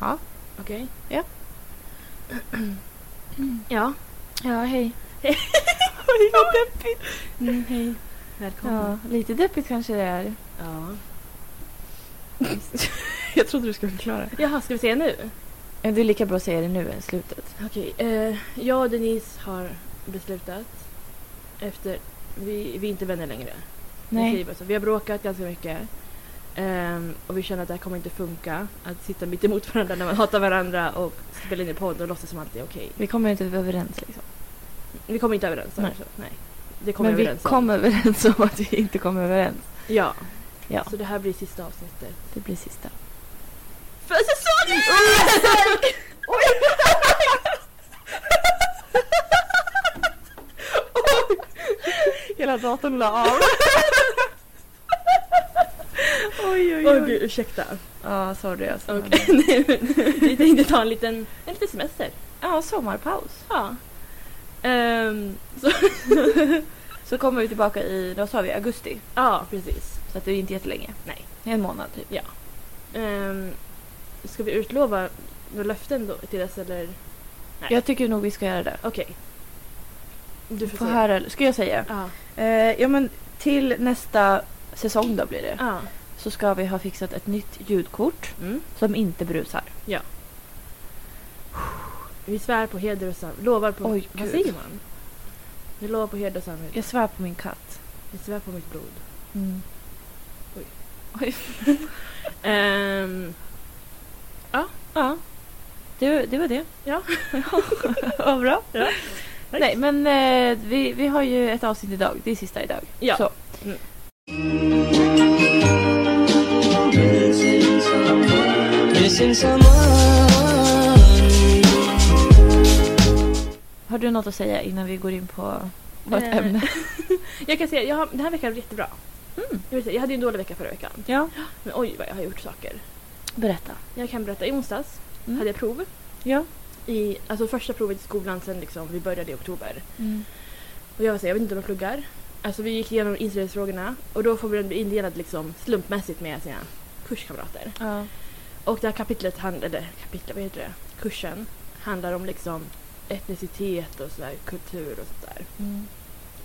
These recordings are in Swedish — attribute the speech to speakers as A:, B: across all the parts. A: Ja.
B: Okej.
A: Ja.
B: ja. Ja, hej.
A: Oj, vad deppigt.
B: Mm, hej. Välkommen.
A: Ja, lite deppigt kanske det är.
B: Ja.
A: Jag trodde du skulle förklara.
B: Jaha, ska vi se nu?
A: Det är lika bra att säga det nu än slutet.
B: Okej. Eh, jag och Denise har beslutat efter... Vi, vi är inte vänner längre. Vi, säger
A: Nej.
B: bara så. vi har bråkat ganska mycket. Ehm, och vi känner att det här kommer inte funka. Att sitta mitt emot varandra när man hatar varandra och spela in i podd och låtsas som allt är okej.
A: Vi kommer inte överens liksom.
B: Vi kommer inte överens.
A: Nej.
B: Nej. Nej. Det kommer
A: Men
B: vi
A: vi
B: överens om.
A: kom överens om att vi inte kom överens.
B: Ja.
A: Ja.
B: Så det här blir sista avsnittet.
A: Det blir sista.
B: För säsongen!
A: Hela datorn la av. oj, oj,
B: Åh
A: oj.
B: gud, ursäkta.
A: Ja, sorry alltså. men-
B: Okej. Nej, men Vi tänkte ta en liten, en liten semester.
A: Ja, sommarpaus.
B: Ja. Ehm, så,
A: Så kommer vi tillbaka i, vad sa vi, augusti.
B: ja, precis.
A: Så att det är inte jättelänge.
B: Nej.
A: En månad typ.
B: Ehm, ska vi utlova några löften då till dess eller? Nej.
A: Jag tycker nog vi ska göra det.
B: Okej. Du får
A: Få
B: säga.
A: höra, ska jag säga?
B: Ja.
A: Eh, ja men till nästa säsong då blir det.
B: ja.
A: Så ska vi ha fixat ett nytt ljudkort
B: Mm.
A: som inte brusar.
B: Vi svär på heder och samvete. Lovar på...
A: Oj,
B: vad
A: gud.
B: säger man? Vi lovar på heder och samvete.
A: Jag svär på min katt.
B: Vi svär på mitt blod.
A: Mm.
B: Oj.
A: Oj.
B: Ehm,
A: Ja. Det, det var det.
B: Ja.
A: Vad bra.
B: Ja.
A: Nej men eh, vi, vi har ju ett avsnitt idag. Det är sista idag.
B: Ja.
A: Så.
C: Missing someone. Missing someone.
A: Har du något att säga innan vi går in på vårt
B: Eh.
A: ämne?
B: jag kan säga, jag har, den här veckan har varit jättebra. Jag, vill säga, jag hade ju en dålig vecka förra veckan.
A: Ja.
B: Men oj vad jag har gjort saker.
A: Berätta.
B: Jag kan berätta, i onsdags
A: Mm.
B: hade jag prov.
A: Ja.
B: I, alltså första provet i skolan sen liksom, vi började i oktober.
A: Mm.
B: Och jag var så här, jag vet inte om jag pluggar. Alltså vi gick igenom inställningsfrågorna och då får vi den indelad liksom slumpmässigt med sina kurskamrater.
A: Ja.
B: Och det här kapitlet, hand, eller kapitlet, vad heter det? Kursen handlar om liksom etnicitet och sådär, kultur och sådär.
A: Mm.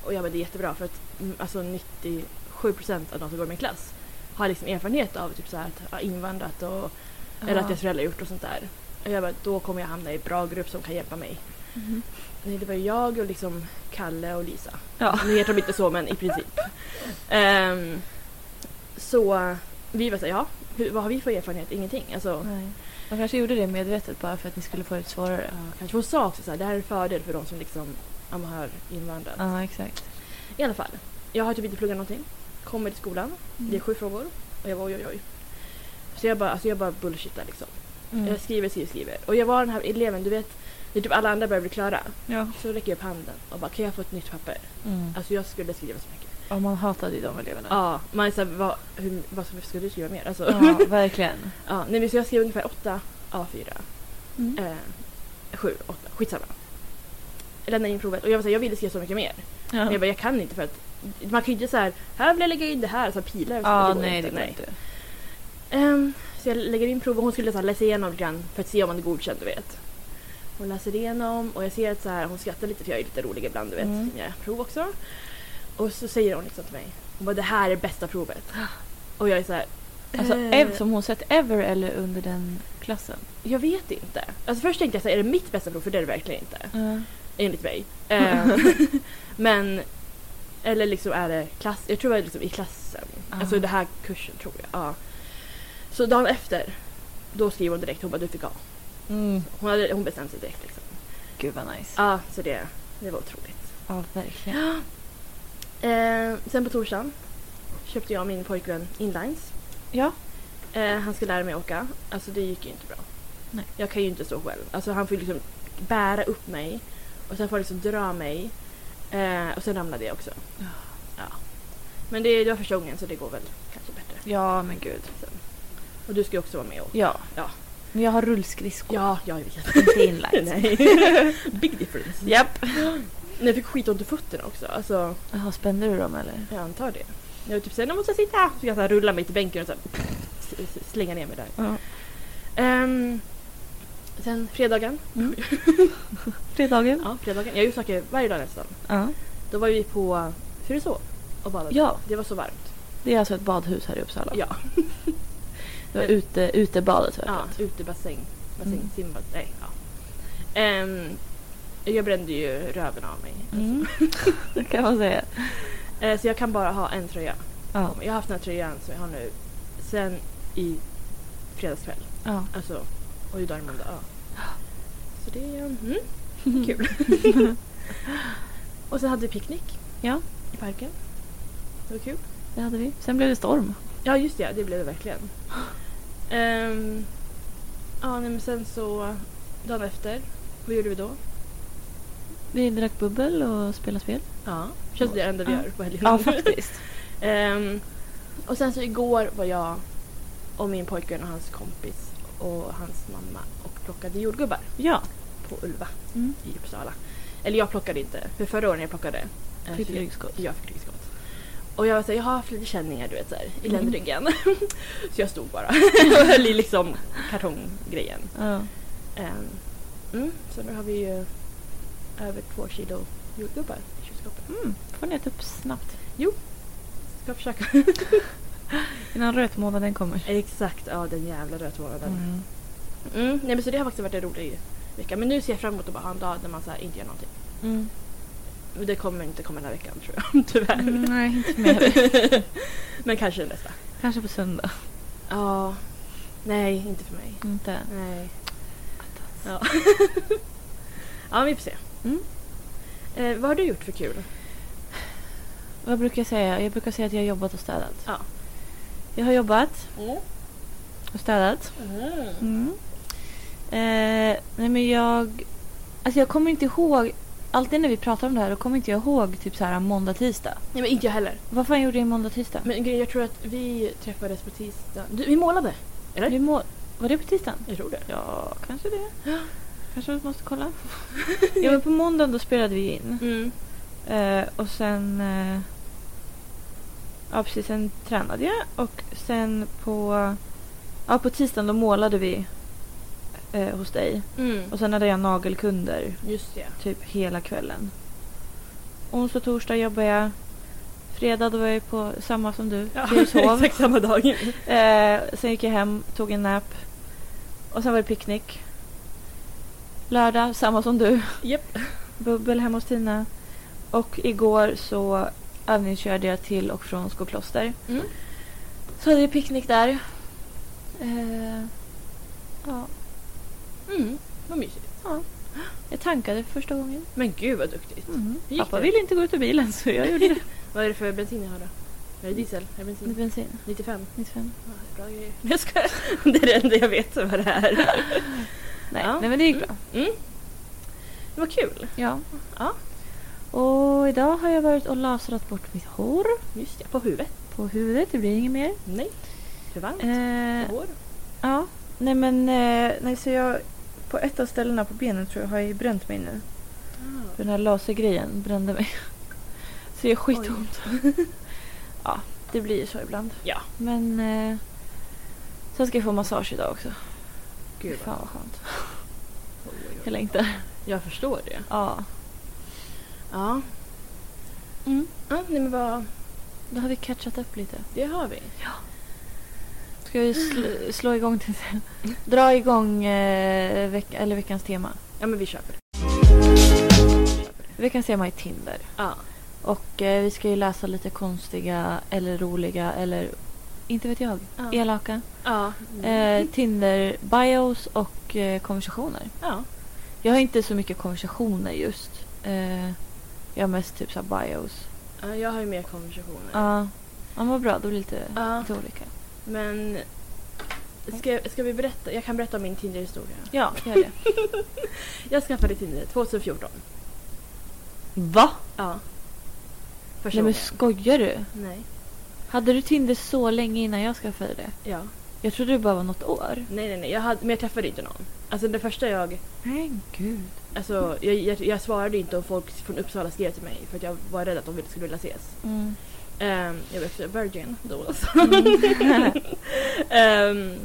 B: Och jag bara, det är jättebra för att mm, alltså 97 procent av de som går i min klass har liksom erfarenhet av typ så här, att ha invandrat och, eller att deras föräldrar gjort och sånt där. Och jag bara, då kommer jag hamna i en bra grupp som kan hjälpa mig.
A: Mhm.
B: Nej, det var jag och liksom Kalle och Lisa.
A: Ja.
B: Nu heter de inte så, men i princip. Ehm, så vi var så här, ja, hur, vad har vi för erfarenhet? Ingenting. Alltså,
A: Nej. De kanske gjorde det medvetet bara för att ni skulle få det svårare.
B: ja, kanske hon sa också så här, det här är en fördel för de som liksom ja, men har invandrat.
A: Ja, exakt.
B: I alla fall, jag har typ inte pluggat någonting. Kommer till skolan, det är sju frågor. Och jag var oj, oj, oj. Så jag bara, alltså jag bara bullshittar liksom.
A: Mm.
B: Jag skriver, skriver, skriver. Och jag var den här eleven, du vet, när typ alla andra börjar bli klara.
A: Ja.
B: Så räcker jag upp handen och bara, kan jag få ett nytt papper?
A: Mm.
B: Alltså jag skulle skriva så mycket.
A: Ja, man hatade ju de eleverna.
B: Ja, man är såhär, vad, hur, vad ska- ska du skriva mer? Alltså, ja.
A: Ja, verkligen.
B: nej, men så jag skrev ungefär åtta A4.
A: Mm.
B: Eh, sju, åtta, skitsamma. Jag lämnade in provet och jag var såhär, jag ville skriva så mycket mer. Men jag bara, jag kan inte för att man kan ju inte såhär, här vill jag lägga in det här, så här pilar och så.
A: Ja,
B: går
A: nej det
B: inte,
A: går inte.
B: Ehm, så jag lägger in prov och hon skulle så här, läsa igenom lite grann för att se om man är godkänd, du vet. Hon läser igenom och jag ser att så här, hon skrattar lite för jag är lite rolig ibland, du vet,
A: Mm.
B: i mina prov också. Och så säger hon liksom till mig, hon bara, det här är bästa provet. Och jag är så här,
A: Alltså,
B: eh,
A: ev, som hon sett ever eller under den klassen?
B: jag vet inte. Alltså först tänkte jag så här, är det mitt bästa prov? För det är det verkligen inte, enligt mig. Ehm, men, eller liksom är det klass, jag tror det var liksom i klassen. Alltså
A: Ah.
B: den här kursen tror jag. Ja. Så dagen efter, då skriver hon direkt, hon bara, du fick A.
A: Mm.
B: Hon, hade, hon bestämde sig direkt. Liksom.
A: Gud vad nice.
B: Ja, så det, det var otroligt.
A: Ah. Ja, verkligen.
B: Eh, sen på torsdagen köpte jag och min pojkvän inlines.
A: Ja.
B: Eh, han ska lära mig åka. Alltså det gick ju inte bra.
A: Nej.
B: Jag kan ju inte stå själv. Alltså han får ju liksom bära upp mig och sen får han liksom dra mig. Eh, och sen ramlade jag också.
A: Ja.
B: Ja. Men det, det var första gången så det går väl kanske bättre.
A: Ja, men gud.
B: Och du ska ju också vara med och
A: Ja.
B: Ja.
A: Men jag har rullskridskor.
B: Ja, jag vet.
A: Inte inlines.
B: Nej. Big difference.
A: Japp.
B: Men jag fick skitont i fötterna också. Alltså,
A: Jaha, spände du dem eller?
B: Jag antar det. Jag var typ såhär, nu måste jag sitta! Så jag så här, rulla mig till bänken och så här, s- s- slänga ner mig där.
A: Ja.
B: Ehm, Sen fredagen.
A: Fredagen?
B: Ja, fredagen. Jag har ju saker varje dag nästan.
A: Ja.
B: Då var vi på Furusov och badade.
A: Ja,
B: Det var så varmt.
A: det är alltså ett badhus här i Uppsala.
B: Ja.
A: Det var ute, utebadet var det.
B: Ja, utebassäng. Bassäng,
A: Mm.
B: simbad. Nej, ja. Ehm, jag brände ju röven av mig.
A: Mm. det kan man säga.
B: Eh, så jag kan bara ha en tröja.
A: Ja.
B: Jag har haft den här tröjan som jag har nu sen i fredagskväll.
A: ja.
B: Alltså, och idag är det måndag. Ja. Så det är mm, kul. och så hade vi picknick
A: Ja,
B: i parken. Det var kul.
A: det hade vi. Sen blev det storm.
B: Ja, just det. Det blev det verkligen. Ehm, ja, nej, men sen så dagen efter. Vad gjorde vi då?
A: Vi drack bubbel och spelade spel.
B: Ja. Känns det det enda vi
A: Ja.
B: gör på helgen?
A: Ja, faktiskt.
B: Ehm, och sen så igår var jag och min pojkvän och hans kompis och hans mamma och plockade jordgubbar
A: Ja.
B: på Ulva
A: Mm.
B: i Uppsala. Eller jag plockade inte, för förra året när jag plockade. eh,
A: Fick
B: så jag-
A: ryggskott.
B: Jag fick ryggskott. Och jag var såhär, jag har lite känningar du vet såhär, i
A: Mm.
B: ländryggen. så jag stod bara och höll i liksom kartonggrejen.
A: Ja.
B: Ehm, mm, så nu har vi ju över två kilo jordgubbar i kylskåpet.
A: Mm. får ni äta upp snabbt
B: Ska försöka.
A: innan rötmånaden kommer.
B: Exakt, ja den jävla rötmånaden.
A: Mm.
B: Mm, nej men så det har faktiskt varit en rolig vecka. Men nu ser jag fram emot att bara ha en dag där man så här inte gör någonting.
A: Mm.
B: Men det kommer inte komma den här veckan tror jag, tyvärr.
A: Mm, nej, inte mer.
B: men kanske nästa.
A: Kanske på söndag.
B: Ja. Nej, inte för mig.
A: Inte.
B: Nej. Ja. ja, vi får se.
A: Mm.
B: Eh, vad har du gjort för kul?
A: Vad brukar jag säga? Jag brukar säga att jag har jobbat och städat.
B: Ja.
A: Jag har jobbat och städat.
B: Mm.
A: Mm. Eh, nej men jag... Alltså jag kommer inte ihåg... Alltid när vi pratar om det här då kommer inte jag ihåg typ så här måndag, tisdag.
B: Nej men inte jag heller.
A: Vad fan gjorde jag måndag, tisdag?
B: Men grejen, jag tror att vi träffades på tisdag. Du, vi målade.
A: Vi må... Var det på tisdagen?
B: Jag tror det.
A: Ja, kanske det.
B: Ja.
A: Kanske vi måste kolla. ja men på måndagen då spelade vi in.
B: Mm.
A: Eh, och sen... Eh, ja precis, sen tränade jag och sen på... Ja på tisdagen då målade vi eh, hos dig.
B: Mm.
A: Och sen hade jag nagelkunder
B: Just det.
A: typ hela kvällen. Onsdag och torsdag jobbade jag. Fredag då var jag på samma som du, Fyrishov.
B: exakt samma dag.
A: eh, sen gick jag hem, tog en nap. Och sen var det picknick. Lördag, samma som du.
B: Japp.
A: Bubbel hemma hos Tina. Och igår så övningskörde jag till och från Skokloster.
B: Mm.
A: Så hade jag picknick där. Eh, ja,
B: Mm. Vad mysigt.
A: jag tankade för första gången.
B: Men gud vad duktigt.
A: Mm.
B: Hur gick
A: Pappa
B: det?
A: ville inte gå ut ur bilen så jag gjorde det.
B: Vad är det för bensin jag har då? Är det diesel? Är det bensin?
A: Bensin,
B: 95?
A: 95.
B: Mm. Ja, det är bra grejer. Jag skojar. Det är det enda jag vet vad det är.
A: Nej,
B: Ja.
A: nej men det gick bra.
B: Mm. Det var kul.
A: Ja.
B: Ja.
A: Och idag har jag varit och lasrat bort mitt hår
B: Just det, på huvudet.
A: på huvudet. Det blir inget mer.
B: Nej. För varmt. För
A: Eh,
B: hår.
A: ja. Nej men eh, nej, så jag på ett av ställena på benen tror jag har jag ju bränt mig nu.
B: Ah,
A: För den här lasergrejen brände mig. Så det är skitont. ja, det blir ju så ibland.
B: Ja.
A: Men eh, sen ska jag få massage idag också.
B: Gud vad
A: Fan vad skönt.
B: oj, oj, oj.
A: Jag längtar.
B: Jag förstår det.
A: Ja.
B: Ja.
A: Mm.
B: ja nej men vad...
A: Då har vi catchat upp lite.
B: Det har vi.
A: Ska vi sl- slå igång? Till Dra igång eh, veck- eller veckans tema.
B: Ja men vi köper det.
A: Veckans tema är Tinder.
B: Ja.
A: Och eh, vi ska ju läsa lite konstiga eller roliga eller inte vet jag,
B: Ja. Mm.
A: elaka.
B: Ja.
A: Eh, Tinder-bios och eh, konversationer.
B: ja.
A: Jag har inte så mycket konversationer just. Eh, jag har mest typ så här bios.
B: Ja, Jag har ju mer konversationer.
A: Ja, ja, men vad bra. Då blir det lite,
B: Ja.
A: lite olika.
B: Men... Ska, ska vi berätta? Jag kan berätta om min Tinder-historia.
A: Ja, gör det.
B: Jag skaffade Tinder 2014.
A: Va?
B: Ja. Första
A: Nej men
B: gången.
A: skojar du?
B: Nej.
A: Hade du Tinder så länge innan jag skaffade det?
B: Ja.
A: Jag trodde det bara var något år.
B: Nej, nej, nej. Jag hade, men jag träffade inte någon. Alltså det första jag...
A: Men gud.
B: Alltså jag, jag, jag svarade inte om folk från Uppsala skrev till mig för att jag var rädd att de ville- skulle vilja ses.
A: Mm.
B: Ehm, jag var efter virgin då alltså.
A: Mm.
B: Ehm,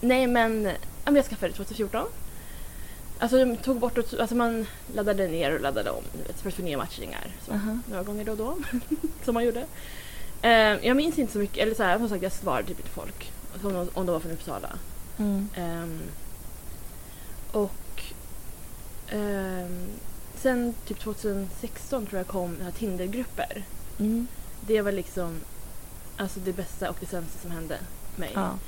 B: nej men, ja, men jag skaffade det 2014. Alltså de tog bort och alltså man laddade ner och laddade om du vet, för att få ner matchningar. Så,
A: Aha.
B: Några gånger då och då, som man gjorde. Eh, jag minns inte så mycket, eller så här, som sagt jag svarade typ inte folk. Som om- om de var från Uppsala.
A: Mm.
B: Ehm, och ehm, sen typ 2016 tror jag kom den här Tindergrupper.
A: Mm.
B: Det var liksom alltså det bästa och det sämsta som hände mig.
A: Ja.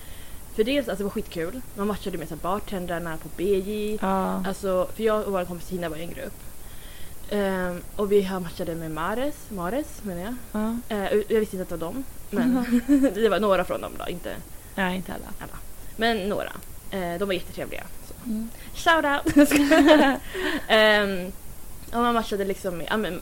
B: För dels, alltså det var skitkul. Man matchade med så här, bartendrarna på BJ.
A: Ja.
B: Alltså, för jag och vår kompis Tina var i en grupp. Ehm, och vi har matchade med Mares, Mares menar jag.
A: ja.
B: Eh, jag visste inte att det var dem. Men det var några från dem då, inte
A: Nej, inte alla.
B: Men några. Eh, de var jättetrevliga. Så.
A: Mm.
B: Shoutout! um, och man matchade liksom med ja, men,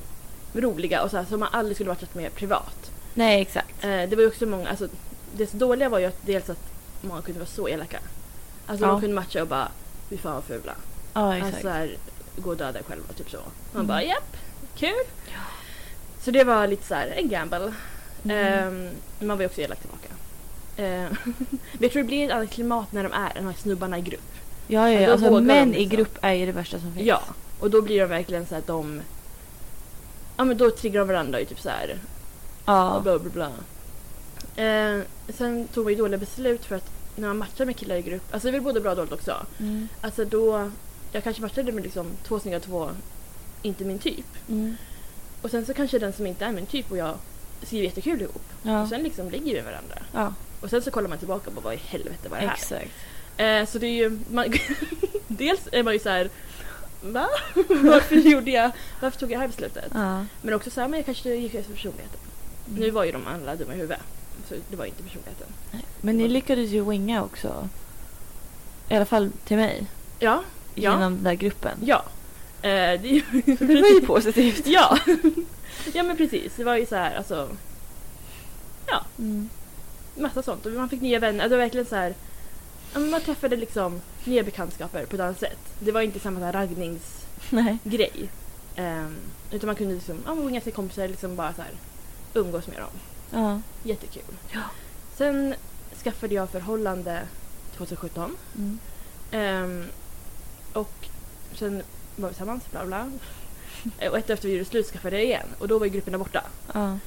B: roliga och så här, som man aldrig skulle matchat med privat.
A: Nej, exakt.
B: Eh, det var ju också många, alltså det så dåliga var ju att dels att många kunde vara så elaka. Alltså
A: Ja.
B: de kunde matcha och bara fy fan vad fula.
A: Ja,
B: Alltså
A: exakt.
B: så här, gå och döda dig själva typ så. Man
A: Mm.
B: bara japp, kul. Så det var lite så här en gamble.
A: Mm.
B: Ehm, man var ju också elak tillbaka. Ehm, men jag tror det blir ett annat klimat när de är, de här snubbarna i grupp.
A: ja, ja,
B: ja,
A: ja.
B: då
A: Alltså,
B: vågar de
A: män i
B: liksom.
A: grupp är ju det värsta som finns.
B: Ja, och då blir de verkligen så att de... Ja men då triggar de varandra ju typ så här.
A: Ja.
B: Bla bla bla. Ehm, sen tog vi dåliga beslut för att när man matchar med killar i grupp, alltså det är väl både bra och dåligt också.
A: Mm.
B: Alltså då, jag kanske matchade med liksom två snygga och två inte min typ.
A: Mm.
B: Och sen så kanske den som inte är min typ och jag skriver jättekul ihop.
A: Ja.
B: Och sen liksom ligger vi med varandra.
A: ja,
B: Och sen så kollar man tillbaka och bara vad i helvete var det här?
A: exakt.
B: Eh, så det är ju, man, dels är man ju så här. Va? Varför gjorde jag, varför tog jag det här beslutet?
A: Ja.
B: Men också så här, men jag kanske gick efter personligheten.
A: Mm.
B: Nu var ju de alla dumma i huvudet. Så det var ju inte personligheten.
A: Men ni lyckades ju winga också. I alla fall till mig.
B: Ja, Ja.
A: Genom den där gruppen.
B: ja. Eh, det, är ju-
A: Så det var ju positivt.
B: Ja. ja men precis, det var ju så här alltså
A: Mm.
B: massa sånt. Och man fick nya vänner. Det var verkligen så här. ja, men Man träffade liksom nya bekantskaper på ett annat sätt. Det var inte samma så här raggningsgrej.
A: Nej.
B: Ehm, utan man kunde liksom, ja, men ringa till kompisar liksom bara så här umgås med dem.
A: Ja.
B: Jättekul.
A: Ja.
B: Sen skaffade jag förhållande 2017.
A: Mm.
B: Ehm, och sen var vi tillsammans, bla bla. Eh, Och ett efter vi gjorde slut skaffade jag igen och då var ju grupperna borta.
A: Ja.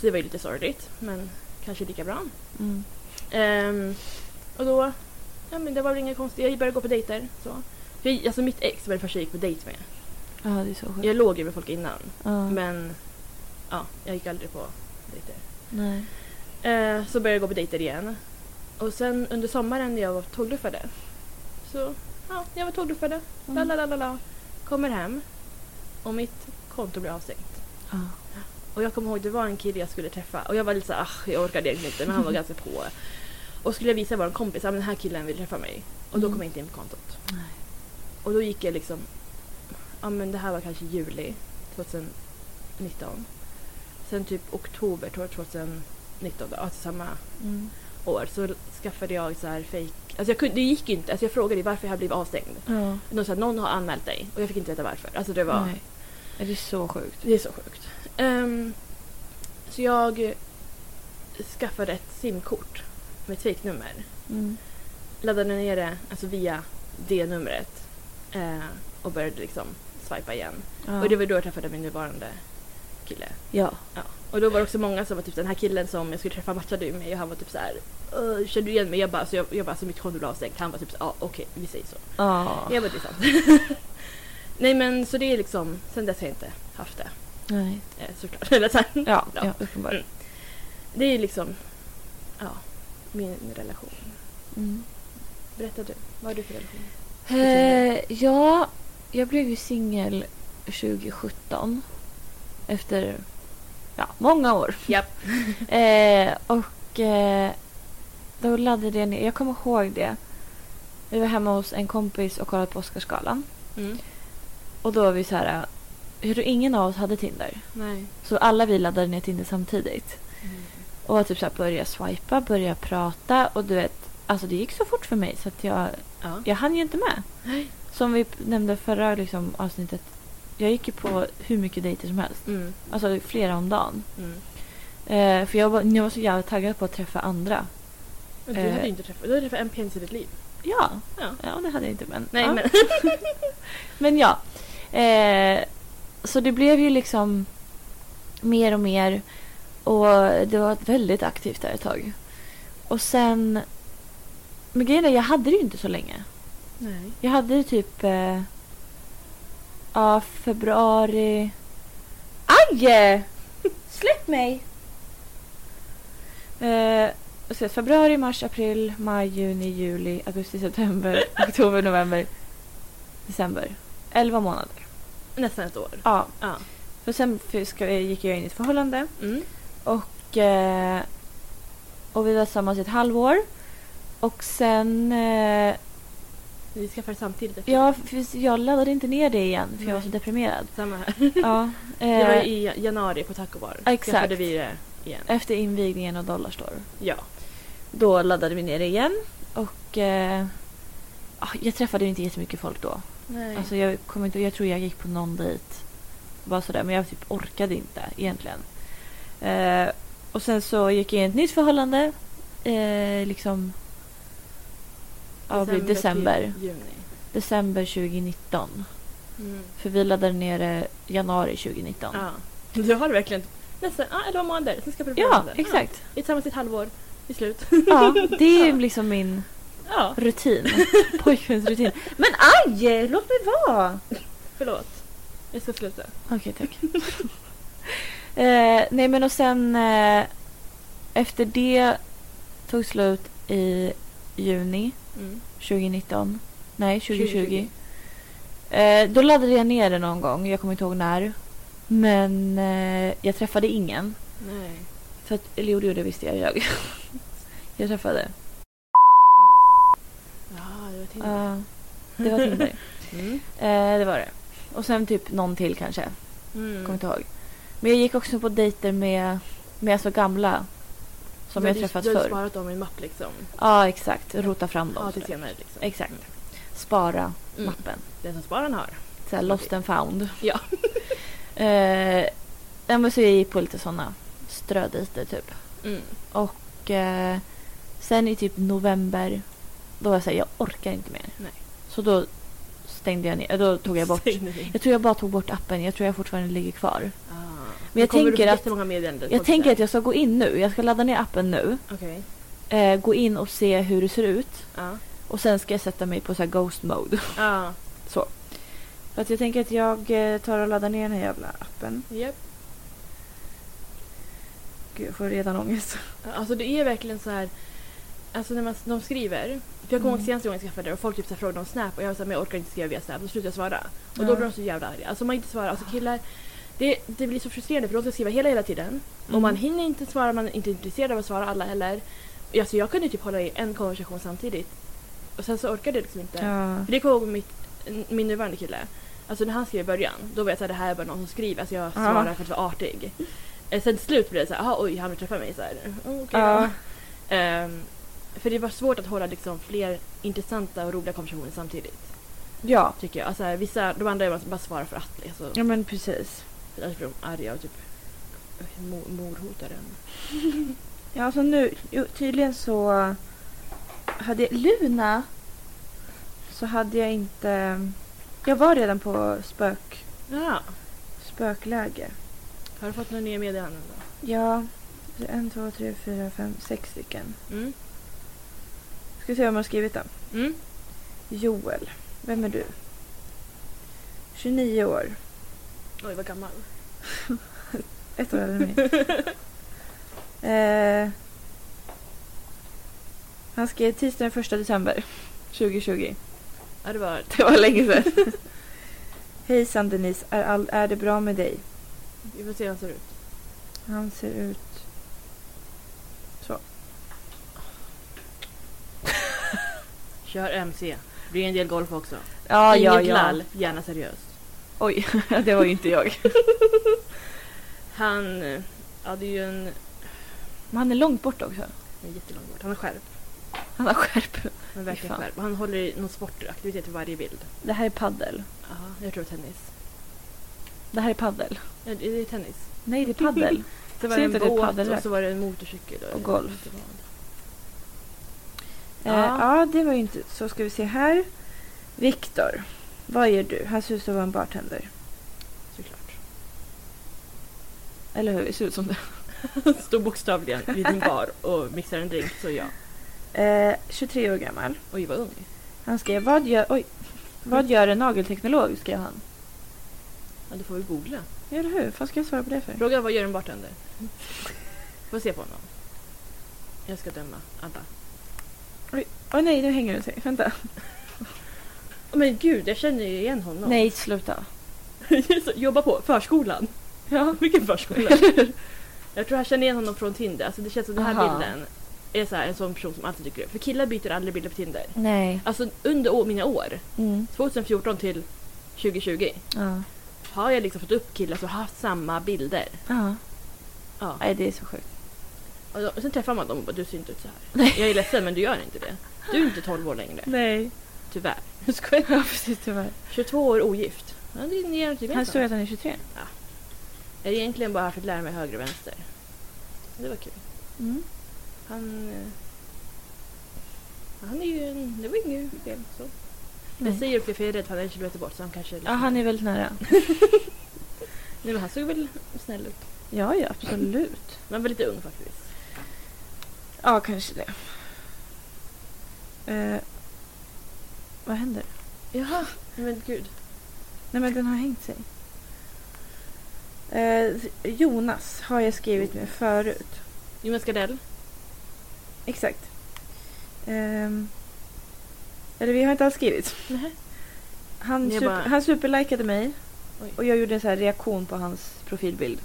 B: Så det var ju lite sorgligt men kanske lika bra.
A: Mm.
B: Ehm, och då, ja men det var väl inga konstigt. Jag började gå på dejter. Så. För jag, alltså mitt ex var det första jag gick på dejt med.
A: ja, det är så sjukt.
B: Jag låg ju med folk innan
A: Ja.
B: men ja, jag gick aldrig på dejter.
A: Nej.
B: Eh, så började jag gå på dejter igen. Och sen under sommaren när jag var tågluffade. Så ja, jag var tågluffade. La
A: Mm.
B: la la la la. Kommer hem. Och mitt konto blir avstängt.
A: Ja.
B: Och jag kommer ihåg det var en kille jag skulle träffa. Och jag var lite såhär, "Ach, jag orkade egentligen inte. Men han var ganska på. Och skulle jag visa vår kompis, att den här killen vill träffa mig. Och då
A: Mm.
B: kom jag inte in på kontot.
A: Nej.
B: Och då gick jag liksom, ja men det här var kanske juli 2019. Sen typ oktober tror jag, 2019 då, alltså samma
A: Mm.
B: år så skaffade jag så här fake... Alltså jag kunde, det gick inte. Alltså jag frågade varför jag blev avstängd.
A: Ja.
B: Någon, så här, någon har anmält dig och jag fick inte veta varför. Alltså det var...
A: Nej. Ja, Det är så sjukt.
B: Det är så sjukt. Ehm, så jag skaffade ett simkort med ett fejknummer.
A: Mm.
B: Laddade ner det alltså via det numret eh, och började liksom swipa igen.
A: Ja.
B: Och det var då jag träffade min nuvarande kille.
A: ja.
B: Ja. Och då var det också många som var typ den här killen som jag skulle träffa matchade ju mig och han var typ så här "Öh, känner du igen mig? Jag bara, så jag, jag bara så mitt konto blev avstängt. Han var typ så ja okej vi säger så.
A: Ja.
B: Jag bara det är sant. Nej men så det är liksom, sen dess har jag inte haft det.
A: Nej.
B: Eh, såklart. Eller så här.
A: Ja,
B: Ja.
A: ja uppenbarligen.
B: Det är liksom, ja, min relation.
A: Mm.
B: Berätta du, vad har du för relation?
A: Eh, ja, jag blev ju singel 2017. Efter ja, många år.
B: Japp.
A: Eh, och eh, då laddade jag ner, jag kommer ihåg det. Vi var hemma hos en kompis och kollade på Oscarsgalan.
B: Mm.
A: Och då var vi så här, jag tror ingen av oss hade Tinder.
B: Nej.
A: Så alla vi laddade ner Tinder samtidigt. Och var typ så här, börja swipa, börja prata och du vet, alltså det gick så fort för mig så att jag,
B: Ja.
A: jag hann ju inte med.
B: Nej.
A: Som vi p- nämnde förra liksom, avsnittet. Jag gick ju på hur mycket dejter som helst.
B: Mm.
A: Alltså flera om dagen.
B: Mm.
A: Eh, för jag var, jag var så jävla taggad på att träfå andra.
B: Men du
A: Eh.
B: hade ju inte träffat, du hade träffat en penis i ditt liv.
A: Ja.
B: Ja.
A: ja. det hade jag inte men.
B: Nej
A: ja.
B: men
A: Men ja. Eh, så det blev ju liksom mer och mer. Och det var väldigt aktivt där ett tag. Och sen... Men grejen är, jag hade det ju inte så länge.
B: Nej.
A: Jag hade det typ... Eh, ja, februari... Aj! Eh, Släpp mig! Eh, och så februari, mars, april, maj, juni, juli, augusti, september, oktober, november, december. Elva månader.
B: Nästan ett år.
A: Ja.
B: Ja.
A: För sen fick- gick jag in i ett förhållande.
B: Mm.
A: Och, eh, och vi var tillsammans i ett halvår. Och sen... Eh,
B: Vi skaffade samtidigt. efter
A: jag, jag laddade inte ner det igen för jag var
B: Nej.
A: så deprimerad.
B: det. Samma här.
A: Ja,
B: Det var ju
A: eh,
B: i januari på Taco Bar.
A: exakt.
B: Skaffade vi det igen.
A: efter invigningen av Dollarstore.
B: Ja.
A: Då laddade vi ner det igen och eh, ah, jag träffade ju inte jättemycket folk då.
B: Nej.
A: Alltså jag, kommer inte, jag tror jag gick på någon dejt. Bara sådär, men jag typ orkade inte egentligen. Eh, och sen så gick jag in i ett nytt förhållande. Eh, liksom... Ja, det blev december.
B: till Juni.
A: December 2019.
B: Mm.
A: För vi laddade ner det januari 2019.
B: Ja. Du har verkligen nästan ah, elva månader. Sen skaffade du
A: Ja,
B: förhållande.
A: exakt.
B: Ja. Vi är Tillsammans i ett halvår. I slut.
A: Ja, det är ju liksom min
B: Ja.
A: rutin. Pojkvänsrutin. Men aj! Låt mig vara!
B: Förlåt. Jag ska sluta.
A: Okej, tack. eh, nej, men och sen eh, efter det tog slut i juni
B: Mm.
A: 2019. Nej, 2020.
B: 2020.
A: Eh, då laddade jag ner det någon gång. Jag kommer inte ihåg när. Men eh, jag träffade ingen.
B: Nej.
A: För att, eller jo, det gjorde jag, visste jag. Jag, jag träffade.
B: Ja, det var till.
A: Ja, det var Tinder.
B: Mm.
A: Eh, det var det. Och sen typ någon till kanske.
B: Mm.
A: Kommer inte ihåg. Men jag gick också på dejter med, med så gamla. Som
B: Du
A: jag
B: hade-
A: träffat
B: Du hade
A: förr.
B: sparat dem i en mapp liksom.
A: Ja, exakt. Rota fram dem.
B: Ja, till
A: sådär.
B: senare liksom.
A: Exakt.
B: Mm.
A: Spara
B: Mm.
A: mappen.
B: Den som sparar den har.
A: Såhär lost and found.
B: Ja.
A: eh, ja, men så jag gick på lite sådana strödejter typ.
B: Mm.
A: Och eh, sen i typ november, då var jag såhär, jag orkar inte mer.
B: Nej.
A: Så då stängde jag ner, då tog jag bort.
B: Stängde vi.
A: Jag tror jag bara tog bort appen, jag tror jag fortfarande ligger kvar.
B: Ah.
A: Men jag
B: Kommer du få
A: tänker att-
B: jättemånga meddelanden.
A: Jag tänker att jag ska gå in nu. Jag ska ladda ner appen nu.
B: Okej. Ah.
A: Eh, gå in och se hur det ser ut.
B: Ja.
A: Och sen ska jag sätta mig på så här ghost mode.
B: Ja.
A: För att jag tänker att jag eh, tar och laddar ner den här jävla appen.
B: Japp.
A: Gud, jag får redan ångest.
B: Alltså det är verkligen så här. Alltså när man, de skriver. För jag kommer ihåg
A: Mm.
B: senaste gången jag skaffade det och folk typ så här frågade om Snap och jag var såhär, men jag orkar inte skriva via Snap. Då slutade jag svara. Och då
A: Ja.
B: blir de så jävla arga. Alltså man inte svarar. Alltså killar. Det, det blir så frustrerande för de ska skriva hela hela tiden. Och
A: Mm.
B: man hinner inte svara, man är inte intresserad av att svara alla heller. Alltså jag kunde ju typ hålla i en konversation samtidigt. Och sen så orkade jag liksom inte.
A: Ja.
B: För det kommer jag ihåg mitt, min nuvarande kille. Alltså när han skrev i början, då var jag såhär det här är bara någon som skriver, alltså jag svarar för att vara artig. Eh, Sen till slut blev det såhär, jaha oj han vill träffa mig såhär. Oh, okej då.
A: Ja.
B: Ehm, för det var svårt att hålla liksom fler intressanta och roliga konversationer samtidigt.
A: ja.
B: Tycker jag. Alltså, vissa, de andra är bara- bara svarar för att. Alltså,
A: Ja men precis.
B: Annars blir de arga och typ mo- mordhotar en.
A: Ja alltså nu, jo, tydligen så hade Luna så hade jag inte... Jag var redan på spök,
B: Ja.
A: spökläge.
B: Har du fått några nya meddelanden då?
A: Ja, en, två, tre, fyra, fem, sex stycken.
B: Mm.
A: Ska se vem har skrivit dem.
B: Mm.
A: Joel, vem är du? 29 år.
B: Oj vad gammal.
A: Ett år äldre än mig. Eh, han skrev tisdagen den 1 december 2020.
B: Ja det var...
A: Det var länge sedan. Hejsan Denise, är, all, är det bra med dig?
B: Vi får se hur han ser ut.
A: Han ser ut... Så.
B: Kör MC. Det blir en del golf också.
A: Ja,
B: Inget
A: ja, ja.
B: lall, gärna seriöst.
A: Oj, det var ju inte jag.
B: Han eh, hade ju en...
A: Men han är långt bort också.
B: en jättelång bort. Han har skärp.
A: Han har skärp.
B: Han har verkligen
A: Fy fan.
B: skärp. Och Han håller i någon sportaktivitet i varje bild.
A: Det här är paddel.
B: Aha, jag tror det var tennis.
A: Det här är paddel. Eh,
B: Ja, det är tennis.
A: Nej, det är paddel.
B: Så var
A: Ser
B: det
A: inte
B: en
A: det
B: båt
A: paddelracket?
B: och så var det en motorcykel.
A: Och golf.
B: inte vad.
A: Ja.
B: Ja.
A: Eh, ja, det var ju inte... Så ska vi se här. Viktor, vad gör du? Han ser ut som en bartender.
B: Såklart.
A: Eller hur? Det ser ut som det.
B: Står bokstavligen vid en bar och mixar en drink, så ja.
A: Eh, 23 år gammal.
B: Oj, vad ung.
A: Han skrev vad gör... Oj. Vad gör en nagelteknolog? skrev han.
B: Ja, du får väl googla.
A: Ja, Eller hur? Vad ska jag svara på det för?
B: Fråga vad gör en bartender? Får se på honom. Jag ska döma Abba.
A: Åh nej, nu hänger den sig. Vänta.
B: Åh, Men gud, jag känner ju igen honom.
A: Nej, sluta.
B: Så, Jobba på förskolan.
A: Ja.
B: Vilken förskola? jag tror jag känner igen honom från Tinder. Alltså det känns som den här
A: Aha.
B: bilden är så här, en sån person som alltid dyker upp. För killar byter aldrig bilder på Tinder.
A: Nej.
B: Alltså under å- mina år,
A: Mm.
B: 2014 till 2020,
A: Ja.
B: har jag liksom fått upp killar som har haft samma bilder.
A: ja.
B: Ja.
A: Nej, det är så sjukt.
B: Och då- och sen träffar man dem och bara du ser inte ut så här. Jag är ledsen men du gör inte det. Du är inte 12 år längre.
A: Nej.
B: Tyvärr.
A: Ja, precis tyvärr.
B: 22 år ogift. Ja, det är ni
A: Han
B: gemensamt.
A: står att han är 23.
B: Jag är egentligen bara här för att lära mig höger och vänster. Det var kul.
A: Mm.
B: Han... eh, Han är ju en... Det var inget fel. Så. Jag
A: Nej.
B: säger upp det för jag är rädd för han är en kilometer bort så han kanske... är
A: Ja,
B: liksom-
A: han är väldigt nära.
B: Nej, men han såg väl snäll ut.
A: Ja, ja, absolut.
B: Men han var lite ung faktiskt.
A: Ja, kanske det. Eh, vad händer?
B: Jaha, men gud.
A: Nej, men den har hängt sig. Eh, Jonas har jag skrivit med förut.
B: Jonas Gardell.
A: Exakt. Ehm, eller vi har inte alls skrivit.
B: Nej.
A: Han,
B: Ni är
A: super,
B: bara-
A: han superlikade mig
B: Oj.
A: och jag gjorde en så här reaktion på hans profilbild.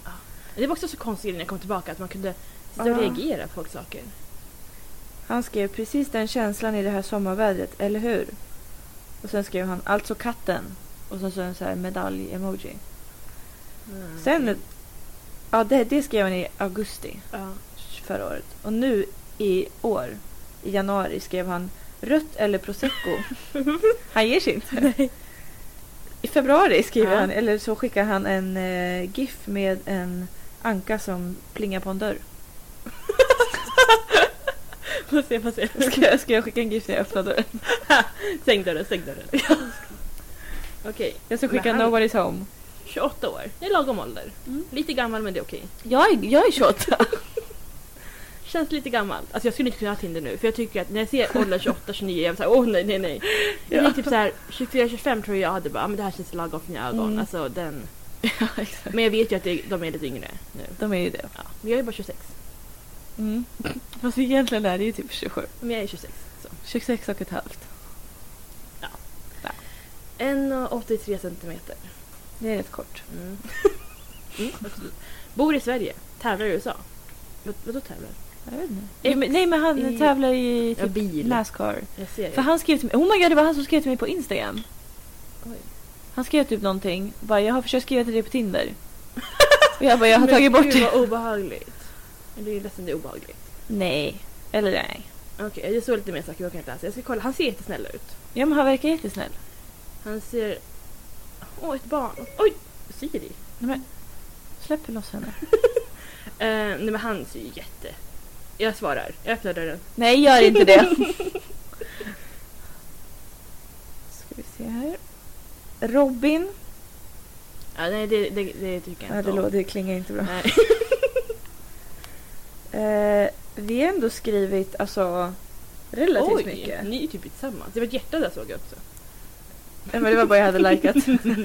B: Det var också så konstigt när jag kom tillbaka att man kunde sitta och
A: Ja.
B: reagera på folks saker.
A: Han skrev precis den känslan i det här sommarvädret, eller hur? Och sen skrev han alltså katten. Och sen så en så här medalj-emoji.
B: Mm.
A: Sen, ja det, det skrev han i augusti
B: Ja.
A: förra året. Och nu i år, i januari, skrev han rött eller prosecco. han ger sig inte. I februari skriver
B: Ja.
A: han, eller så skickar han en eh, GIF med en anka som plingar på en dörr.
B: Får se, får se.
A: Ska jag, ska jag skicka en GIF när jag öppnar dörren?
B: Stäng dörren, stäng dörren. Okej,
A: Jag ska
B: Men
A: skicka
B: han-
A: Nobody's Home.
B: 28 år. Det är lagom ålder.
A: Mm.
B: Lite gammal men det är okej.
A: Jag är, jag är 28.
B: Känns lite gammalt. Alltså jag skulle inte kunna ha Tinder nu för jag tycker att när jag ser åldern 28, 29 jag är såhär åh nej nej nej. Jag är typ såhär 24, 25 tror jag hade bara ah, men det här känns lagom för mina ögon.
A: Mm.
B: Alltså den.
A: ja, exakt.
B: Men jag vet ju att det, de är lite yngre nu.
A: De är ju det.
B: Ja. Men jag är bara 26.
A: Mm. Fast egentligen är det ju typ 27.
B: Men jag är 26. Så.
A: 26 och ett halvt.
B: 1,83 centimeter.
A: Det är rätt kort.
B: Mm. Mm, absolut. Bor i Sverige. Tävlar i USA. Vad, vadå tävlar?
A: Jag vet inte.
B: Ett
A: Jo, men, nej men han
B: i-
A: tävlar i
B: Ja,
A: typ
B: bil.
A: Nascar.
B: Jag ser
A: För
B: ju.
A: han skrev till mig, oh my god det var han som skrev till mig på Instagram.
B: Oj.
A: Han skrev typ någonting, bara jag har försökt skriva till dig på Tinder. Och jag bara jag har
B: Men
A: tagit bort
B: Gud
A: det.
B: vad obehagligt. Men Det är ju ledsen det är obehagligt.
A: Nej, eller nej.
B: Okej, jag såg lite mer saker jag orkar inte läsa. Jag ska kolla. Han ser jättesnäll ut.
A: Ja men han verkar jättesnäll.
B: Han ser... Åh, ett barn. Oj! Siri.
A: Släpp loss henne.
B: Eh, nej men han ser ju jätte... Jag svarar. Jag öppnar dörren.
A: Nej gör inte det. Ska vi se här. Robin.
B: Ja, nej det, det, det tycker jag
A: Nej
B: inte
A: det,
B: om.
A: låter, det klingar inte bra.
B: Nej.
A: Eh, vi har ändå skrivit alltså relativt
B: Oj!
A: mycket.
B: Ni är typ tillsammans. Det var ett hjärta där såg jag också.
A: Nej, men det var bara jag hade likat.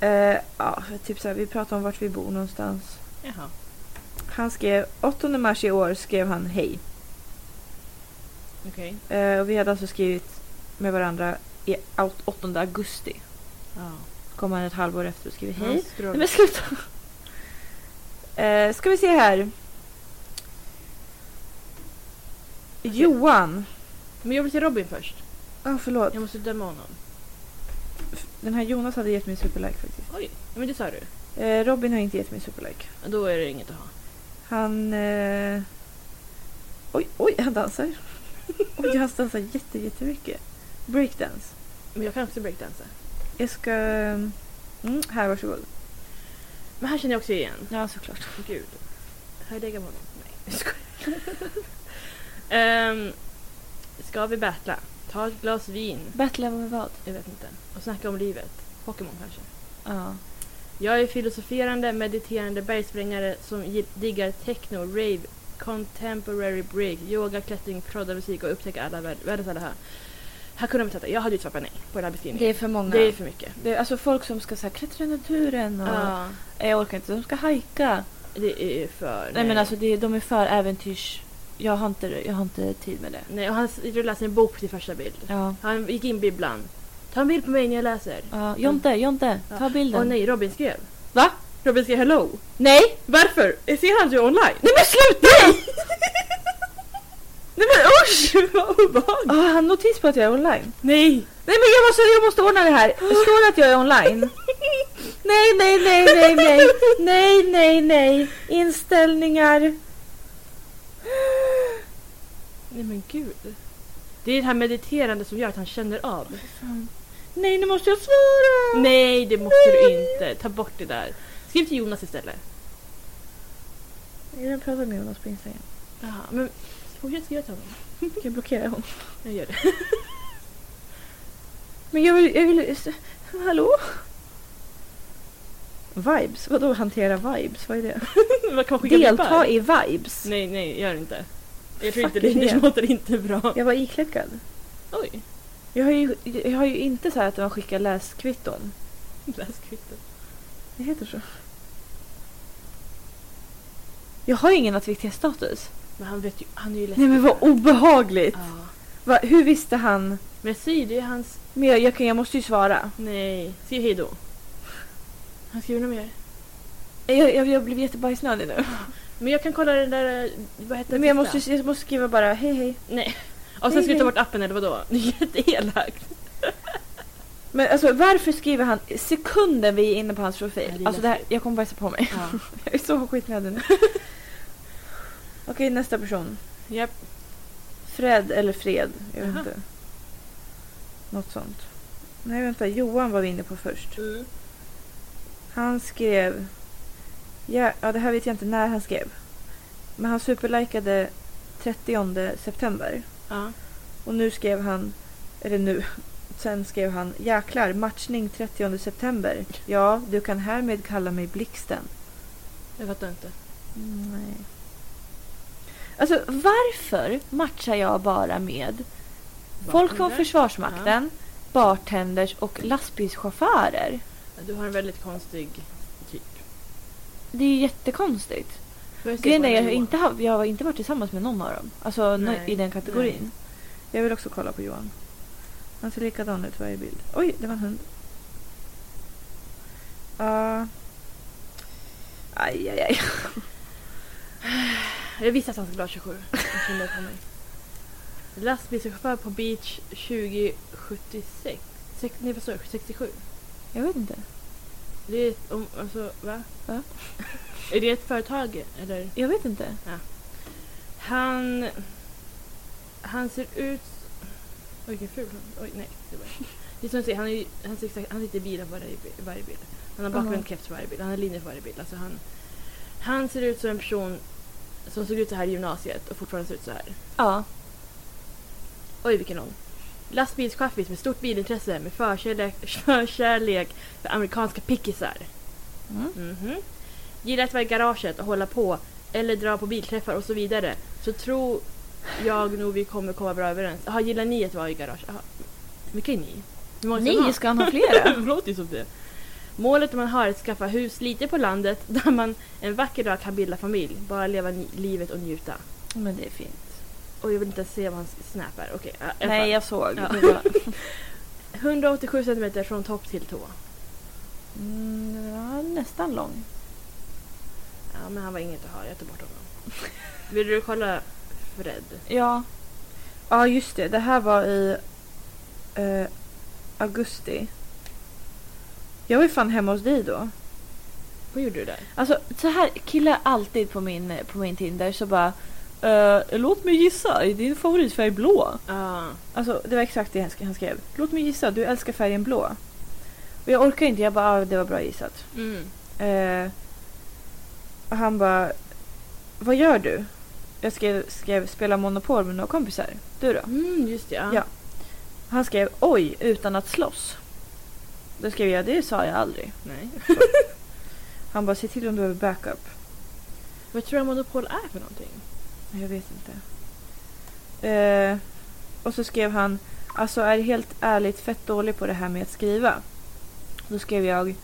A: Eh, ja, typ så här, vi pratade om vart vi bor någonstans.
B: Jaha.
A: Han skrev, 8 mars i år skrev han hej.
B: Okej.
A: Eh, och vi hade alltså skrivit med varandra i aut- 8 augusti.
B: Ja.
A: Kom han ett halvår efter och skrev hej.
B: Han
A: Nej
B: scrollar.
A: men sluta! Eh, ska vi se här. Johan.
B: Men jag vill se Robin först.
A: Ja, förlåt.
B: Jag måste döma honom.
A: Den här Jonas hade gett mig superlike faktiskt.
B: Oj! Ja, men det sa du.
A: Eh, Robin har inte gett mig superlike.
B: Ja, Då är det inget att ha.
A: Han... Eh... Oj, oj, han dansar. Oj, han dansar jätte, jättemycket. Breakdance.
B: Men jag kan också breakdansa.
A: Jag ska... Mm, här, varsågod.
B: Men här känner jag också igen.
A: Ja, såklart.
B: Gud. Har jag legat med honom? Nej, jag skojar. Ehm, ska vi battla? Ta ett glas vin.
A: Battla med vad?
B: Jag vet inte. Och snacka om livet. Pokémon kanske.
A: Ja.
B: Jag är filosoferande, mediterande bergsprängare som gi- diggar techno, rave, contemporary break, yoga, klättring, proddarmusik och upptäcker alla värld- världens alla här. Här kunde man titta. Jag hade ju svarat nej på den här beskrivningen.
A: Det är för många.
B: Det är för mycket.
A: Det är alltså folk som ska så här, klättra i naturen och...
B: Ja.
A: Nej, Jag orkar inte. De ska hajka.
B: Det är för... Nej,
A: Nej men alltså det, de är för äventyrs... Jag har, inte, jag har inte tid med det.
B: Nej, och han s- rullar sin bok till första bild.
A: Ja.
B: Han gick in bibblan. Ta en bild på mig när jag läser.
A: Ja, Jonte, Jonte,
B: Ja.
A: ta bilden.
B: Åh nej, Robin skrev.
A: Va?
B: Robin skrev hello.
A: Nej!
B: Varför? Ser han att jag är online?
A: Nej men sluta!
B: Nej men usch! Vad obehagligt!
A: Ah, han notis på att jag är online.
B: Nej!
A: Nej men jag måste, jag måste ordna det här. Det står att jag är online. Nej, nej, nej, nej, nej. Nej, nej, nej. Inställningar.
B: Nej men gud. Det är det här mediterande som gör att han känner av.
A: Nej, nu måste jag svara.
B: Nej, det måste du inte. Ta bort det där. Skriv till Jonas istället.
A: Jag pratar med Jonas på Instagram.
B: Jaha, men fortsätt skriva till honom.
A: Ska jag blockera honom?
B: Jag gör det.
A: Men jag vill, jag vill... Hallå? Vibes? Vadå hantera vibes? Vad är det?
B: Vad kan man skicka bippar?
A: Delta i vibes?
B: Nej, nej, gör det inte. Jag tror inte
A: Fuck
B: det, det
A: det.
B: låter inte bra.
A: Jag var ikläckad.
B: Oj,
A: Jag har ju, jag har ju inte så här att man skickar läskvitton.
B: läs kvittot.
A: Det heter så. Jag har ju ingen aktivitetsstatus.
B: Men han vet ju, han är ju läskig.
A: Nej men vad obehagligt!
B: Ja.
A: Va, hur visste han?
B: Men Sy, det är hans...
A: Men jag, jag, kan- jag måste ju svara.
B: Nej, skriv hej då. Han skriver nog mer.
A: Jag, jag, jag blev jättebajsnödig nu.
B: Men jag kan kolla den där... eh, Vad heter
A: Nej,
B: den
A: men jag
B: sista?
A: måste, ju- jag måste skriva bara hej hej.
B: Nej. Och sen ska du
A: Hej,
B: ta
A: hej.
B: bort appen eller vadå? Det är jätteelakt.
A: Men alltså varför skriver han sekunden vi är inne på hans profil?
B: Ja, det är
A: alltså det här, jag kommer bajsa på mig.
B: Ja.
A: Jag är så skitnödig nu. Okej nästa person.
B: Japp.
A: Fred eller Fred. Jag vet
B: Jaha.
A: inte. Något sånt. Nej vänta, Johan var vi inne på först. Han skrev... Ja, ja, det här vet jag inte när han skrev. Men han superlikade 30 september.
B: Ja.
A: Och nu skrev han... Eller nu. Sen skrev han jäklar, matchning 30 september. Ja, du kan härmed kalla mig Blixten.
B: Jag fattar inte.
A: Nej. Alltså varför matchar jag bara med folk från
B: Bartender.
A: Försvarsmakten, bartenders och lastbilschaufförer?
B: Du har en väldigt konstig typ.
A: Det är ju jättekonstigt.
B: Får jag se
A: Grejen
B: på
A: är
B: den
A: jag
B: här
A: har,
B: Johan?
A: inte, haft- jag har inte varit tillsammans med någon av dem. Alltså nå-
B: Nej.
A: i den kategorin. Jag vill också kolla på Johan. Han ser likadan ut i varje bild. Oj, det var en hund. Ja. aj, aj, aj.
B: Jag visste att han skulle ha 27. Jag kände det på mig. Lastbilschaufför på beach 2076. Sex, nej vad sa jag? 67?
A: Jag vet inte.
B: Det är ett, om, alltså va?
A: Va?
B: är det ett företag eller?
A: Jag vet inte.
B: Han... Han ser ut... Oj vilken ful hund. Oj nej. Det var det är som du säger, han, är, ju- han, ser exakt, han sitter i bilen på varje, bi- varje bild. Han har
A: Ja.
B: bakvänd keps på varje bild. Han har linjer på varje bild. Alltså han, han ser ut som en person som såg ut så här i gymnasiet och fortfarande ser ut så här.
A: Ja.
B: Oj, vilken lång. Lastbilschaffis med stort bilintresse med förkärlek, förkärlek för amerikanska pickisar.
A: Mm.
B: Mhm. Gillar att vara i garaget och hålla på eller dra på bilträffar och så vidare. Så tror jag nog vi kommer komma bra överens. Jaha, gillar ni att vara i garage? Jaha. Vilka är ni? Hur många
A: Ni ska han ha flera.
B: det låter ju som det. Målet man har är att skaffa hus lite på landet där man en vacker dag kan bilda familj. Bara leva ni- livet och njuta.
A: Men det är fint.
B: Och jag vill inte ens se vad hans snap är. Okej, ja, i alla
A: Nej,
B: fall.
A: jag såg.
B: Ja.
A: Det var...
B: 187 cm från topp till tå.
A: Mm, det var nästan lång.
B: Ja, men han var inget att ha. Jag tar bort honom. Vill du kolla Fred?
A: Ja. Ja, just det. Det här var i eh, augusti. Jag var ju fan hemma hos dig då.
B: Vad gjorde du där?
A: Alltså så här killar alltid på min, på min Tinder så bara eh, låt mig gissa, är din favoritfärg blå?
B: Ja,
A: Alltså det var exakt det han sk- han skrev. Låt mig gissa, du älskar färgen blå. Och jag orkar inte, jag bara ah, det var bra gissat.
B: mm.
A: Eh, och han bara vad gör du? Jag skrev, skrev spela Monopol med några kompisar. Du då?
B: Mm, just det, ja.
A: Ja. Han skrev oj utan att slåss. Då skrev jag det sa jag aldrig.
B: Nej.
A: Han bara se till om du behöver backup.
B: Vad tror du att monopol är för någonting?
A: Nej, Jag vet inte. Eh, och så skrev han, alltså är helt ärligt fett dålig på det här med att skriva. Då skrev jag,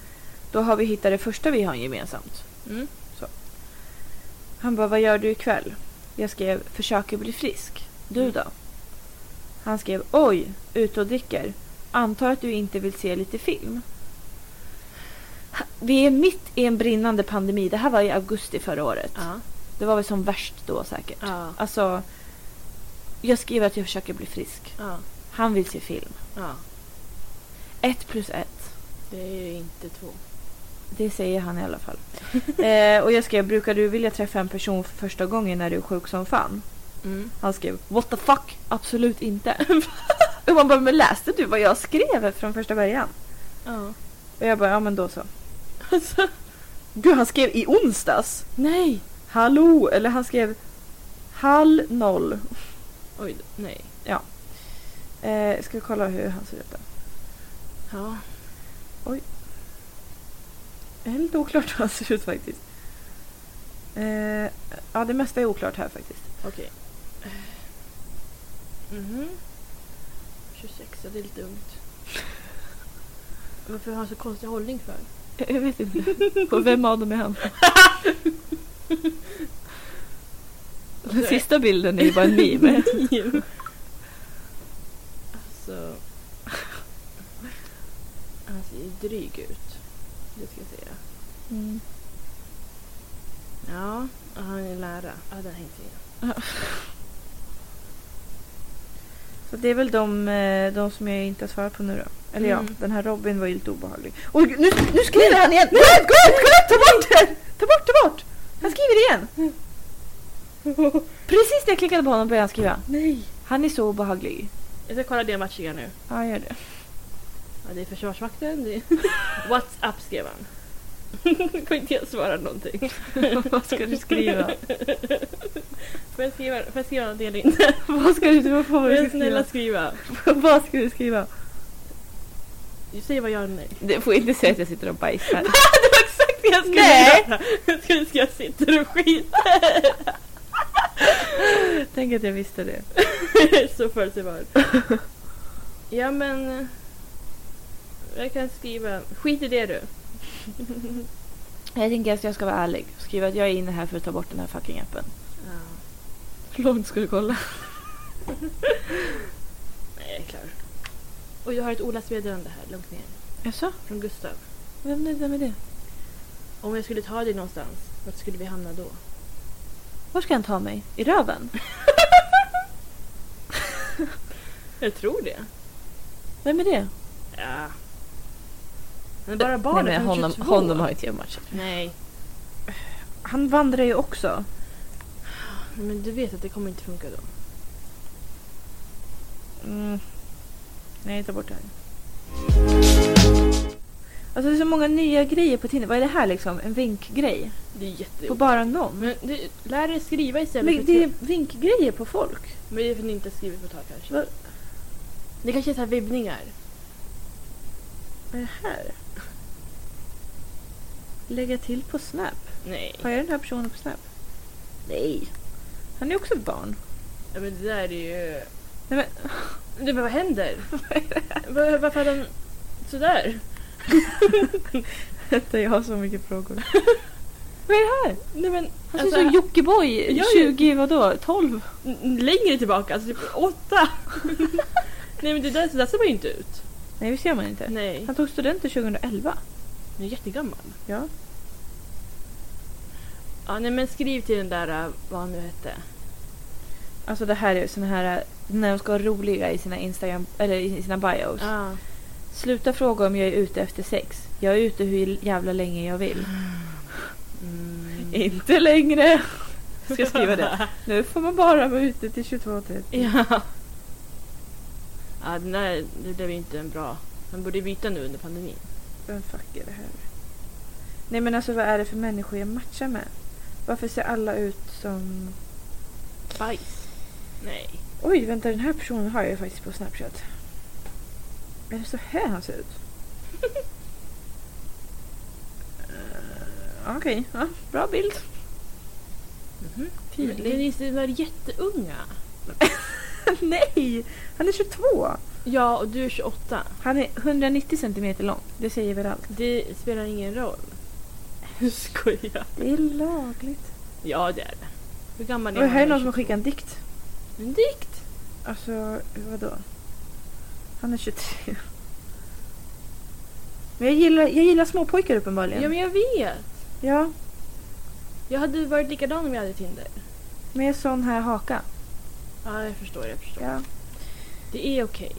A: då har vi hittat det första vi har gemensamt.
B: Mm.
A: Han bara, vad gör du ikväll? Jag skrev, försöker bli frisk. Du då? Han skrev, oj, ute och dricker. Antar att du inte vill se lite film. Ha- Vi är mitt i en brinnande pandemi. Det här var i augusti förra året.
B: Ja.
A: Det var väl som värst då säkert.
B: Ja.
A: Alltså, jag skriver att jag försöker bli frisk.
B: Ja.
A: Han vill se film.
B: ja.
A: Ett plus ett.
B: Det är ju inte två.
A: Det säger han i alla fall. eh, och jag skrev, brukar du vilja träffa en person för första gången när du är sjuk som fan?
B: Mm.
A: Han skrev, what the fuck? Absolut inte. och man bara, men läste du vad jag skrev från första början?
B: Ja.
A: Och jag bara, ja men då så.
B: Alltså,
A: Gud, han skrev i onsdags!
B: nej!
A: Hallå! Eller han skrev, hall noll.
B: Oj, då, nej.
A: Eh, ska vi kolla hur han ser ut då?
B: Ja.
A: Det är lite oklart hur han ser ut faktiskt. Eh, ja, det mesta är oklart här faktiskt.
B: Okej. Mhm. 26, ja, det är lite ungt. Varför har han så konstig hållning för?
A: Jag vet inte. Och vem av dem är han? Den sista bilden är ju bara en meme.
B: alltså... Han ser ju dryg ut. Det ska jag säga.
A: Mm.
B: Ja, och han är lärare. Ja, den här inte jag.
A: Så det är väl de, eh, de som jag inte har svarat på nu då. Eller ja,
B: Mm.
A: den här Robin var ju lite obehaglig. Och nu, nu skriver han igen! Nej, gå ut, gå ut, ta bort den! Ta bort, ta bort! Han skriver igen! Precis när jag klickade på honom började han skriva.
B: Nej!
A: Han är så obehaglig.
B: Jag ska kolla det matchiga nu.
A: Ja, gör det.
B: Ja, det är Försvarsmakten. Det är... WhatsApp skrev han. kan inte jag svara någonting.
A: Vad ska du skriva?
B: Får jag skriva, får jag skriva något eller inte?
A: Vad ska du, vad
B: Får
A: får
B: jag
A: du
B: snälla
A: skriva?
B: skriva?
A: Vad ska du skriva?
B: Du säger vad jag nej.
A: Du får inte säga att jag sitter och bajsar.
B: Det var exakt det jag skulle
A: Nej.
B: göra! Jag skulle skriva sitter och skit.
A: Tänk att jag visste det.
B: Så förutsägbar. Ja men... eh, Jag kan skriva... Skit i det du.
A: Jag tänker att jag ska vara ärlig och skriva att jag är inne här för att ta bort den här fucking appen.
B: Ja.
A: Hur långt ska du kolla?
B: Nej, jag är klar. Och jag har ett oläst meddelande här, långt ner.
A: Jaså?
B: Från Gustav.
A: Vem är det med det?
B: Om jag skulle ta dig någonstans, vart skulle vi hamna då?
A: Var ska han ta mig? I röven?
B: Jag tror det.
A: Vem är det?
B: Ja. Men bara barnet,
A: Nej, men
B: han är
A: honom,
B: 22.
A: honom har inte jag matchat.
B: Nej,
A: Han vandrar ju också.
B: men du vet att det kommer inte funka då.
A: Mm. Nej, ta bort det här. Alltså det är så många nya grejer på Tinder. Vad är det här liksom? En vinkgrej?
B: Det är jätte...
A: På bara någon?
B: Men du, lär dig skriva istället.
A: Men
B: för
A: det
B: det...
A: är vinkgrejer på folk.
B: men det är för att ni inte har skrivit på ett tag kanske.
A: Vad-
B: Det kanske är så här vibbningar.
A: Vad är det här? Lägga till på Snap.
B: Nej.
A: Har jag den här personen på Snap? Nej. Han är också ett barn.
B: Ja, men det där är ju...
A: Nej,
B: men... men vad händer? Var, varför har de... Sådär?
A: Vänta, jag har så mycket frågor. Vad är det här?
B: Nej men...
A: Han ser ut
B: alltså,
A: som Jockiboi,
B: Ja, ja.
A: 20 vadå, 12?
B: n- n- längre tillbaka, alltså typ åtta! Nej men det där, så där ser man ju inte ut.
A: Nej, det ser man inte.
B: Nej.
A: Han tog studenten 2011.
B: Han är jättegammal.
A: Ja.
B: Ja, nej men skriv till den där, äh, vad han nu hette.
A: Alltså det här är såna här, när de ska vara roliga i sina Instagram, eller i sina bios.
B: Ja.
A: Sluta fråga om jag är ute efter sex. Jag är ute hur jävla länge jag vill.
B: Mm.
A: Inte längre! Ska jag skriva det? Nu får man bara vara ute till 22.30.
B: ja. Ja, den där, det blev ju inte en bra... Han borde byta nu under pandemin.
A: Vem fuck är det här? Nej men alltså vad är det för människor jag matchar med? Varför ser alla ut som
B: Bajs. Nej.
A: Oj, vänta den här personen har jag ju faktiskt på Snapchat. Är det så här han ser ut? Eh, Okej, ja, bra bild.
B: Mhm.
A: Tydlig.
B: Men Denise, de är jätteunga.
A: Nej! Han är 22!
B: Ja, och du är 28.
A: Han är 190 centimeter lång. Det säger väl allt.
B: Det spelar ingen roll. Jag skojar.
A: Det är lagligt.
B: Ja, det är det. Hur gammal är
A: Och här är
B: när
A: någon som har
B: du är
A: skickat en dikt.
B: 22? En dikt.
A: Alltså, vadå? Han är 23. Men jag gillar, jag gillar småpojkar uppenbarligen.
B: Ja, men jag vet.
A: Ja,
B: Jag hade varit likadan om jag hade Tinder.
A: med sån här haka.
B: Ja, jag förstår. Jag förstår.
A: Ja.
B: Det är okej.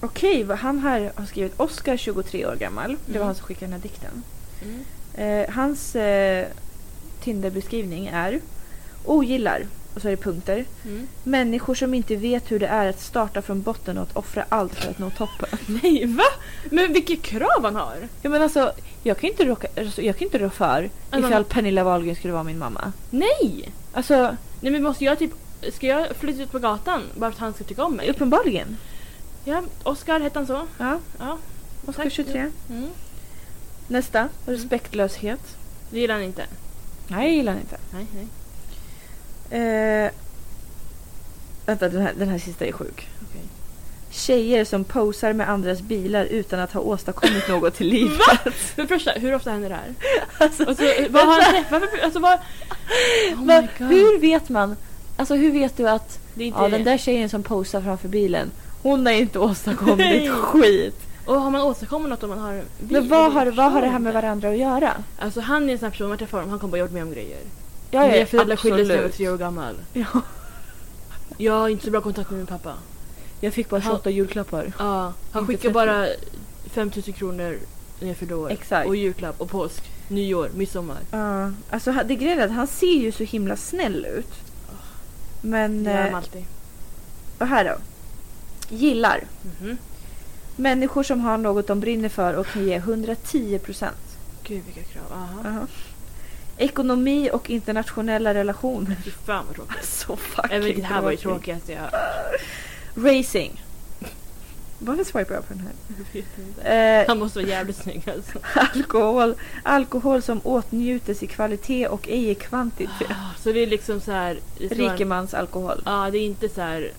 A: Okej, vad han här har skrivit Oscar 23 år gammal. Det
B: Mm.
A: var han som skickade den här dikten.
B: Mm.
A: Eh, hans eh, Tinder-beskrivning är ogillar, och så är det punkter,
B: Mm.
A: människor som inte vet hur det är att starta från botten och att offra allt för att nå toppen.
B: Nej, va? Men vilket krav han har!
A: Ja, men alltså, jag kan inte råka, alltså, jag kan inte rå för
B: Alltså,
A: ifall
B: man-
A: Pernilla Wahlgren skulle vara min mamma.
B: Nej!
A: Alltså,
B: Nej men måste jag typ, ska jag flytta ut på gatan bara för att han ska tycka om mig?
A: uppenbarligen.
B: Ja, Oscar hette han så.
A: Ja,
B: Ja. Mm.
A: Oscar
B: Tack.
A: 23.
B: Mm.
A: Nästa, respektlöshet.
B: Det gillar han inte.
A: Nej, jag gillar han inte.
B: Nej, nej.
A: Eh, vänta, den här, den här sista är sjuk.
B: Okej.
A: Tjejer som posar med andras bilar utan att ha åstadkommit något till livet.
B: För det första, hur ofta händer det här?
A: Alltså,
B: Alltså, vad har han träffat för... Alltså vad... Oh
A: va-
B: my god.
A: hur vet man? Alltså hur vet du att
B: Det är inte...
A: ja, den där tjejen som posar framför bilen, hon har inte
B: Nej.
A: åstadkommit skit.
B: Och har man åstadkommit något om man har en bil?
A: Men vad har,
B: Jag
A: vad har det här
B: förstår
A: med
B: inte.
A: varandra att göra?
B: Alltså han är en sån här person, man träffar honom, han kommer bara gjort med om grejer.
A: Ja,
B: Mina
A: ja,
B: föräldrar skilde sig när jag var
A: absolut.
B: tre år gammal.
A: Ja.
B: Jag har inte så bra kontakt med min pappa.
A: Jag fick bara 28 julklappar.
B: Ja, han
A: Inte
B: skickar bara 5000 kronor när jag fyllde år.
A: Exakt.
B: Och julklapp och påsk, nyår, midsommar.
A: Ja, alltså ha- det grejen är att han ser ju så himla snäll ut. Men,
B: Det gör de
A: eh,
B: alltid.
A: vad här då? Gillar.
B: Mhm.
A: Människor som har något de brinner för och kan ge 110 procent.
B: Gud vilka krav. Aha.
A: Ekonomi och internationella relationer.
B: Fy fan vad tråkigt.
A: Så fucking
B: Även det här var ju
A: tråkigt.
B: tråkigast jag
A: Racing. Varför swipar jag på den här?
B: vet inte.
A: Eh,
B: Han måste vara jävligt snygg alltså.
A: alkohol. Alkohol som åtnjutes i kvalitet och ej i kvantitet.
B: Ah, Så det är liksom så här. det ska vara-
A: Rikemans alkohol
B: Ja, det är inte så här.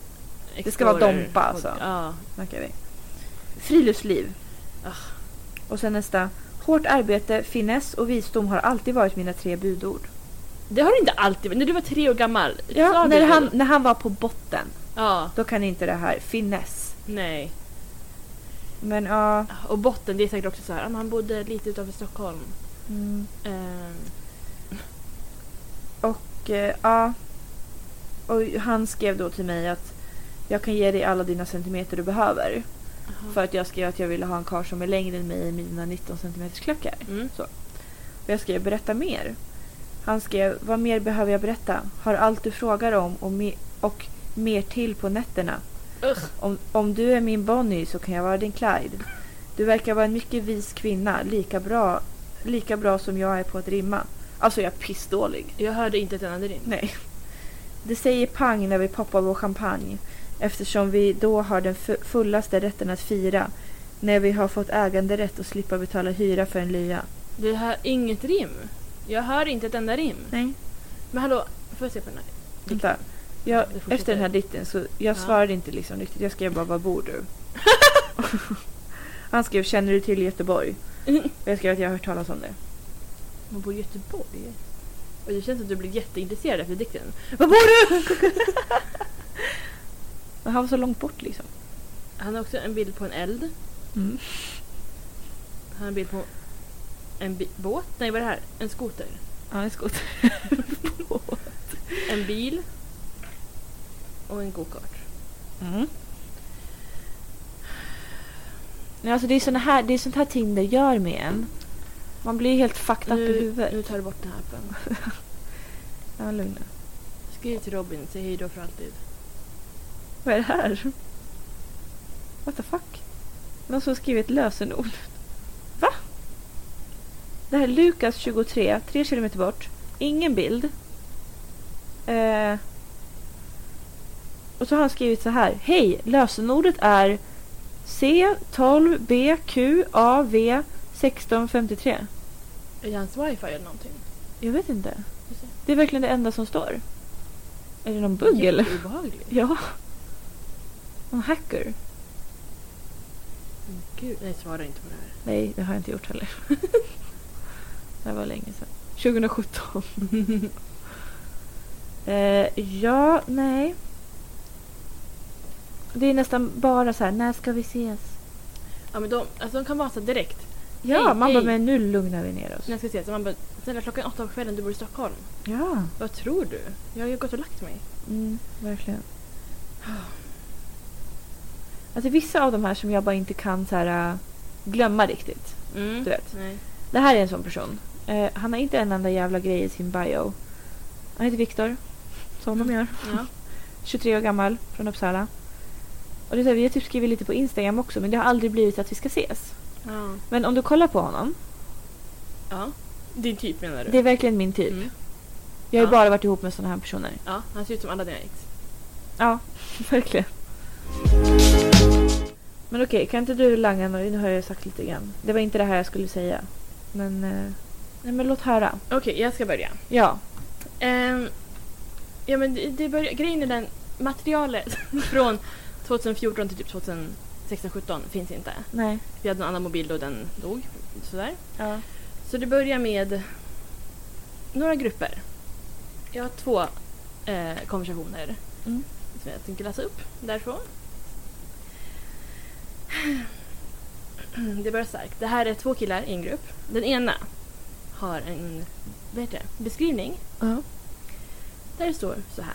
A: Det ska vara
B: Explorer.
A: Dompa, alltså.
B: Ja.
A: snackar vi. Friluftsliv.
B: Ah.
A: Och sen nästa. Hårt arbete, finess och visdom har alltid varit mina tre budord.
B: Det har du inte alltid När du var tre år gammal. sa
A: Ja,
B: du
A: när,
B: det?
A: han, när han var på botten,
B: Ja,
A: då kan inte det här finess.
B: nej. Ah,
A: Men ja.
B: Och botten, det är säkert också så här. ah, men Han bodde lite utanför Stockholm.
A: Mm.
B: Ehm,
A: Och eh, ja. Och han skrev då till mig att jag kan ge dig alla dina centimeter du behöver.
B: aha.
A: För att jag skrev att jag ville ha en karl som är längre än mig i mina 19 centimeters klackar.
B: Mm.
A: Och jag skrev berätta mer. Han skrev vad mer behöver jag berätta? Har allt du frågar om och, me- och mer till på nätterna.
B: Ugh.
A: Om, om du är min Bonnie så kan jag vara din Clyde. Du verkar vara en mycket vis kvinna, lika bra, lika bra som jag är på att rimma. Alltså jag är pissdålig.
B: Jag hörde inte ett enda rim.
A: Nej. Det säger pang när vi poppar vår champagne eftersom vi då har den fu- fullaste rätten att fira när vi har fått äganderätt och slippa betala hyra för en lya.
B: Det här, inget rim. Jag hör inte ett enda rim.
A: Nej.
B: Men hallå, får jag se på den här?
A: Vänta. Jag,
B: Du fortsätter.
A: efter den här dikten så jag
B: Ja.
A: svarade inte liksom riktigt. Jag skrev bara vad bor du? Han skrev känner du till Göteborg? Och jag skrev att jag har hört talas om det.
B: Man bor i Göteborg. Och det känns att du blir jätteintresserad efter dikten.
A: Vad bor du? Men han var så långt bort liksom.
B: Han har också en bild på en eld. Han har en bild på en bi- båt. Nej, vad är det här? En skoter.
A: Han är skot.
B: En bil. Och en gokart.
A: Mm. Nej, alltså det är, såna här, det är sånt här Tinder gör med en. Man blir helt fucked up i
B: Nu,
A: huvudet.
B: nu tar du bort den här appen.
A: Ja, lugna.
B: Skriv till Robin, säg hej då för alltid.
A: Vad är det här? What the fuck? Någon som har skrivit lösenord. Va? Det här är Lukas 23, 3 kilometer bort. Ingen bild. Eh, Och så har han skrivit så här. Hej! Lösenordet är C12BQAV1653.
B: Är det hans wifi eller någonting?
A: Jag vet inte.
B: Just det.
A: Det är verkligen det enda som står. Är det någon bugg eller?
B: Jätteobehagligt.
A: Ja. Någon hacker?
B: Men Gud, nej svara inte på det här.
A: Nej, det har jag inte gjort heller. det här var länge sedan. 2017. eh, ja, nej. Det är nästan bara så här, när ska vi ses?
B: Ja men de, alltså, de kan vara så direkt.
A: Ja,
B: Hej,
A: man bara,
B: hej.
A: men nu lugnar vi ner oss.
B: När jag ska ses, så man bara, sen är klockan åtta på kvällen, du bor i Stockholm.
A: Ja,
B: Vad tror du? Jag har ju gått och lagt mig.
A: mm, verkligen. Alltså vissa av de här som jag bara inte kan så här, äh, glömma riktigt.
B: Mm.
A: Du vet.
B: Nej.
A: Det här är en sån person. Eh, han har inte en enda jävla grej i sin bio. Han heter Viktor. Som de gör.
B: Ja.
A: 23 år gammal, från Uppsala. Och det är så här, vi har typ skrivit lite på Instagram också men det har aldrig blivit att vi ska ses.
B: ja.
A: Men om du kollar på honom,
B: ja. Din typ menar du?
A: det är verkligen min typ.
B: Mm.
A: Jag har ju
B: Ja.
A: bara varit ihop med såna här personer.
B: Ja, han ser ut som alla dina ex.
A: Ja, verkligen. Men okej, kan inte du langa några- Nu har jag ju sagt lite grann. Det var inte det här jag skulle säga. Men, eh, nej, men låt höra.
B: Okej, jag ska börja.
A: Ja.
B: Ehm, ja men det, det börjar, grejen är den, materialet från 2014 till typ 2016, 17 finns inte.
A: Nej.
B: Vi hade en annan mobil då den dog. Sådär.
A: Ja.
B: Så det börjar med några grupper. Jag har två eh, konversationer
A: Mm.
B: som jag tänker läsa upp därifrån. Det börjar starkt. Det här är två killar i en grupp. Den ena har en vad heter det, beskrivning
A: Ja.
B: där det står så här.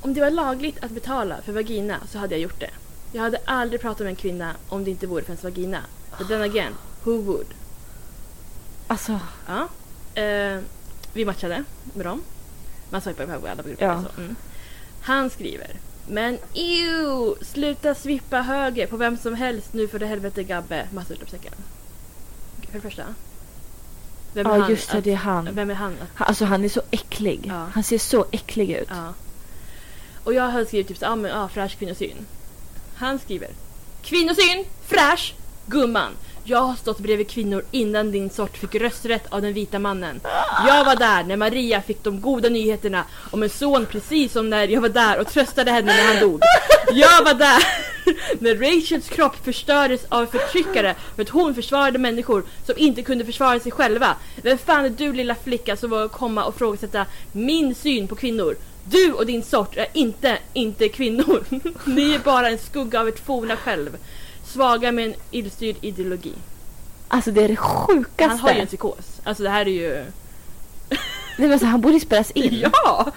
B: Om det var lagligt att betala för vagina så hade jag gjort det. Jag hade aldrig pratat med en kvinna om det inte vore för hennes vagina. But then again, who would?
A: Alltså,
B: Ja. Eh, vi matchade med dem. Man swipar på alla grupper.
A: Ja.
B: Så. Mm. Han skriver. Men ew! Sluta svippa höger på vem som helst nu för det helvete Gabbe. Massa utropstecken. För det första. Vem
A: ja just det,
B: att,
A: det är han.
B: Vem är han att
A: Han- Alltså han är så äcklig.
B: Ja.
A: Han ser så äcklig ut.
B: Ja. Och jag har skrivit typ så, ah, men, ah, fräsch kvinnosyn. Han skriver Kvinnosyn, fräsch, gumman. Jag har stått bredvid kvinnor innan din sort fick rösträtt av den vita mannen. Jag var där när Maria fick de goda nyheterna om en son precis som när jag var där och tröstade henne när han dog. Jag var där när Rachels kropp förstördes av förtryckare för att hon försvarade människor som inte kunde försvara sig själva. Vem fan är du lilla flicka som vågar komma och frågasätta min syn på kvinnor? Du och din sort är inte, inte kvinnor. Ni är bara en skugga av ert forna själv. Svaga med en illstyrd ideologi.
A: Alltså det är det sjukaste.
B: Han har ju en psykos. Alltså det här är ju...
A: Nej, men alltså, han borde spelas in.
B: Ja!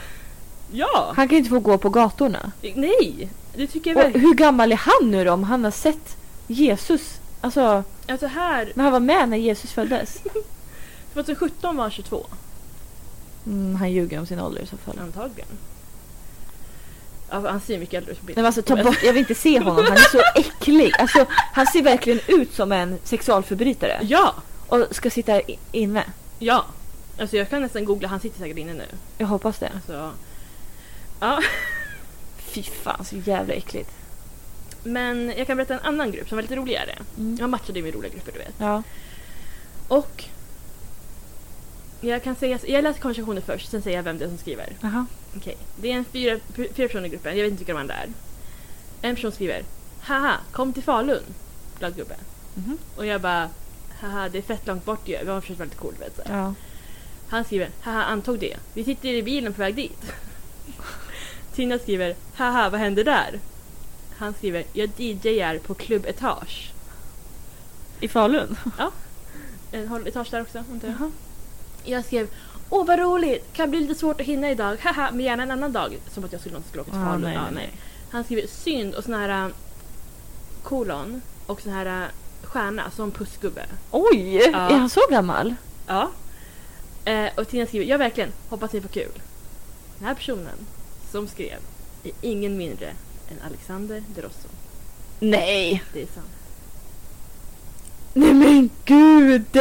B: Ja!
A: Han kan ju inte få gå på gatorna.
B: Nej! Det tycker jag
A: Och
B: verkligen.
A: hur gammal är han nu då om han har sett Jesus? Alltså,
B: Alltså här,
A: när han var med när Jesus föddes.
B: 2017 var han 22.
A: Mm, han ljuger om sin ålder i så fall.
B: Antagligen. Ja, han ser mycket äldre ut på
A: Nej,
B: bilden.
A: men alltså, ta bort, jag vill inte se honom, han är så äcklig. Alltså, han ser verkligen ut som en sexualförbrytare
B: Ja!
A: och ska sitta i- inne.
B: Ja! Alltså jag kan nästan googla, han sitter säkert inne nu.
A: Jag hoppas det.
B: Alltså, ja.
A: Fy fan, så jävla äckligt.
B: Men jag kan berätta en annan grupp som var lite roligare.
A: Mm.
B: Jag matchade ju med roliga grupper du vet.
A: Ja.
B: Och jag kan säga, jag läser konversationen först, sen säger jag vem det är som skriver.
A: Jaha.
B: Okej, det är en fyra, fyra personer i gruppen, jag vet inte vilka de andra är. En person skriver Haha, kom till Falun! Glad gubbe.
A: Mhm.
B: Och jag bara Haha, det är fett långt bort ju. Vi har försökt vara lite cool vet du.
A: Ja.
B: Han skriver Haha, antog det. Vi sitter i bilen på väg dit. Tina skriver Haha, vad händer där? Han skriver Jag DJar på Club Etage.
A: I Falun?
B: En håll etage där också, antar jag.
A: Jaha.
B: Jag skrev Åh vad roligt! Kan bli lite svårt att hinna idag. Haha, men gärna en annan dag. Som att jag skulle någonsin skulle åka till
A: Ah,
B: Falun.
A: nej,
B: Ja,
A: nej,
B: nej.
A: nej.
B: Han skriver synd och sån här äh, kolon och sån här äh, stjärna som pussgubbe.
A: Oj!
B: Ja.
A: Är han så gammal?
B: Ja. Eh, och Tina skriver, jag verkligen hoppas ni får kul. Den här personen som skrev är ingen mindre än Alexander De Rosso.
A: Nej!
B: Det är sant.
A: Nej men gud!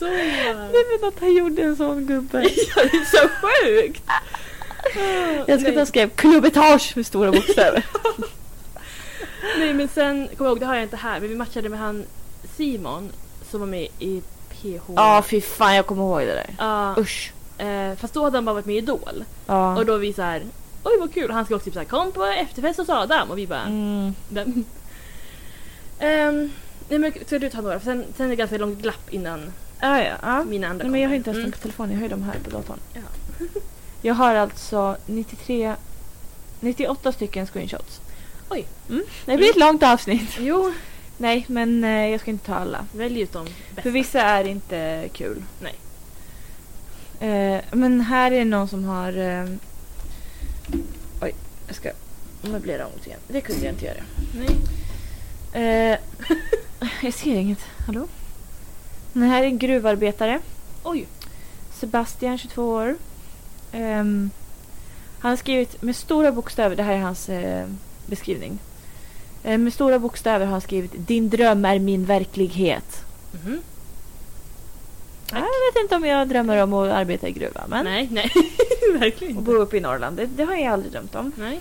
B: så?
A: Nej men att han gjorde en sån gubbe.
B: Ja, det är så sjukt!
A: Jag ska att han
B: nej,
A: skrev klubbetage med stora bokstäver.
B: nej men sen, kom ihåg det har jag inte här, men vi matchade med han Simon som var med i PH.
A: Ja fy fan jag kommer ihåg det där.
B: Ja,
A: Usch.
B: eh, fast då hade han bara varit med i Idol.
A: Ja.
B: Och då vi så här, oj vad kul! Han ska också typ så här, kom på efterfest hos Adam och vi bara,
A: Mm.
B: den. Ehm, nej men ska du ta några? För Sen, sen är det ganska långt glapp innan
A: Ja, ja, ja.
B: mina andra
A: Nej, men jag har
B: kommer.
A: inte ens
B: Mm.
A: dem på telefonen, jag har ju dem här på datorn.
B: Ja.
A: jag har alltså 93, 98 stycken screenshots.
B: Oj.
A: Mm. Det blir ett långt avsnitt.
B: Mm. Jo,
A: Nej, men eh, jag ska inte ta alla.
B: välj ut dem bästa.
A: För vissa är inte kul.
B: Nej.
A: Eh, men här är någon som har... Eh, oj, jag ska möblera om lite grann. Det kunde jag inte göra.
B: Nej.
A: Eh, jag ser inget. Hallå? Den här är en gruvarbetare.
B: Oj!
A: Sebastian, 22 år. Ehm, han har skrivit med stora bokstäver, det här är hans eh, beskrivning. Eh, med stora bokstäver har han skrivit Din dröm är min verklighet.
B: Mhm.
A: Jag vet inte om jag drömmer om att arbeta i gruva, men...
B: Nej, nej. Verkligen
A: Och
B: inte.
A: bo uppe i Norrland, det, det har jag aldrig drömt om.
B: Nej.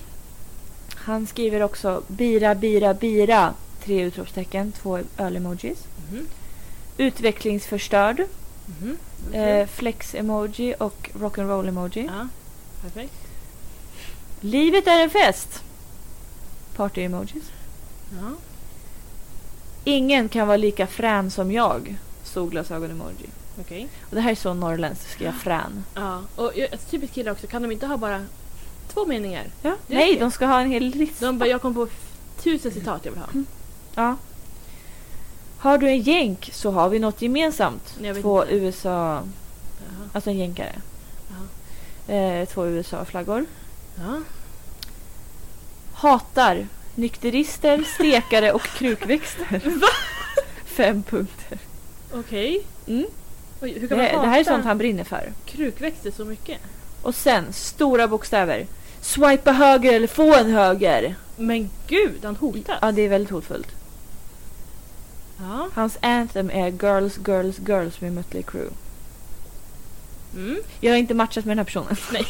A: Han skriver också Bira, bira, bira. Tre utropstecken, två öl-emojis.
B: Mhm.
A: Utvecklingsförstörd.
B: Mhm.
A: Eh, Flex-emoji och rock'n'roll-emoji.
B: Ja, perfekt.
A: Livet är en fest! Party-emojis.
B: Ja.
A: Ingen kan vara lika frän som jag. Solglasögon-emoji.
B: Okej.
A: Och det här är så norrländskt, ska jag frän.
B: Ja, och jag- alltså, typiskt killar också, kan de inte ha bara två meningar?
A: Ja.
B: det
A: Nej,
B: är
A: de ska ha en hel lista.
B: De bara, jag kom på f- tusen citat jag vill ha.
A: Ja. Har du en jänk så har vi något gemensamt.
B: Jag vet
A: Två
B: inte.
A: USA...
B: Jaha.
A: Alltså en jänkare. Eh, två USA-flaggor.
B: Ja.
A: Hatar nykterister, stekare och krukväxter. Fem punkter.
B: Okej.
A: Mm.
B: Oj, hur
A: Det,
B: kan man
A: här-
B: hata
A: det här är sånt han brinner för.
B: krukväxter så mycket?
A: Och sen, stora bokstäver. Swipa höger eller få en höger.
B: Men gud, han hotar!
A: Ja, det är väldigt hotfullt.
B: Ja.
A: Hans anthem är Girls, Girls, Girls med Mötley Crüe.
B: Mm.
A: Jag har inte matchat med den här personen.
B: Nej,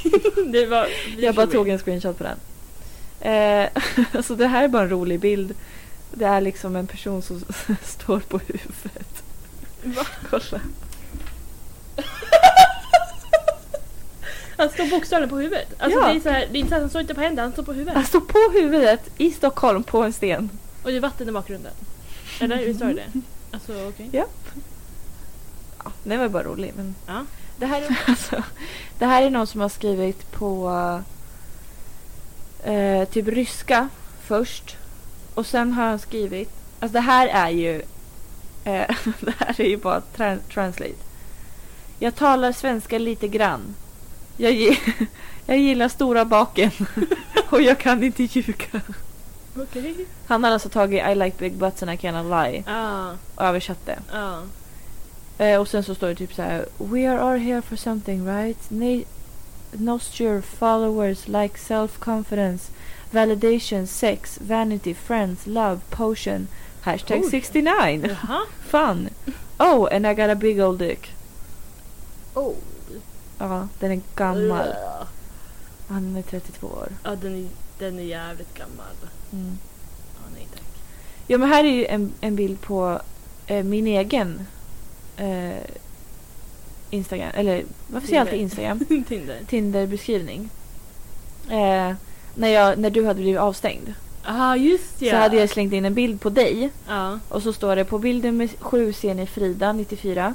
B: det var... vi
A: Jag bara
B: tror
A: tog
B: vi.
A: en screenshot på den. Eh, alltså det här är bara en rolig bild. Det är liksom en person som står på huvudet.
B: Va?
A: Kolla.
B: Han Alltså, står bokstavligen på huvudet. Alltså
A: Ja.
B: det
A: Alltså-
B: är så här, det är inte så att han står inte på händerna, han står på huvudet.
A: Han står på huvudet i Stockholm på en sten.
B: Och det är vatten i bakgrunden. Eller visst var det det? Alltså okej.
A: Ja, den var bara rolig. Men...
B: Ja.
A: Det, här är... alltså, det här är någon som har skrivit på eh, typ ryska först. Och sen har han skrivit... Alltså det här är ju... Eh, det här är ju bara tra- translate. Jag talar svenska lite grann. Jag, gi- jag gillar stora baken. och jag kan inte ljuga.
B: Okej.
A: Han har alltså tagit I like big butts and I cannot lie
B: Ja,
A: och översatt det.
B: ja.
A: Eh, och sen så står det typ så här. We are all here for something right? Na- Nosture, followers, like self-confidence, validation, sex, vanity, friends, love, potion, hashtag
B: Oj.
A: 69,
B: Jaha.
A: fun. Oh, and I got a big old dick.
B: Oh.
A: Ja, den är gammal.
B: Ja,
A: Han är 32 år.
B: Ja, den är, den är jävligt gammal.
A: Mm.
B: Ja, nej tack.
A: Ja, men här är ju en, en bild på eh, min egen eh, Instagram, eller varför säger jag alltid Instagram?
B: Tinder.
A: Tinder-beskrivning. Eh, när, jag, när du hade blivit avstängd
B: Ja, Ah, just ja.
A: så hade jag slängt in en bild på dig
B: Ja.
A: och så står det på bilden med 7 ser ni Frida, 94,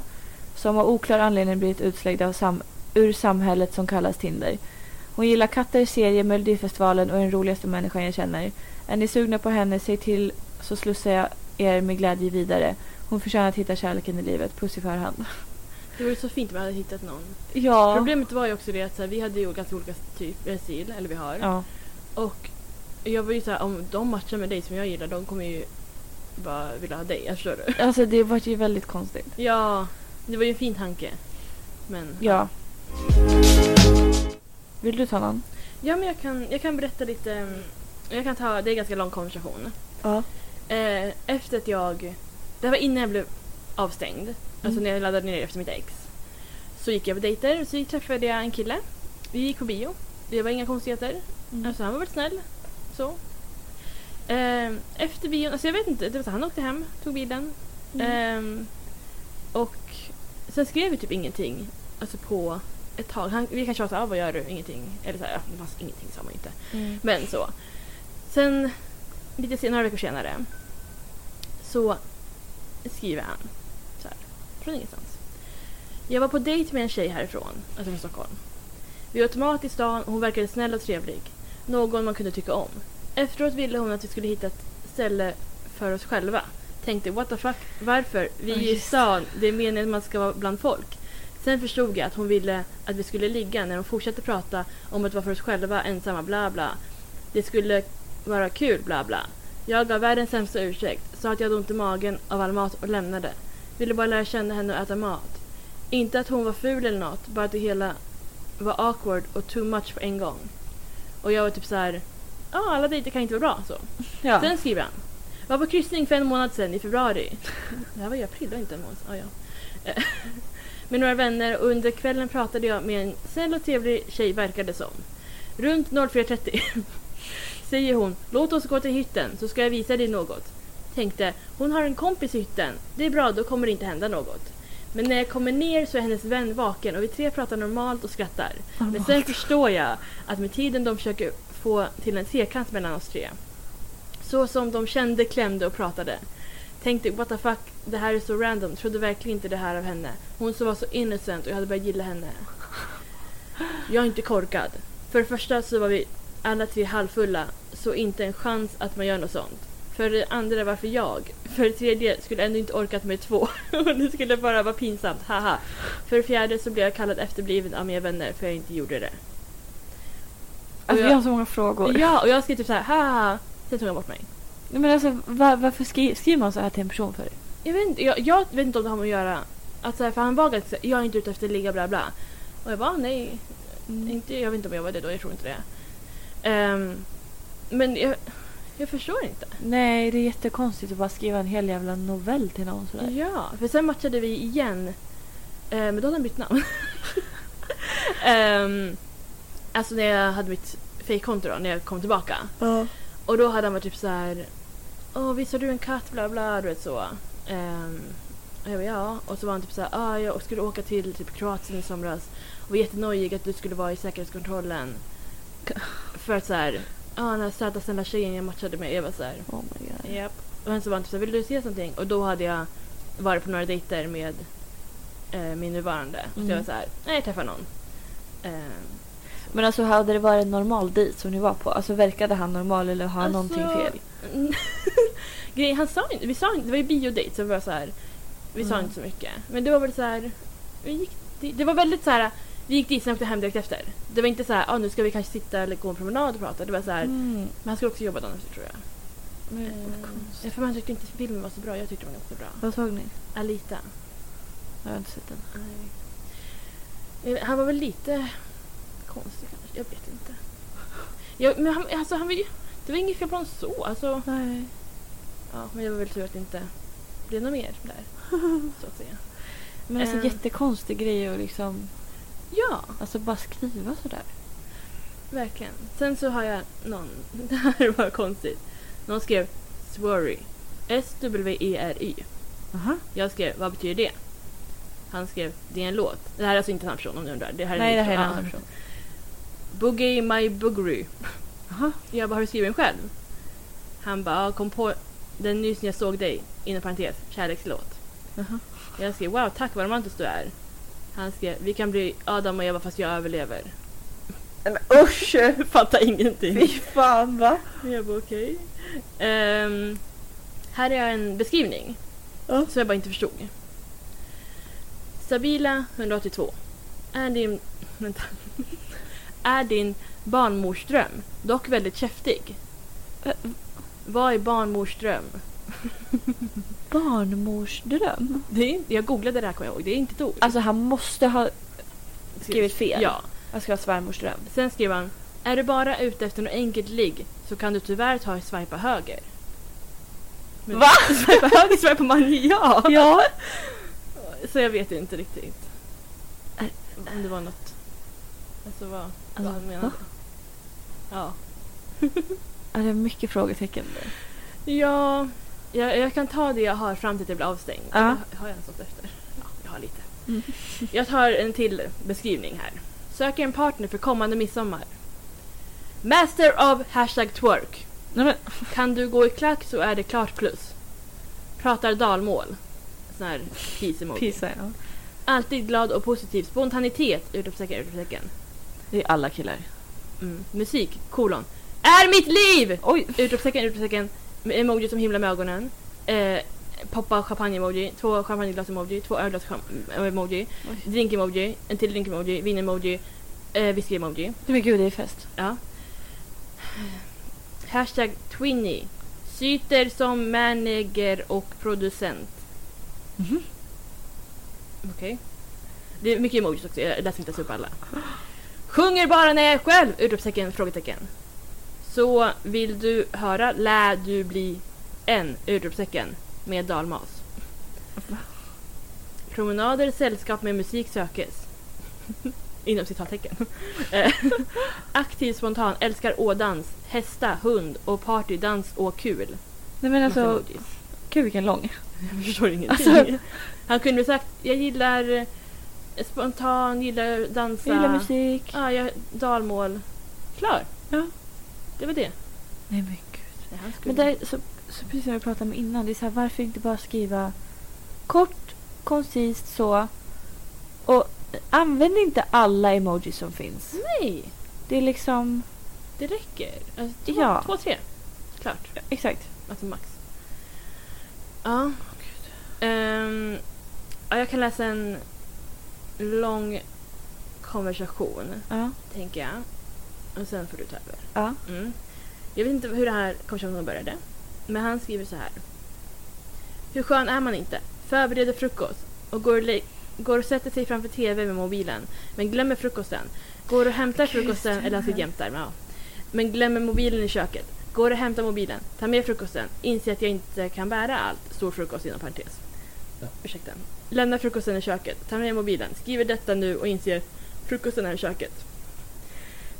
A: som av oklar anledning blivit utslängd av sam- ur samhället som kallas Tinder. Hon gillar katter, serier, Melodifestivalen och är den roligaste människan jag känner. Är ni sugna på henne, säg till så slussar jag er med glädje vidare. Hon förtjänar att hitta kärleken i livet. Puss i förhand.
B: Det vore så fint om jag hade hittat någon.
A: Ja.
B: Problemet var ju också det att så här, vi hade ju ganska olika typer stil, eller vi har.
A: Ja.
B: Och jag var ju såhär, om de matchar med dig som jag gillar, de kommer ju bara vilja ha dig, jag förstår du?
A: Alltså det var ju väldigt konstigt.
B: Ja, det var ju en fin tanke. Men,
A: Ja. Vill du ta någon?
B: ja men jag kan, jag kan berätta lite, mm, jag kan ta, det är en ganska lång konversation.
A: Ja.
B: Eh, efter att jag, det här var innan jag blev avstängd.
A: Mm.
B: Alltså när jag laddade ner efter mitt ex. Så gick jag på dejter och så träffade jag en kille. Vi gick på bio. Det var inga konstigheter.
A: Mm.
B: Alltså han var väldigt snäll. Så. Ehm, efter bion, alltså jag vet inte, det var så, han åkte hem, tog bilen.
A: Mm. eh,
B: Ehm, och sen skrev vi typ ingenting. Alltså på ett tag. Han, vi kan tjata, ah, vad gör du? Ingenting. Eller så här, ja, det fanns ingenting sa man ju inte.
A: Mm.
B: Men så. Sen, lite senare, några veckor senare, så skriver han så här, från ingenstans. Jag var på dejt med en tjej härifrån, alltså från Stockholm. Vi åt mat i stan och hon verkade snäll och trevlig. Någon man kunde tycka om. Efteråt ville hon att vi skulle hitta ett ställe för oss själva. Tänkte what the fuck, varför? Vi är
A: Ja,
B: ju i
A: just det.
B: stan, det är meningen att man ska vara bland folk. Sen förstod jag att hon ville att vi skulle ligga när hon fortsatte prata om att vara för oss själva, ensamma, bla bla. Det skulle vara kul, bla bla. Jag gav världens sämsta ursäkt, sa att jag hade ont i magen av all mat och lämnade. Ville bara lära känna henne och äta mat. Inte att hon var ful eller något, bara att det hela var awkward och too much på en gång. Och jag var typ så här. ja ah, alla dejter kan inte vara bra så.
A: Ja.
B: Sen skriver han. Var på kryssning för en månad sedan i februari. Det här var i april, det var inte en månad sedan. Ah, ja. Eh, med några vänner och under kvällen pratade jag med en snäll och trevlig tjej verkade som. Runt 04.30 säger hon låt oss gå till hytten så ska jag visa dig något. Tänkte hon har en kompis i hytten, det är bra då kommer det inte hända något. Men när jag kommer ner så är hennes vän vaken och vi tre pratar normalt och skrattar. Men sen förstår jag att med tiden de försöker få till en trekant mellan oss tre. Så som de kände, klämde och pratade. Tänkte what the fuck, det här är så random, trodde verkligen inte det här av henne. Hon som var så innocent och jag hade börjat gilla henne. Jag är inte korkad. För det första så var vi alla tre halvfulla, så inte en chans att man gör något sånt. För det andra, varför jag? För det tredje, skulle ändå inte orkat med två. Och det skulle bara vara pinsamt, haha. För det fjärde så blev jag kallad efterbliven av mina vänner för jag inte gjorde det. Och
A: Alltså,
B: jag-
A: vi har så många frågor.
B: Ja, och jag skrev typ såhär, haha. Sen tog jag bort mig.
A: Nej, Men alltså, va- varför skri- skriver man så här till en person för?
B: Jag vet inte, jag, jag vet inte om det har med att göra... Att så här, för han var ganska så här, jag är inte ute efter att ligga bla bla. Och jag bara "Ah, nej,
A: Mm.
B: inte, jag vet inte om jag var det då, jag tror inte det. Ehm, men jag, jag förstår inte.
A: Nej, det är jättekonstigt att bara skriva en hel jävla novell till någon sådär.
B: Ja, för sen matchade vi igen. Eh, men då hade han bytt namn. Ehm, alltså när jag hade mitt fejkkonto då, när jag kom tillbaka. Och då hade han varit typ så här. Åh, visst har du en katt? Bla bla, du vet så. Ehm, och jag bara, ja. Och så var han typ så här. Ah, jag skulle åka till typ Kroatien i somras. Och var jättenojig att du skulle vara i säkerhetskontrollen. För att så här. Ja, den här söta snälla tjejen jag matchade med. Jag var så här.
A: Oh my god.
B: Japp. Och sen så var han typ såhär, vill du se någonting? Och då hade jag varit på några dejter med eh, min nuvarande. Så
A: Mm.
B: jag var såhär, nej jag träffar någon. Eh,
A: Men alltså hade det varit en normal dejt som ni var på? Alltså verkade han normal eller har han
B: Alltså-
A: någonting fel?
B: Grej, han sa inte, vi sa inte, det var ju biodejt så det var så här, vi sa
A: Mm.
B: inte så mycket. Men det var väl så här, vi gick dit, det var väldigt så här, vi gick dit sen åkte hem direkt efter. Det var inte så här, ah, nu ska vi kanske sitta eller gå en promenad och prata. Det var så här,
A: Mm.
B: men han skulle också jobba dagen efter tror jag.
A: Men,
B: Eh,
A: vad konstigt.
B: ja, för man tyckte inte filmen var så bra, jag tyckte den var ganska bra.
A: Vad såg ni?
B: Alita.
A: Jag har inte sett den.
B: Eh, Han var väl lite konstig kanske, jag vet inte. Ja, men han, alltså, han var ju, det var inget fel på honom så. Alltså,
A: Nej.
B: Ja, men det var väl tur att det inte blev något mer där. Så att säga.
A: Men alltså
B: Eh.
A: jättekonstig grej att liksom
B: Ja,
A: alltså, bara skriva sådär.
B: verkligen. Sen så har jag någon, det här var konstigt. Någon skrev Swery. S-W-E-R-Y.
A: Aha.
B: E Jag skrev, vad betyder det? Han skrev, det är en låt. Det här är alltså inte en annan person om du undrar. Det här är en
A: Nej, det
B: ny
A: här är en
B: person.
A: annan
B: Ja, Boogie my boogery.
A: Aha.
B: Jag bara, har du skrivit den själv? Han bara, ja, kom på den nyss när jag såg dig. Inom parentes, kärlekslåt.
A: Aha.
B: Jag skrev wow, tack vad romantisk du är. Han skrev vi kan bli Adam och Eva fast jag överlever.
A: Men usch!
B: Fattar ingenting.
A: fan va?
B: jag bara okej. Ehm, här är en beskrivning
A: Ja.
B: som jag bara inte förstod. Sabila 182. Är din, vänta, är din barnmorsdröm dock väldigt käftig?
A: Ä-
B: Vad är barnmorsdröm?
A: Barnmorsdröm?
B: Det är, inte- jag googlade det här kommer jag ihåg, det är inte ett ord.
A: Alltså han måste ha skrivit fel.
B: Ja.
A: Jag ska ha svärmorsdröm.
B: Sen skrev han Är du bara ute efter något enkelt ligg så kan du tyvärr ta och swipa höger.
A: Va?
B: Swipa höger swipar man ja!
A: Ja.
B: Så jag vet inte riktigt. Om det var något... Alltså vad, vad
A: Alltså,
B: han menade.
A: va?
B: Ja.
A: Ja, det är mycket frågetecken där.
B: Ja, jag, jag kan ta det jag har fram till att jag blir avstängd.
A: Ja. Mm.
B: Har- Har jag något efter? Ja, jag har lite. Jag tar en till beskrivning här. Söker en partner för kommande midsommar. Master of hashtag twerk.
A: Nej, men,
B: Kan du gå i klack så är det klart plus. Pratar dalmål. Sån här peace-emoji.
A: pizza, ja.
B: Alltid glad och positiv. Spontanitet! Utropstecken, utropstecken.
A: Det är alla killar.
B: Mm. Musik, kolon. Är mitt liv! Oj! Utropstecken, utropstecken. Emoji som himlar med ögonen. Eh, poppa champagne-emoji. Två champagneglas-emoji. Två ölglas-emoji.
A: Oj.
B: Drink-emoji. En till drink-emoji. Vin-emoji. Eh, Whisky-emoji.
A: Nej, Men gud, det är fest.
B: Ja. Hashtag Twinny. Syter som manager och producent.
A: Mhm.
B: Okej. Det är mycket emojis också, jag läser inte ens upp alla. Sjunger bara när jag är själv! Utropstecken, frågetecken. Så vill du höra lär du bli en! Utropstecken. Med dalmas.
A: Va?
B: Promenader, sällskap med musik sökes. Inom citattecken. Eh, Aktiv, spontan, älskar ådans, hästa, hund och partydans och kul.
A: Nej men
B: Massa
A: alltså,
B: emojis.
A: gud vilken lång.
B: Jag förstår ingenting.
A: Alltså-
B: Han kunde väl sagt jag gillar eh, spontan, gillar dansa.
A: Jag gillar musik.
B: Ja, jag dalmål. Klar.
A: Ja.
B: Det var det.
A: Nej men gud.
B: Nej, han skulle-
A: Men där, så, så precis som vi pratade om innan, det är så här, varför inte bara skriva kort, koncist så. Och använd inte alla emojis som finns.
B: Nej,
A: Det är liksom,
B: det räcker. Alltså, två,
A: Ja.
B: två, tre. Klart.
A: exakt.
B: Alltså max. Ja. Ehm, ja, jag kan läsa en lång konversation,
A: Ja.
B: tänker jag. Och sen får du ta över.
A: Ja.
B: Mm. Jag vet inte hur det här konversationen började. Men han skriver så här. Hur skön är man inte? Förbereder frukost och går och, le- går och sätter sig framför TV med mobilen. Men glömmer frukosten. Går och hämtar
A: Gud,
B: frukosten,
A: den
B: eller han sitter
A: här.
B: jämt där, men ja. Men glömmer mobilen i köket. Går och hämtar mobilen. Tar med frukosten. Inser att jag inte kan bära allt. Stor frukost inom parentes.
C: Ja.
B: Ursäkta. Lämnar frukosten i köket. Tar med mobilen. Skriver detta nu och inser frukosten är i köket.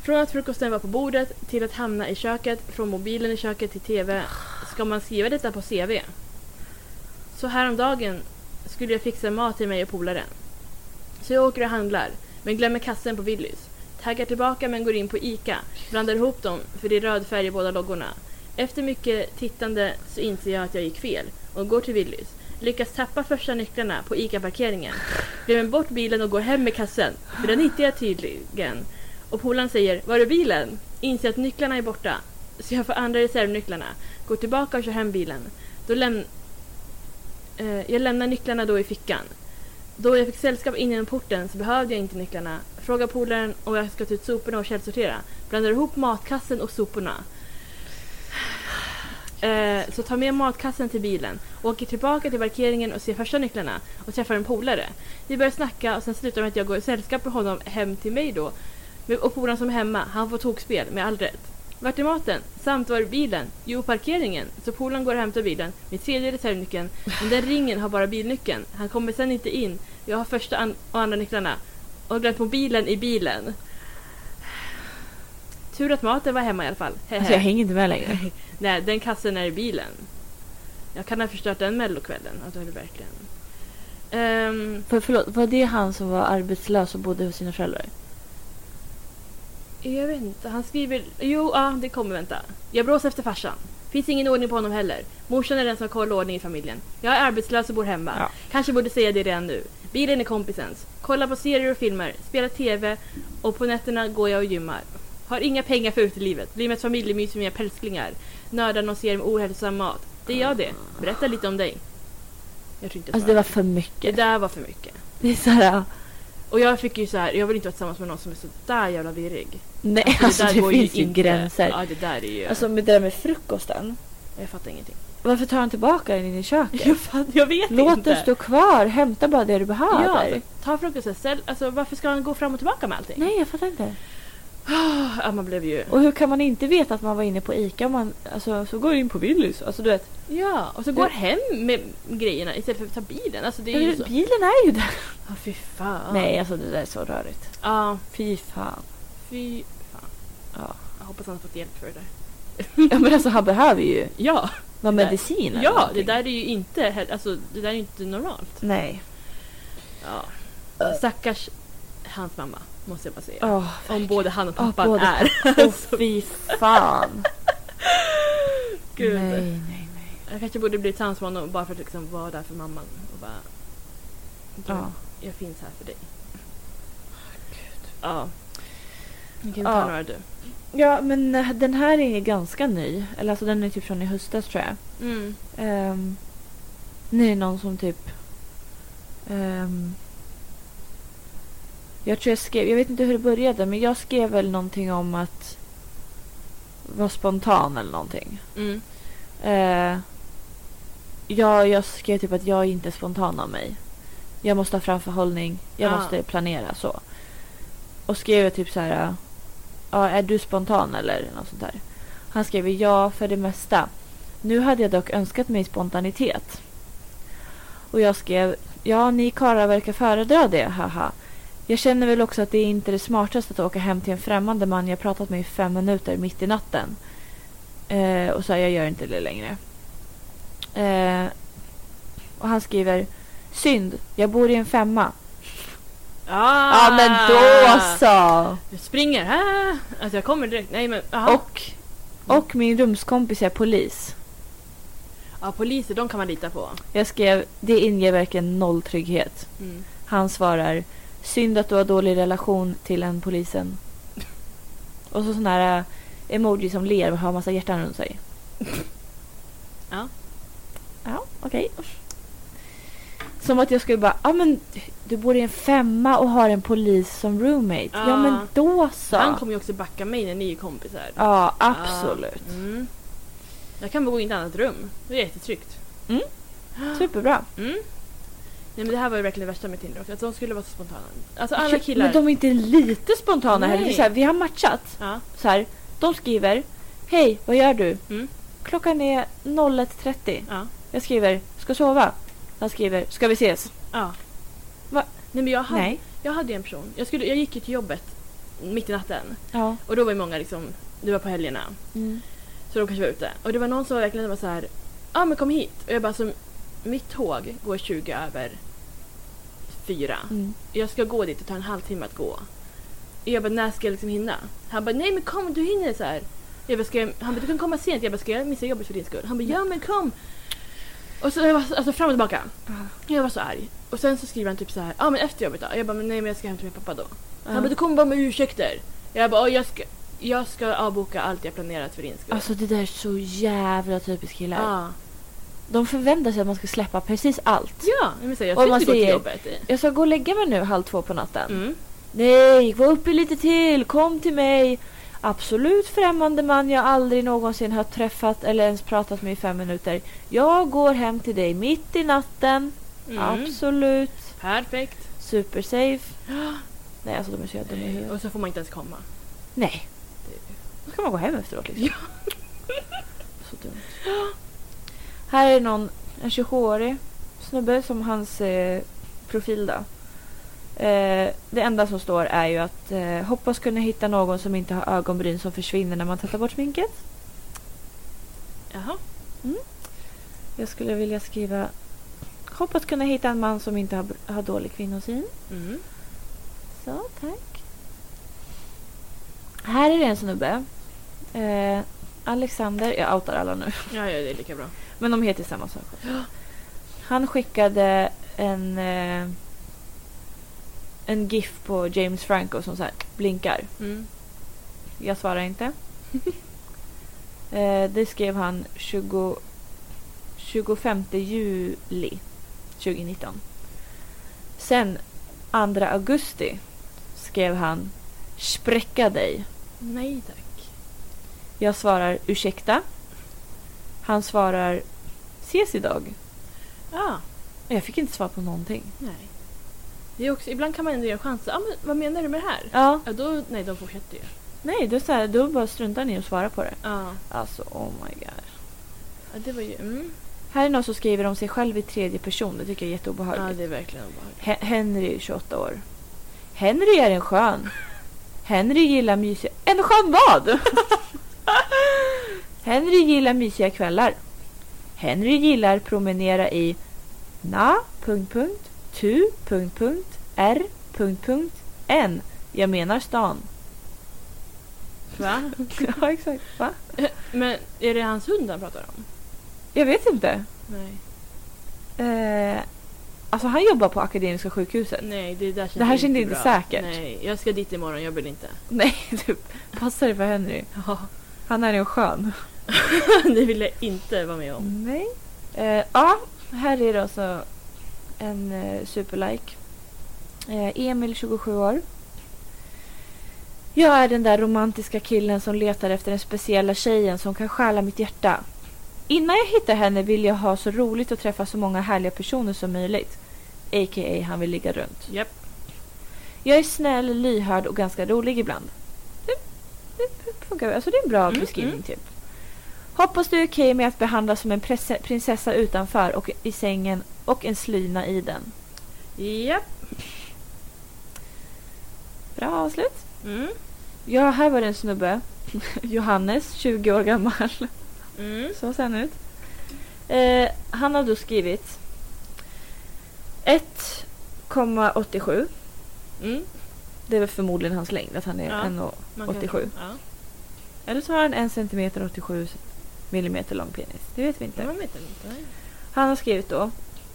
B: Från att frukosten var på bordet till att hamna i köket, från mobilen i köket till TV. Ska man skriva detta på CV? Så häromdagen skulle jag fixa mat till mig och polaren. Så jag åker och handlar, men glömmer kassen på Willys. Taggar tillbaka men går in på ICA, blandar ihop dem för det är röd färg i båda loggorna. Efter mycket tittande så inser jag att jag gick fel och går till Willys. Lyckas tappa första nycklarna på ICA-parkeringen. Glömmer bort bilen och går hem med kassen, för den hittade jag tydligen. Och polaren säger “Var är bilen?” Inser att nycklarna är borta. Så jag får andra reservnycklarna. Går tillbaka och kör hem bilen. Då läm- eh, jag lämnar nycklarna då i fickan. Då jag fick sällskap in genom porten så behövde jag inte nycklarna. Frågar polaren om jag ska ta ut soporna och källsortera. Blandar ihop matkassen och soporna. Eh, så tar med matkassen till bilen. Åker tillbaka till parkeringen och ser första nycklarna. Och träffar en polare. Vi börjar snacka och sen slutar med att jag går i sällskap med honom hem till mig då. Men- Och polaren som är hemma, han får tokspel med all rätt. Vart är maten? Samt var är bilen? Jo, parkeringen. Så polaren går och hämtar bilen med tredje reservnyckeln. Men den ringen har bara bilnyckeln. Han kommer sen inte in. Jag har första an- och andra nycklarna. Och har glömt mobilen i bilen. Tur att maten var hemma i alla fall. Hehe.
A: Alltså jag hänger inte med längre.
B: Nej, den kassen är i bilen. Jag kan ha förstört den mellokvällen. Ja, det har du verkligen. Ehm,
A: För, förlåt, var det han som var arbetslös och bodde hos sina föräldrar?
B: Jag vet inte, han skriver... Jo, ja, det kommer vänta. Jag brås efter farsan. Finns ingen ordning på honom heller. Morsan är den som kollar ordning i familjen. Jag är arbetslös och bor hemma.
A: Ja.
B: Kanske borde säga det redan nu. Bilen är kompisens. Kollar på serier och filmer, spelar TV och på nätterna går jag och gymmar. Har inga pengar för utelivet. Blir med ett familjemys med mina pälsklingar. Nördar någon serie med ohälsosam mat. Det är jag det. Berätta lite om dig. Jag tror inte jag
A: Alltså det var
B: svarar.
A: för mycket.
B: det där var för mycket.
A: Det är såhär,
B: Och jag fick ju så här, jag vill inte vara tillsammans med någon som är så där jävla virrig.
A: nej alltså,
B: där
A: det,
B: går
A: finns ju
B: inte.
A: gränser.
B: Ja, det där är ju...
A: Alltså med det där med frukosten.
B: jag fattar ingenting.
A: Varför tar han tillbaka den in i köket?
B: Jag, fatt, jag vet
A: Låt
B: inte.
A: den stå kvar, hämta bara det du
B: Ja,
A: behöver.
B: alltså, ta frukosten. Ställ, alltså, varför ska han gå fram och tillbaka med allting? Ah,
A: Nej, jag fattar inte.
B: Ja, man blev ju...
A: Och hur kan man inte veta att man var inne på ICA om man alltså, så går in på Willys? Alltså du vet,
B: Ja, och så går hem med grejerna istället för att ta bilen. Alltså det är ju så...
A: bilen är ju där.
B: Ja, fy fan.
A: Nej, alltså det där är så rörigt.
B: Ja,
A: Fy fan.
B: fy fan.
A: Ja.
B: Jag hoppas han har fått hjälp för det där.
A: Ja men alltså han behöver ju
B: Ja,
A: någon
B: Det där-
A: medicin eller
B: ja det
A: någonting.
B: där är ju inte, he- alltså, det där är ju inte normalt.
A: Nej.
B: Ja. Stackars hans mamma, måste jag bara säga.
A: Åh,
B: Om både han och
A: Ja,
B: pappan
A: både
B: är... Alltså,
A: åh, fy fan.
B: Gud.
A: Nej, nej, nej.
B: Jag kanske borde bli transman och bara för att liksom vara där för mamman och bara... Du,
A: Ja.
B: Jag finns här för dig. Ja. Nu kan vi
A: Ja.
B: ta några du.
A: Ja men eh, den här är ganska ny. Eller alltså den är typ från i höstas tror jag.
B: Mm.
A: Um, nej, någon som typ... ehm, jag tror jag skrev, jag vet inte hur det började, men jag skrev väl någonting om att vara spontan eller någonting.
B: Mm.
A: Eh, ja, jag skrev typ att jag är inte spontan av mig. Jag måste ha framförhållning, jag
B: Ah.
A: måste planera så. Och skrev typ så här, ja, är du spontan eller något sånt där. Han skrev ja för det mesta. Nu hade jag dock önskat mig spontanitet. Och jag skrev, ja ni karlar verkar föredra det, haha. Jag känner väl också att det är inte det smartaste att åka hem till en främmande man jag pratat med i fem minuter mitt i natten. Eh, och så här, jag gör inte det längre. Eh, och han skriver, synd, jag bor i en femma. Ja
B: Ah!
A: men då så!
B: Jag springer här! Alltså jag kommer direkt. Nej men aha.
A: Och, och min rumskompis är polis.
B: Ja, poliser, de kan man lita på.
A: Jag skrev, det inger verkligen noll trygghet.
B: Mm.
A: Han svarar Synd att du har dålig relation till en polisen. Och så sån här eh, emoji som ler och har massa hjärtan runt sig.
B: Ja.
A: Ja, okej. Som att jag skulle bara, ja ah, men du bor i en femma och har en polis som roommate. Ja,
B: Ja.
A: men då så.
B: Ah. Han kommer ju också backa mig när ni är kompisar.
A: Ja, absolut.
B: Ah, Mm. Jag kan bara gå in i ett annat rum. Det är jättetryggt.
A: Mm. Superbra.
B: Mm. Nej men det här var ju verkligen det värsta med Tinder också. Att de skulle vara så spontana. Alltså
A: Ja,
B: alla killar.
A: Men de är inte lite spontana heller. Det är
B: Nej.
A: så här, vi har matchat.
B: Ja.
A: så här, de skriver Hej, vad gör du?
B: Mm.
A: Klockan är 01.30.
B: Ja.
A: Jag skriver Ska sova. Han skriver Ska vi ses?
B: Ja.
A: Va?
B: Nej men jag hade,
A: Nej.
B: jag hade ju en person. Jag, skulle, jag gick ju till jobbet mitt i natten.
A: Ja. Mm.
B: Och då var ju många liksom, det var på helgerna. Så de kanske var ute. Och det var någon som verkligen var så här, ja ah, men kom hit. Och jag bara, alltså, mitt tåg går 20 över fyra.
A: Mm.
B: Jag ska gå dit, det tar en halvtimme att gå. Jag bara, när ska jag liksom hinna? Han bara, nej men kom du hinner så här. Jag bara, ska jag, han bara, du kan komma sent. Jag bara, ska jag missa jobbet för din skull? Han bara, ja men kom. Och så jag var, alltså fram och tillbaka. Jag var så arg. Och sen så skriver han typ så här, ja ah, men efter jobbet då? Jag bara, men nej men jag ska hem till min pappa då. Han bara, du kommer bara med ursäkter. Jag bara, "Ja, jag ska, jag ska avboka allt jag planerat för din skull.
A: Alltså det där är så jävla typiskt killar.
B: ja.
A: De förväntar sig att man ska släppa precis allt.
B: Ja, jag, säga, jag
A: Och
B: ska
A: man
B: inte gå till
A: säger-
B: jobbet.
A: Jag ska gå och lägga mig nu halv två på natten.
B: Mm.
A: Nej, var uppe lite till. Kom till mig. Absolut främmande man jag aldrig någonsin har träffat eller ens pratat med i fem minuter. Jag går hem till dig mitt i natten.
B: Mm.
A: Absolut.
B: Perfekt.
A: Supersafe. Nej, alltså de är så jävla dumma i huvudet.
B: Och så får man inte ens komma.
A: Nej. Då ska man gå hem efteråt liksom. Så dumt. Här är någon, en 27-årig snubbe som hans eh, profil då. Eh, det enda som står är ju att eh, hoppas kunna hitta någon som inte har ögonbryn som försvinner när man tvättar bort sminket.
B: Jaha.
A: Jag skulle vilja skriva hoppas kunna hitta en man som inte har, har dålig kvinnosyn.
B: Mm.
A: Så, tack. Här är det en snubbe. Eh, Alexander, jag outar alla nu,
B: Ja, ja, det är lika bra.
A: men de heter samma sak. Han skickade en, eh, en GIF på James Franco som så här blinkar.
B: Mm.
A: Jag svarar inte. eh, det skrev han 20, 25 juli 2019. Sen 2 augusti skrev han spräcka dig.
B: Nej tack.
A: Jag svarar ursäkta. Han svarar ses idag.
B: Ja,
A: Och Jag fick inte svar på någonting.
B: Ah, nej. Det är också, ibland kan man ändå ge en chans. Ah, men, vad menar du med det här?
A: Ja,
B: Ja, då, nej, de fortsätter ju.
A: Nej, det är så här, då bara struntar ni och svarar på det.
B: Ja.
A: Alltså, oh my god.
B: ja, det var ju... Mm.
A: Här är någon som skriver om sig själv i tredje person. Det tycker jag är
B: Ja,
A: jätteobehagligt.
B: det är verkligen obehagligt.
A: He- Henry, 28 år. Henry är en skön. Henry gillar mysiga... En skön vad? Henry gillar mysiga kvällar. Henry gillar promenera i na... Punkt, punkt, tu... Punkt, punkt, r... Punkt, punkt, n. Jag menar stan.
B: Va?
A: ja, exakt. Va?
B: Men är det hans hund han pratar om?
A: Jag vet inte.
B: Nej.
A: Eh, alltså han jobbar på Akademiska sjukhuset.
B: Nej, det där känns
A: Det här känns inte
B: bra.
A: säkert.
B: Nej, jag ska dit imorgon, jag vill inte.
A: Nej, typ. Passar det för Henry?
B: Ja.
A: Han är en skön.
B: det vill jag inte vara med om.
A: Nej. Eh, ja, här är det alltså en eh, superlike. Eh, Emil, 27 år. Jag är den där romantiska killen som letar efter den speciella tjejen som kan stjäla mitt hjärta. Innan jag hittar henne vill jag ha så roligt och träffa så många härliga personer som möjligt. A.k.a. han vill ligga runt.
B: Japp.
A: Jag är snäll, lyhörd och ganska rolig ibland. Det, det funkar väl. Alltså det är en bra
B: Mm,
A: beskrivning
B: mm.
A: typ. Hoppas du är okej med att behandlas som en presse- prinsessa utanför och i sängen och en slyna i den.
B: Japp.
A: Bra avslut.
B: Mm.
A: Ja, här var det en snubbe. Johannes, 20 år gammal.
B: Mm.
A: Så ser han ut. Eh, han har då skrivit 1,87.
B: Mm.
A: Det är väl förmodligen hans längd, att han är
B: Ja.
A: en och
B: Man kan-
A: 87.
B: Ja.
A: Eller så har han 1 cm 87 mm lång penis. Det vet vi inte.
B: Det man vet inte. Nej.
A: Han har skrivit då.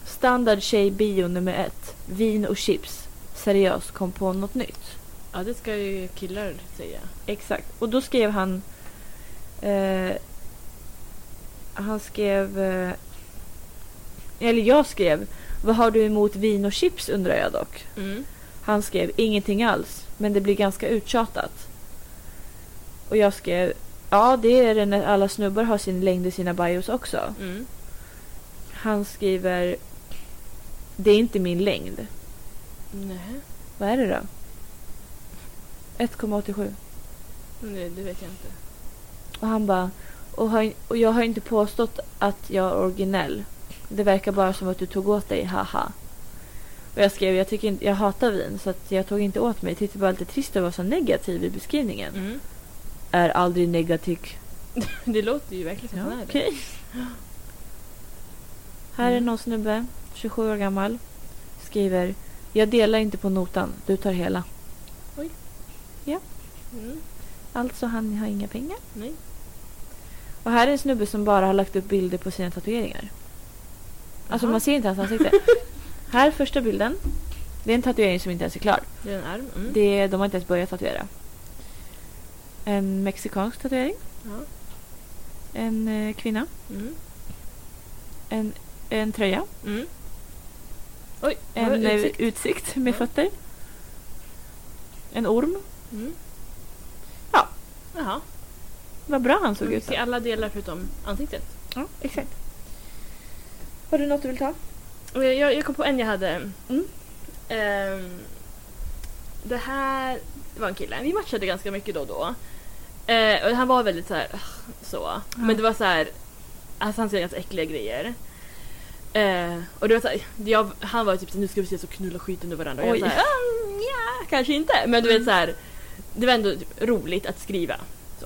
A: Standard tjej bio nummer ett. Vin och chips. Seriöst kom på något nytt.
B: Ja, det ska ju killar säga.
A: Exakt. Och då skrev han... Eh, han skrev... Eh, eller jag skrev. Vad har du emot vin och chips undrar jag dock.
B: Mm.
A: Han skrev ingenting alls, men det blir ganska uttjatat. Och jag skrev ja, det är det när alla snubbar har sin längd i sina bios också.
B: Mm.
A: Han skriver det är inte min längd.
B: Nej,
A: Vad är det då? 1,87.
B: det, det vet jag inte.
A: Och han bara och, har, och jag har inte påstått att jag är originell. Det verkar bara som att du tog åt dig, haha. Och jag skrev jag, tycker inte, jag hatar vin så att jag tog inte åt mig. Tyckte bara lite trist att vara så negativ i beskrivningen.
B: Mm.
A: är aldrig negativ.
B: Det låter ju verkligen som att han är det.
A: Okej. Här är
B: Mm.
A: någon snubbe, 27 år gammal, skriver Jag delar inte på notan, du tar hela.
B: Mm.
A: Alltså han har inga pengar.
B: Nej.
A: Och här är en snubbe som bara har lagt upp bilder på sina tatueringar. Alltså
B: Jaha.
A: man ser inte hans ansikte. här första bilden. Det är en tatuering som inte ens är klar.
B: Det är en arm. Mm.
A: Det, är- de har inte ens börjat tatuera. En mexikansk tatuering.
B: Ja.
A: En eh, kvinna.
B: Mm.
A: En, en tröja.
B: Mm. Oj, en,
A: En eh,
B: utsikt.
A: utsikt, med
B: Ja.
A: fötter. En orm.
B: Mm.
A: Ja.
B: Jaha.
A: Vad bra han såg
B: Man
A: ut.
B: ser alla delar förutom ansiktet.
A: Ja, Mm, exakt. Har du något du vill ta?
B: Och Jag, jag jag kom på en jag hade.
A: Mm.
B: Ehm, det här det var en kille. Vi matchade ganska mycket då och då. Eh, och han var väldigt så här, "Ugh", så. Men det var så här, alltså han skrev ganska äckliga grejer. Eh, och det var så här, jag, han var typ så här, nu ska vi ses och knulla skiten ur varandra. Och jag
A: Oj. Mm.
B: var så här, "Mm, ja, kanske inte. Men du vet så här, det var ändå typ roligt att skriva.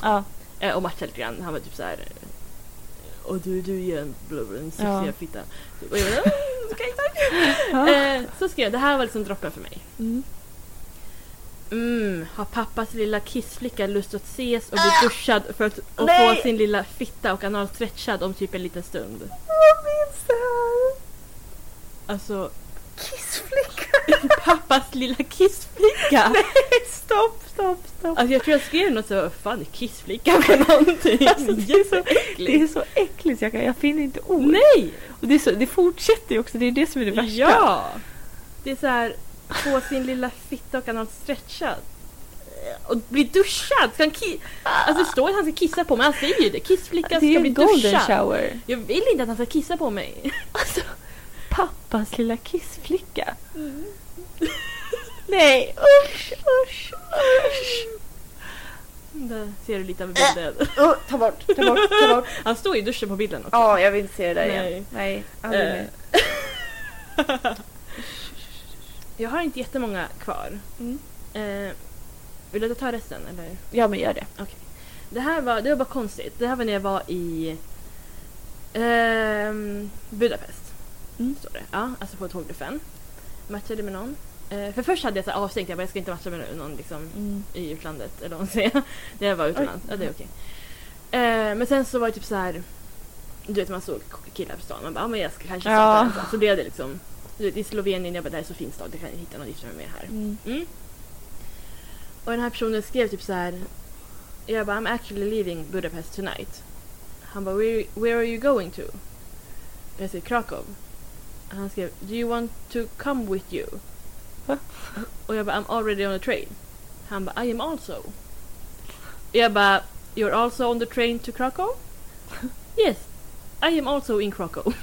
A: Ja.
B: Eh, och matcha lite grann. Han var typ så här. Och du, du är en bla bla, en sexiga
A: Ja.
B: fitta. Typ. Och jag bara, "Ah, okej tack. Eh, så skrev jag, det här var liksom droppen för mig.
A: Mm.
B: Mm, har pappas lilla kissflicka lust att ses och bli duschad för att och
A: Ah! Nej.
B: få sin lilla fitta och anal stretchad om typ en liten stund?
A: Jag minns det här!
B: Alltså,
A: Kissflicka!
B: pappas lilla kissflicka!
A: Nej, stopp, stopp, stopp!
B: Alltså jag tror jag skrev något så, fan kissflicka för någonting.
A: Alltså, det är så- Det är
B: Jätteäckligt.
A: så äckligt, jag, kan, jag finner inte ord.
B: Nej!
A: Och det, är så, det fortsätter ju också, det är det som är det värsta.
B: Ja! Det är så här, få sin lilla fitta och anal stretchad. Och bli duschad! Ska han ki- alltså det står att han ska kissa på mig, han säger ju det. Kissflickan
A: det
B: ska
A: är
B: bli
A: en golden
B: duschad.
A: shower.
B: Jag vill inte att han ska kissa på mig.
A: Alltså, pappas lilla kissflicka. Nej, usch, usch, usch.
B: Där ser du lite av bilden.
A: Oh, ta bort, ta bort, ta bort.
B: Han står i duschen på bilden också.
A: Ja, jag vill inte se det där
B: Nej.
A: igen. Nej, aldrig
B: Eh.
A: mer.
B: jag har inte jättemånga kvar.
A: Mm.
B: Eh, vill du att jag tar resten eller?
A: Ja, men gör det.
B: Det här var, det var bara konstigt. Det här var när jag var i ehm, Budapest.
A: Mm.
B: Står det. Ja, alltså på tågluffen. Matchade med någon. Eh, för först hade jag så här avstängt, jag bara jag ska inte matcha med någon liksom,
A: Mm.
B: i utlandet eller vad man säger. När jag var utomlands. Ja, det är okej. Eh, men sen så var det typ så här. Du vet man såg killar på stan, man bara ah, men jag ska kanske
A: Ja.
B: starta en sån." Så blev det liksom. Du vet, I Slovenien, jag bara det här är så fin stad, jag kan hitta någon att gifta mig med här.
A: Mm.
B: Mm. Och den här personen skrev typ så här. Jag bara I'm actually leaving Budapest tonight. Han bara where, where are you going to? Jag skrev Krakow. Han skrev Do you want to come with you?
A: Va?
B: Och jag bara I'm already on the train. Han bara I am also. Jag bara You're also on the train to Krakow? yes. I am also in Krakow.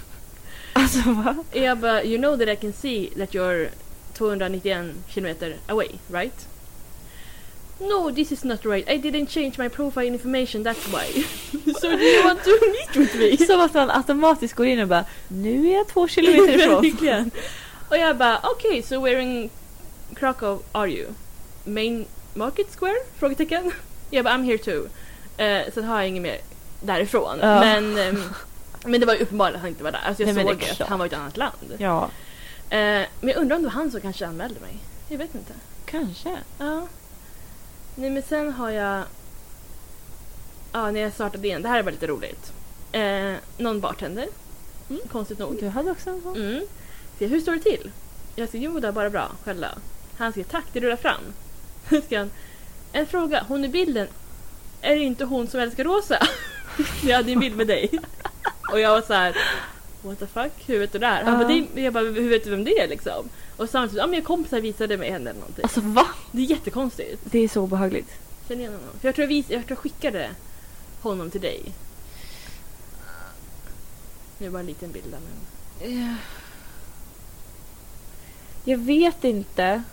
A: Alltså va?
B: Jag bara, you know that I can see that you're 291 kilometer away, right? No, this is not right. I didn't change my profile information, that's why. so do you want to meet with me?
A: Som att man automatiskt går in och bara nu är jag två kilometer ifrån.
B: Verkligen. Och jag bara, okay, so where in Krakow are you? Main Market Square? Frågetecken. Jag bara, I'm here too. Eh, sen har jag inget mer därifrån.
A: Ja.
B: Men, ehm, men det var ju uppenbart att han inte var där. Alltså jag
A: Nej, men det är
B: såg att
A: klart.
B: han var i ett annat land.
A: Ja,
B: Eh, men jag undrar om det var han som kanske anmälde mig. Jag vet inte.
A: kanske.
B: Ja. Nej men sen har jag... Ja, när jag startade igen. Det här var lite roligt. Eh, någon bartender.
A: Mm.
B: Konstigt nog.
A: Du hade också en sån?
B: Mm. Se, hur står det till? Jag säger jo det är bara bra, själva. Han säger tack, det rullar fram. Sen ska han, en fråga, hon i bilden, är det inte hon som älskar rosa? jag hade en bild med dig. Och jag var så här, what the fuck, hur vet du det här? Han bara,
A: Ja.
B: "Det är- jag bara, hur vet du vem det är liksom? Och samtidigt, ja men jag kompisar visade mig henne eller någonting.
A: Alltså va?
B: Det är jättekonstigt.
A: Det är så obehagligt.
B: Känner igen honom. För jag tror jag, vis- jag, tror jag skickade honom till dig. Nu bara en liten bild där men...
A: Jag vet inte.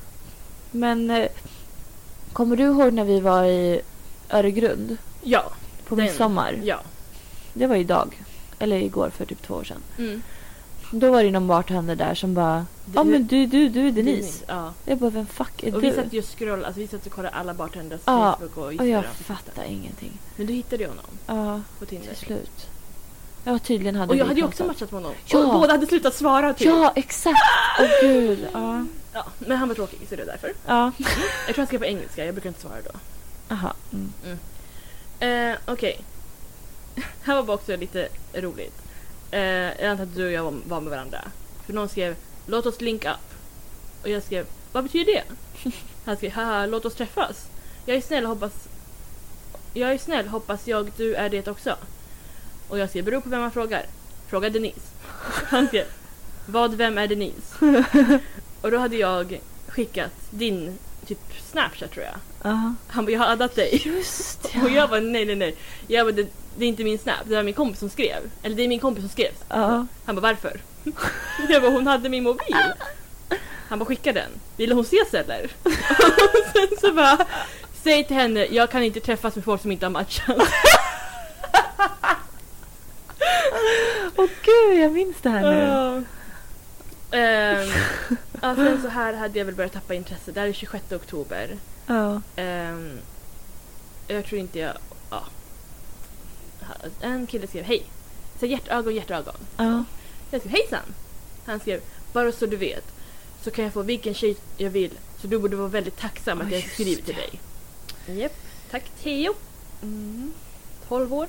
A: Men eh, kommer du ihåg när vi var i Öregrund
B: Ja,
A: på
B: Den-
A: midsommar?
B: ja.
A: Det var idag. Eller igår för typ två år sedan.
B: Mm.
A: Då var det någon bartender där som bara Ja men du, du, du är Denise.
B: Ja.
A: Jag bara vem fuck är
B: Och vi
A: du?
B: satt ju och scrollade, alltså vi satt och kollade alla bartenders
A: Ja,
B: Facebook och
A: Och jag
B: Instagram.
A: fattar ingenting.
B: Men du hittade ju honom
A: Ja,
B: på Tinder.
A: till slut. Ja tydligen hade
B: Och jag
A: vi
B: hade ju också
A: pratat.
B: matchat med honom.
A: Ja.
B: Och båda hade slutat svara typ.
A: Ja exakt! Åh gud. Ja.
B: Ja, Men han var tråkig så det är därför.
A: Ja.
B: Jag tror han skrev på engelska, jag brukar inte svara då.
A: Aha. Mm.
B: Eh, Okej. Här var bara också lite roligt. Eh, jag antar att du och jag var- var med varandra. För någon skrev “Låt oss link up” och jag skrev “Vad betyder det?” Han skrev “Haha, låt oss träffas”. Jag är snäll hoppas... Jag är snäll hoppas jag du är det också. Och jag skrev “Beror på vem man frågar”. Fråga Denise. Han skrev “Vad, vem är Denise?” Och då hade jag skickat din typ Snapchat tror jag.
A: Aha.
B: Han bara “Jag har addat dig”.
A: Just
B: Och
A: ja.
B: jag bara nej nej nej. Jag bara, det, det är inte min snap, det var min kompis som skrev. Eller det är min kompis som skrev.
A: Ja.
B: Han bara varför? Jag bara hon hade min mobil. Han bara skicka den. Vill hon ses eller? Och sen så bara säg till henne jag kan inte träffas med folk som inte har matchat.
A: Åh gud jag minns det här nu.
B: Ja. Ehm, ja, sen så här hade jag väl börjat tappa intresse. Det här är 26 oktober.
A: Ja.
B: Ehm, jag tror inte jag... Ja. En kille skrev hej. Så hjärtögon, hjärtögon.
A: Ja.
B: Jag skrev hejsan. Han skrev bara så du vet så kan jag få vilken tjej jag vill så du borde vara väldigt tacksam
A: Ja,
B: att jag
A: just
B: skriver till dig. Japp. Tack Theo. 12 år.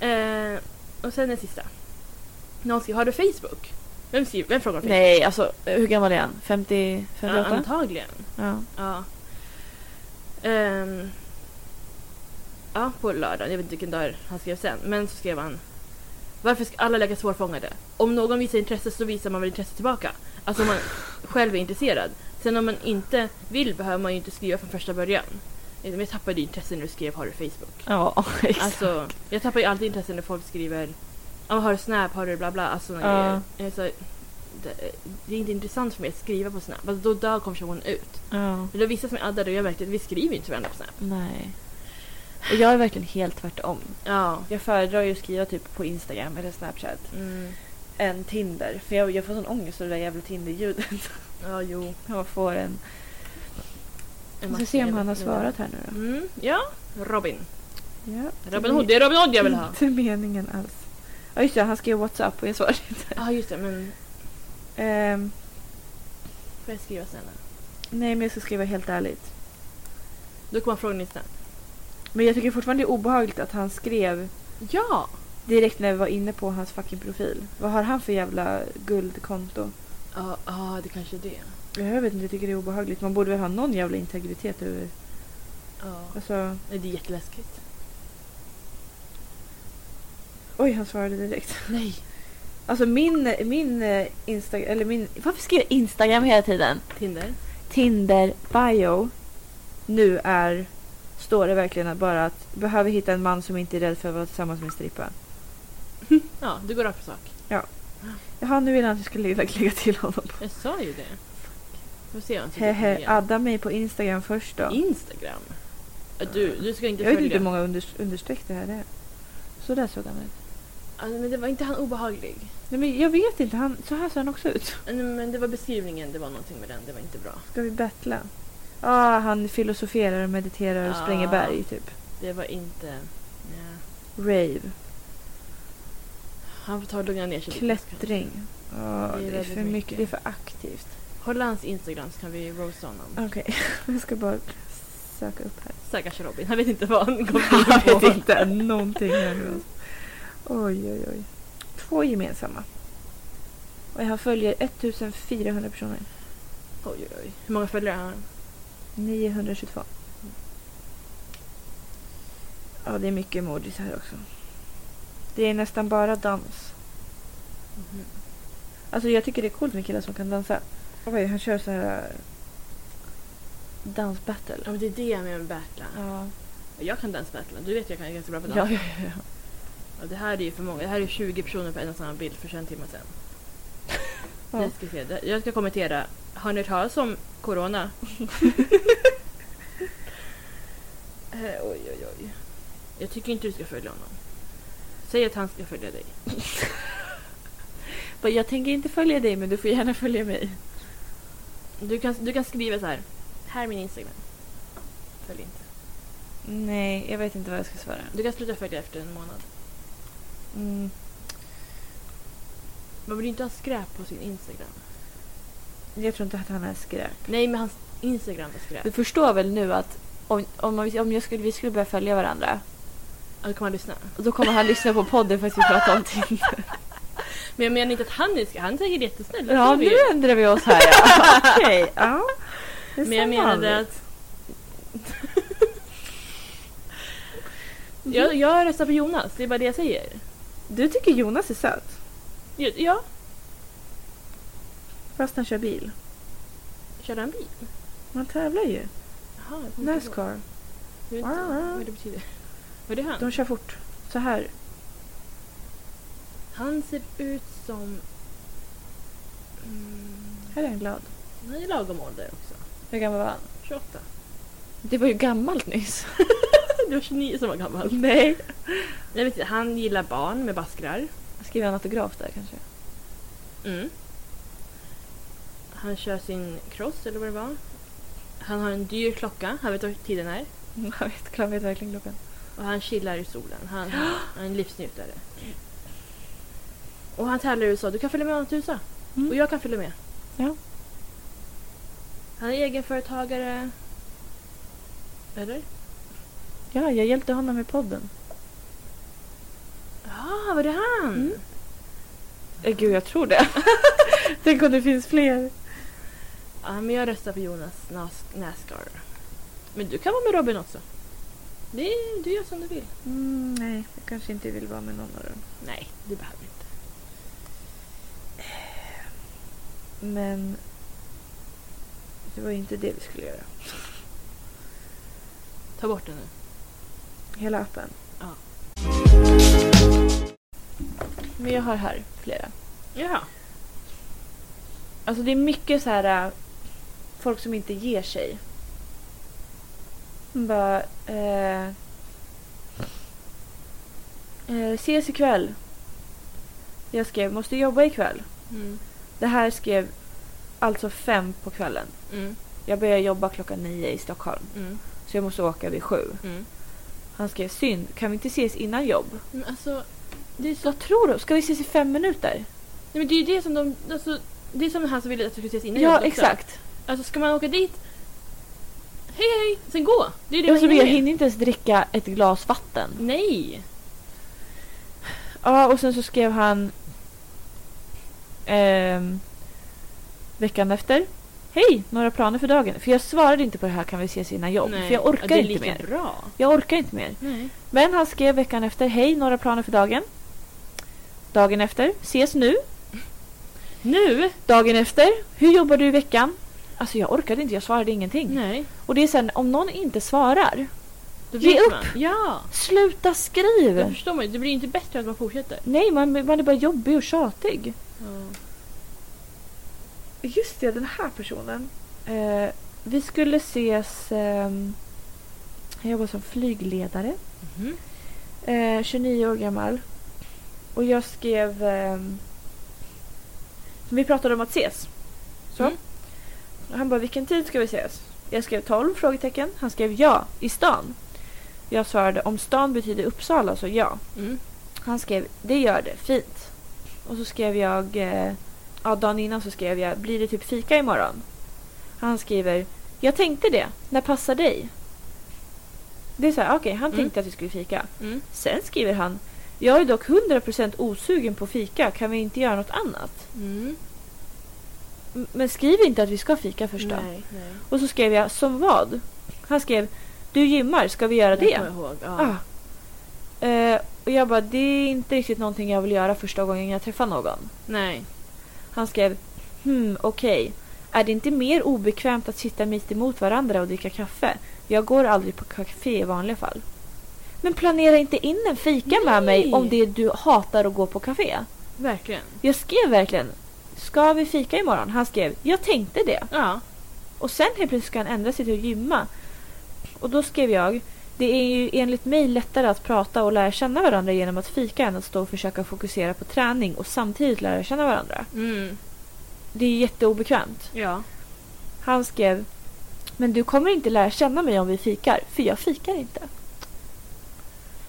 B: Eh, och sen den sista. Någon skrev har du Facebook? Vem, skriver, vem frågar om Facebook?
A: Nej alltså hur gammal är han? 50,
B: Ja,
A: 58?
B: antagligen.
A: Ja.
B: Ja. Ehm, ja, på lördagen. Jag vet inte vilken dag han skrev sen. Men så skrev han. Varför ska alla läkare svårfångade? Om någon visar intresse så visar man väl intresse tillbaka. Alltså om man själv är intresserad. Sen om man inte vill behöver man ju inte skriva från första början. Men jag tappade ju intresse när du skrev har du Facebook.
A: Ja, exakt.
B: Alltså, jag tappar ju alltid intresse när folk skriver ja, men har du Snap, har du bla bla. Alltså,
A: Ja.
B: ja. alltså, det, det är inte intressant för mig att skriva på Snap. Alltså, då dör konversationen ut.
A: ja.
B: Men det var vissa som jag addade och jag märkte att vi skriver ju inte varandra på Snap.
A: Nej. Och jag är verkligen helt tvärtom.
B: Ja.
A: Jag föredrar ju att skriva typ på Instagram eller Snapchat
B: Mm.
A: än Tinder. För jag, jag får sån ångest av det där jävla Tinder-ljudet.
B: Ja, jo.
A: Jag får en...
B: En
A: Vi ska
B: massa
A: se om han har
B: jävla-
A: svarat här nu då.
B: Mm. Ja, Robin.
A: Ja,
B: Robin Hood, det är Robin Hood jag vill ha.
A: Inte meningen alls. Ja just det, han skrev WhatsApp och jag svarade inte.
B: Ja, just det. Men
A: Ehm,
B: får jag skriva sen? då?
A: nej men jag ska skriva helt ärligt.
B: Då kommer frågan sen.
A: Men jag tycker fortfarande det är obehagligt att han skrev
B: Ja!
A: direkt när vi var inne på hans fucking profil. Vad har han för jävla guldkonto?
B: Ja, ja, det kanske är det.
A: Jag vet inte, jag tycker det är obehagligt. Man borde väl ha någon jävla integritet över...
B: Ja.
A: Alltså...
B: Nej, det är jätteläskigt.
A: Oj, han svarade direkt.
B: Nej.
A: Alltså min, min eh, Instagram, eller min... Varför skriver jag Instagram hela tiden?
B: Tinder.
A: Tinder bio nu är... Står det verkligen att bara att behöver hitta en man som inte är rädd för att vara tillsammans med en strippa.
B: Ja, du går rakt på sak.
A: Jaha, nu vill han att jag ska lägga, lägga till honom.
B: Jag sa ju det. Får se om jag tycker det
A: Hehe,
B: igen.
A: adda mig på Instagram först då.
B: Instagram. Ja, Du, du ska inte
A: Jag vet
B: följa.
A: inte hur många unders- understreck det här är. Så där såg han ut.
B: Alltså, men det var inte han obehaglig.
A: Nej, men jag vet inte, han, så här ser han också ut.
B: Nej, Men det var beskrivningen, det var någonting med den, det var inte bra.
A: Ska vi battla? Ah, han filosoferar och mediterar och
B: Ah.
A: spränger berg typ.
B: Det var inte... Ja.
A: Rave.
B: Han får ta och lugna ner sig lite, så kan-
A: Klättring. Ah,
B: Det är
A: det, är
B: väldigt
A: för mycket,
B: mycket.
A: det är för aktivt.
B: Hålla hans Instagram så kan vi roasta honom.
A: Okej, jag ska bara söka upp här.
B: Stackars Robin, han vet inte vad han kommer in
A: Jag
B: på.
A: vet inte någonting här nu. Oj, oj, oj. Två gemensamma. Och han följer 1400 personer.
B: Oj, oj, oj. Hur många följare har han?
A: 922. Ja, det är mycket emojis här också. Det är nästan bara dans.
B: Mhm.
A: Alltså jag tycker det är coolt med killar som kan dansa. Oj, han kör så här... äh,
B: Ja,
A: Dansbattle.
B: men det är det jag menar med battla.
A: Ja.
B: Jag kan dansbattla, du vet att jag kan ganska bra på dans.
A: Ja, ja, ja.
B: Och det här är ju för många, det här är 20 personer på en och samma bild för 21 timmar sedan.
A: Ja.
B: Jag, ska se. det- jag ska kommentera, har ni hört talas om corona? eh, oj, oj, oj. Jag tycker inte du ska följa honom. Säg att han ska följa dig.
A: Bara, Jag tänker inte följa dig, men du får gärna följa mig.
B: Du kan, du kan skriva så här. Här är min Instagram. Följ inte.
A: Nej, jag vet inte vad jag ska svara.
B: Du kan sluta följa efter en månad.
A: Mm.
B: Man vill ju inte ha skräp på sin Instagram.
A: Jag tror inte att han är skräp.
B: Nej, men hans Instagram är
A: Du
B: skräp.
A: förstår väl nu att om, om, om jag skulle, vi skulle börja följa varandra,
B: Ja, Då kan man lyssna.
A: och då kommer han lyssna på podden för att vi pratar om Tinder.
B: Men jag menar inte att han är skräp. Han är säkert jättesnäll. det
A: Ja,
B: tror vi
A: nu
B: ju.
A: ändrar vi oss här. Ja. Okej, ja. Det är
B: Men jag
A: som
B: menade
A: vanligt.
B: att... jag, jag röstar på Jonas, det är bara det jag säger.
A: Mm. Du tycker Jonas är söt,
B: Ja, Ja,
A: fast han kör bil.
B: körde han bil?
A: Man tävlar ju.
B: Jaha, jag kommer inte ihåg.
A: Nascar.
B: Jag vet inte vad det betyder. Var det han?
A: De kör fort. Så här.
B: Han ser ut som... Mm,
A: Här är han glad.
B: han är lagom ålder också.
A: Hur gammal var han?
B: 28.
A: Det var ju gammalt nyss.
B: Du var 29 som var gammal.
A: Nej.
B: Jag vet inte, han gillar barn med baskrar.
A: Skriver han autograf där kanske?
B: Mm. Han kör sin cross eller vad det var. Han har en dyr klocka, han vet vad tiden är.
A: Jag vet, Klan vet verkligen klockan.
B: Och han chillar i solen. Han, han är en livsnjutare. Och han tävlar i USA. Du kan följa med honom till USA.
A: Mm.
B: Och jag kan följa med.
A: Ja.
B: Han är egenföretagare. Eller?
A: Ja, jag hjälpte honom med podden.
B: Ja, var det han?
A: Mm. Eh, gud, jag tror det. Tänk om det finns fler.
B: Ja, men jag röstar på Jonas Nas- Nascar. Men du kan vara med Robin också. Det är, du gör som du vill.
A: Mm, nej, jag kanske inte vill vara med någon av dem.
B: Nej, du behöver inte.
A: Men det var ju inte det vi skulle göra.
B: Ta bort den nu.
A: Hela appen.
B: Ja.
A: Men jag har här flera.
B: Jaha.
A: Alltså det är mycket så här äh, folk som inte ger sig. Bara, eh, Eh, ses ikväll. Jag skrev måste jobba ikväll.
B: Mm.
A: Det här skrev alltså fem på kvällen.
B: Mm.
A: Jag börjar jobba klockan nio i Stockholm
B: Mm.
A: så jag måste åka vid sju.
B: Mm.
A: Han skrev synd, kan vi inte ses innan jobb?
B: Men alltså, det är så...
A: Vad tror du? Ska vi ses i fem minuter?
B: Nej, men det är ju det som de... Alltså, det är som han som ville att vi skulle ses innan
A: ja,
B: jobbet också.
A: exakt.
B: Alltså ska man åka dit? Hej hej! Sen gå! Det är det
A: Jag,
B: man
A: som
B: hinner
A: jag
B: med.
A: hinner inte ens dricka ett glas vatten.
B: Nej!
A: Ja, och sen så skrev han ehm, veckan efter. Hej, några planer för dagen? För jag svarade inte på det här kan vi ses innan jobb.
B: Nej.
A: För jag
B: Ja,
A: orkar
B: det är
A: inte
B: lika
A: mer.
B: bra.
A: Jag orkar inte mer.
B: Nej.
A: Men han skrev veckan efter. Hej, några planer för dagen? Dagen efter. Ses nu.
B: Nu?
A: Dagen efter. Hur jobbar du i veckan? Alltså jag orkade inte, jag svarade ingenting.
B: Nej.
A: Och det är sen, om någon inte svarar,
B: Då
A: Ge
B: vet
A: upp.
B: Man. Ja!
A: sluta skriv!
B: Det förstår man ju. Det blir ju inte bättre att man fortsätter.
A: Nej, man, man är bara jobbig och tjatig.
B: Ja.
A: Just det, den här personen. Eh, vi skulle ses... ehm, han jobbar som flygledare.
B: Mhm.
A: Eh, 29 år gammal. Och jag skrev... ehm, vi pratade om att ses. Så.
B: Mm.
A: Och Han bara, vilken tid ska vi ses? Jag skrev 12? frågetecken. Han skrev ja, i stan. Jag svarade, om stan betyder Uppsala så ja.
B: Mm.
A: Han skrev det gör det, fint. Och så skrev jag, eh, ja dagen innan så skrev jag blir det typ fika imorgon? Han skriver jag tänkte det, när passar dig? Det är så här, okej han
B: Mm.
A: tänkte att vi skulle fika.
B: Mm.
A: Sen skriver han jag är dock 100% osugen på fika, kan vi inte göra något annat?
B: Mm.
A: M- Men skriv inte att vi ska fika först då.
B: Nej. Nej.
A: Och så skrev jag som vad? Han skrev du gymmar, ska vi göra
B: Det
A: det?
B: kommer jag ihåg. Ja.
A: Ah. Eh, och jag bara, det är inte riktigt någonting jag vill göra första gången jag träffar någon.
B: Nej.
A: Han skrev Hmm, okej. Är det inte mer obekvämt att sitta mitt emot varandra och dricka kaffe? Jag går aldrig på café i vanliga fall. Men planera inte in en fika med
B: Nej.
A: mig om det är du hatar att gå på café.
B: Verkligen.
A: Jag skrev verkligen Ska vi fika imorgon? Han skrev Jag tänkte det.
B: Ja.
A: Och sen helt plötsligt ska han ändra sig till att gymma. Och då skrev jag Det är ju enligt mig lättare att prata och lära känna varandra genom att fika än att stå och försöka fokusera på träning och samtidigt lära känna varandra.
B: Mm.
A: Det är jätteobekvämt.
B: Ja.
A: Han skrev Men du kommer inte lära känna mig om vi fikar, för jag fikar inte.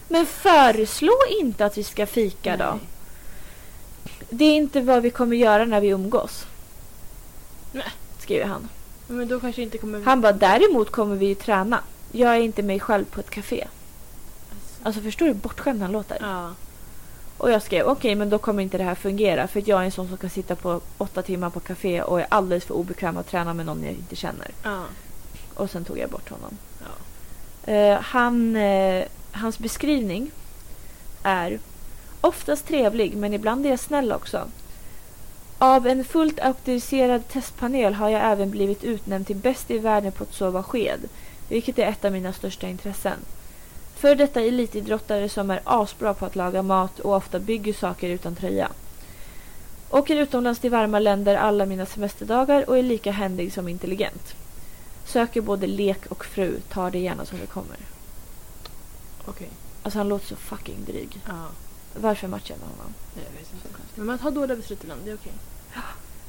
A: Men föreslå inte att vi ska fika då.
B: Nej.
A: Det är inte vad vi kommer göra när vi umgås.
B: Nej.
A: Skriver han.
B: Men då kanske inte kommer...
A: Han bara däremot kommer vi ju träna. Jag är inte mig själv på ett café.
B: Alltså.
A: Alltså förstår du hur bortskämd han låter?
B: Ja.
A: Och jag skrev okej men då kommer inte det här fungera för att jag är en sån som kan sitta på åtta timmar på café och är alldeles för obekväm att träna med någon jag inte känner.
B: Ja.
A: Och sen tog jag bort honom.
B: Ja.
A: Eh, han, eh, hans beskrivning är oftast trevlig men ibland är jag snäll också. Av en fullt auktoriserad testpanel har jag även blivit utnämnd till bäst i världen på att sova sked, vilket är ett av mina största intressen. För detta elitidrottare som är asbra på att laga mat och ofta bygger saker utan tröja. Åker utomlands till varma länder alla mina semesterdagar och är lika händig som intelligent. Söker både lek och fru, tar det gärna som det kommer.
B: Okej.
A: Alltså han låter så fucking dryg.
B: Ja.
A: Varför matchar jag med honom?
B: Nej, Jag vet inte. Men man tar dåliga beslut ibland. Det är okej.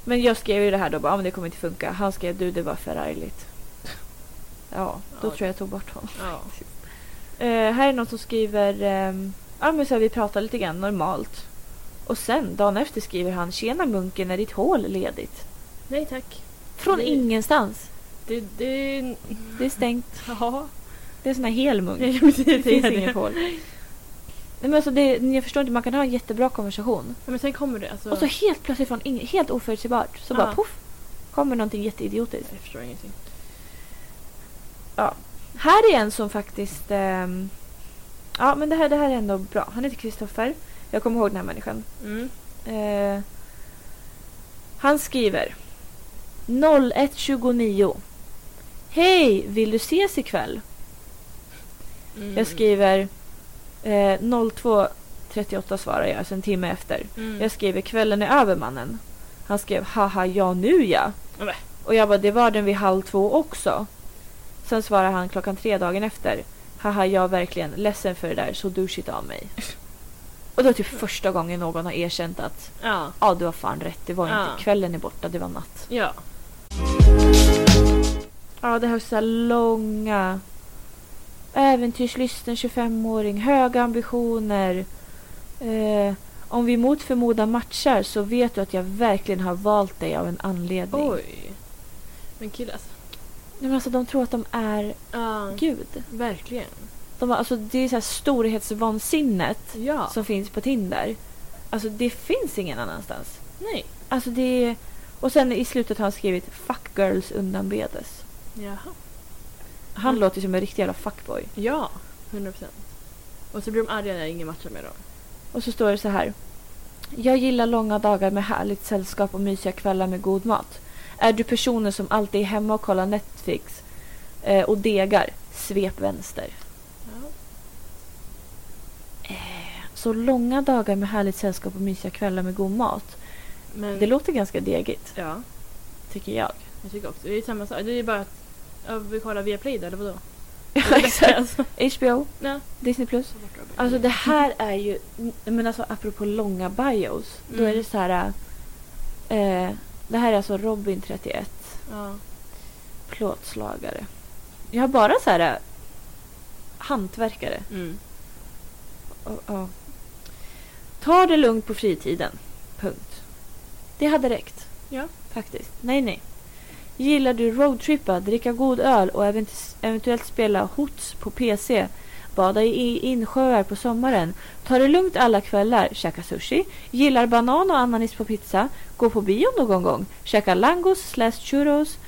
A: Men jag skrev ju det här då bara, ah, men det kommer inte funka. Han skrev du det var förargligt. Ja, då
B: Ja.
A: tror jag jag tog bort honom.
B: Ja.
A: Eh, här är någon som skriver, ehm, ja men så här, vi pratar lite grann normalt. Och sen dagen efter skriver han, tjena munken är ditt hål ledigt?
B: Nej tack.
A: Från
B: Nej.
A: ingenstans.
B: Det... det...
A: Det är stängt.
B: Ja.
A: Det är en sån här hel munk.
B: Jag vill
A: Det
B: säga
A: finns
B: det.
A: inget hål. Nej, men alltså det, jag förstår inte, man kan ha en jättebra konversation.
B: Ja, men sen kommer det. Alltså,
A: Och så helt plötsligt från ing- helt oförutsägbart så bara
B: Ja.
A: poff kommer någonting jätteidiotiskt.
B: jag förstår ingenting.
A: Här är en som faktiskt... ehm, ja, men det här, det här är ändå bra. Han heter Kristoffer. Jag kommer ihåg den här människan.
B: Mm.
A: Eh, han skriver 01.29 Hej, vill du ses ikväll?
B: Mm.
A: Jag skriver eh, 02.38 svarar jag, alltså en timme efter.
B: Mm.
A: Jag skriver kvällen är över mannen. Han skrev haha ja nu ja.
B: Nej.
A: Och jag bara det var den vid halv två också. Sen svarar han klockan tre dagen efter. Haha jag verkligen ledsen för det där så douchigt av mig. Och då är typ
B: Mm.
A: första gången någon har erkänt att
B: Ja.
A: ja, ah, du har fan rätt, det var
B: Ja.
A: inte kvällen är borta, det var natt.
B: Ja.
A: Ja, det här är så här långa. Äventyrslysten 25-åring, höga ambitioner. Eh, om vi mot förmodan matchar så vet du att jag verkligen har valt dig av en anledning.
B: Oj. Men killar alltså.
A: Nej, men alltså, de tror att de är
B: Ja.
A: Gud.
B: Verkligen.
A: De har, alltså, det är så här storhetsvansinnet
B: Ja.
A: som finns på Tinder. Alltså det finns ingen annanstans.
B: Nej.
A: Alltså det är... Och sen i slutet har han skrivit “Fuck girls undanbedes”.
B: Jaha.
A: Han
B: Mm.
A: låter ju som en riktig jävla fuckboy.
B: Ja. 100 procent. Och så blir de arga när ingen matchar med dem.
A: Och så står det så här. Jag gillar långa dagar med härligt sällskap och mysiga kvällar med god mat. Är du personen som alltid är hemma och kollar Netflix eh, och degar, svep vänster.
B: Ja.
A: Så långa dagar med härligt sällskap och mysiga kvällar med god mat.
B: Men,
A: Det låter ganska degigt,
B: Ja.
A: tycker jag.
B: Jag tycker också. Det är samma sak. Det är bara att ja, vi kollar via Play då, eller vadå?
A: Ja, exakt.
B: Alltså.
A: HBO,
B: Ja.
A: Disney+. Plus. Alltså det här är ju, men alltså apropå långa bios. Då
B: Mm.
A: är det så här. Eh, det här är alltså Robin 31.
B: Ja.
A: plåtslagare. Jag har bara så här eh, hantverkare.
B: Mm.
A: Och- ja. Ta det lugnt på fritiden. Punkt. Det hade räckt.
B: Ja.
A: Faktiskt. Nej, nej. Gillar du roadtrippa, dricka god öl och event- eventuellt spela hots på PC, bada i insjöar på sommaren, ta det lugnt alla kvällar, käka sushi, gillar banan och ananis på pizza, gå på bio någon gång, käka langos slash churros,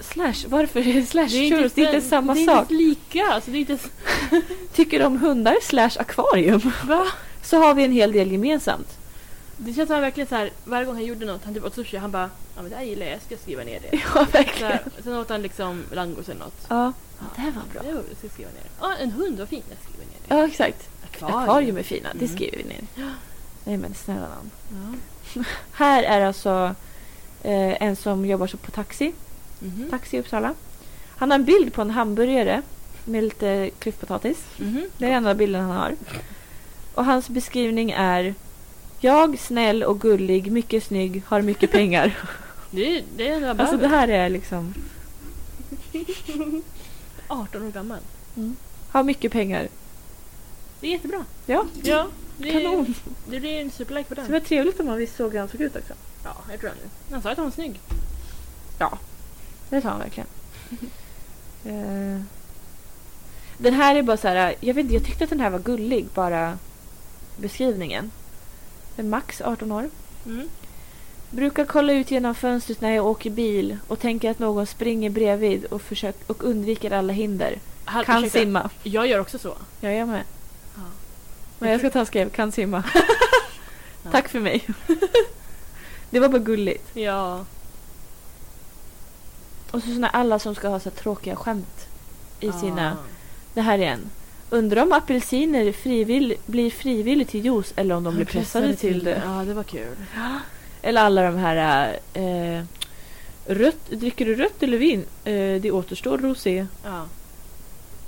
A: slash, varför är det slash churros? Det är inte samma
B: det
A: sak.
B: Det är inte ens lika. Alltså, det är inte ens...
A: Tycker om hundar slash akvarium
B: Va?
A: så har vi en hel del gemensamt.
B: Det känns som han verkligen så här, varje gång han gjorde något, han typ åt sushi, han bara ja men det här gillar jag, jag ska skriva ner det.
A: Ja,
B: Så
A: verkligen.
B: här, sen åt han liksom langos eller något.
A: Ja, det här var bra.
B: Jo, jag ska skriva ner det. Ja, en hund, vad fin, jag skriver ner det.
A: Ja, exakt.
B: Akvarium.
A: Akvarium är fina, det
B: Mm.
A: skriver vi ner. Nej men snälla nån.
B: Ja.
A: Här är alltså eh, en som jobbar så på taxi,
B: Mhm.
A: taxi i Uppsala. Han har en bild på en hamburgare med lite klyftpotatis.
B: Mhm.
A: Det är den enda bilden han har. Och hans beskrivning är Jag, snäll och gullig, mycket snygg, har mycket pengar.
B: Det är det är bara
A: alltså det här är liksom,
B: 18 år gammal.
A: har mycket pengar.
B: Det är jättebra.
A: Ja,
B: Ja. Det är,
A: kanon.
B: Det blir en superlike på
A: Så
B: den.
A: det var trevligt om man visste såg hur han såg ut också.
B: Ja, jag tror han Han sa att han var snygg.
A: Det sa han verkligen. Eh, den här är bara så här, jag vet inte, jag tyckte att den här var gullig, bara beskrivningen. Det är max 18 år.
B: Mm.
A: Brukar kolla ut genom fönstret när jag åker bil och tänker att någon springer bredvid och, försök, och undviker alla hinder.
B: Han,
A: Kan
B: ursäkta,
A: simma.
B: Jag gör också så.
A: Jag är med.
B: Ja.
A: Men jag ska ta och skriva, kan simma.
B: Ja.
A: Tack för mig. det var bara gulligt.
B: Ja.
A: Och så såna alla som ska ha så här tråkiga skämt i sina...
B: Ah.
A: Det här igen. Undrar om apelsiner frivill, blir frivilligt till juice eller om de
B: Han
A: blir pressade till det.
B: Ja, det var kul.
A: Eller alla de här... Eh, rött, dricker du rött eller vin? Eh, det återstår rosé.
B: Ja.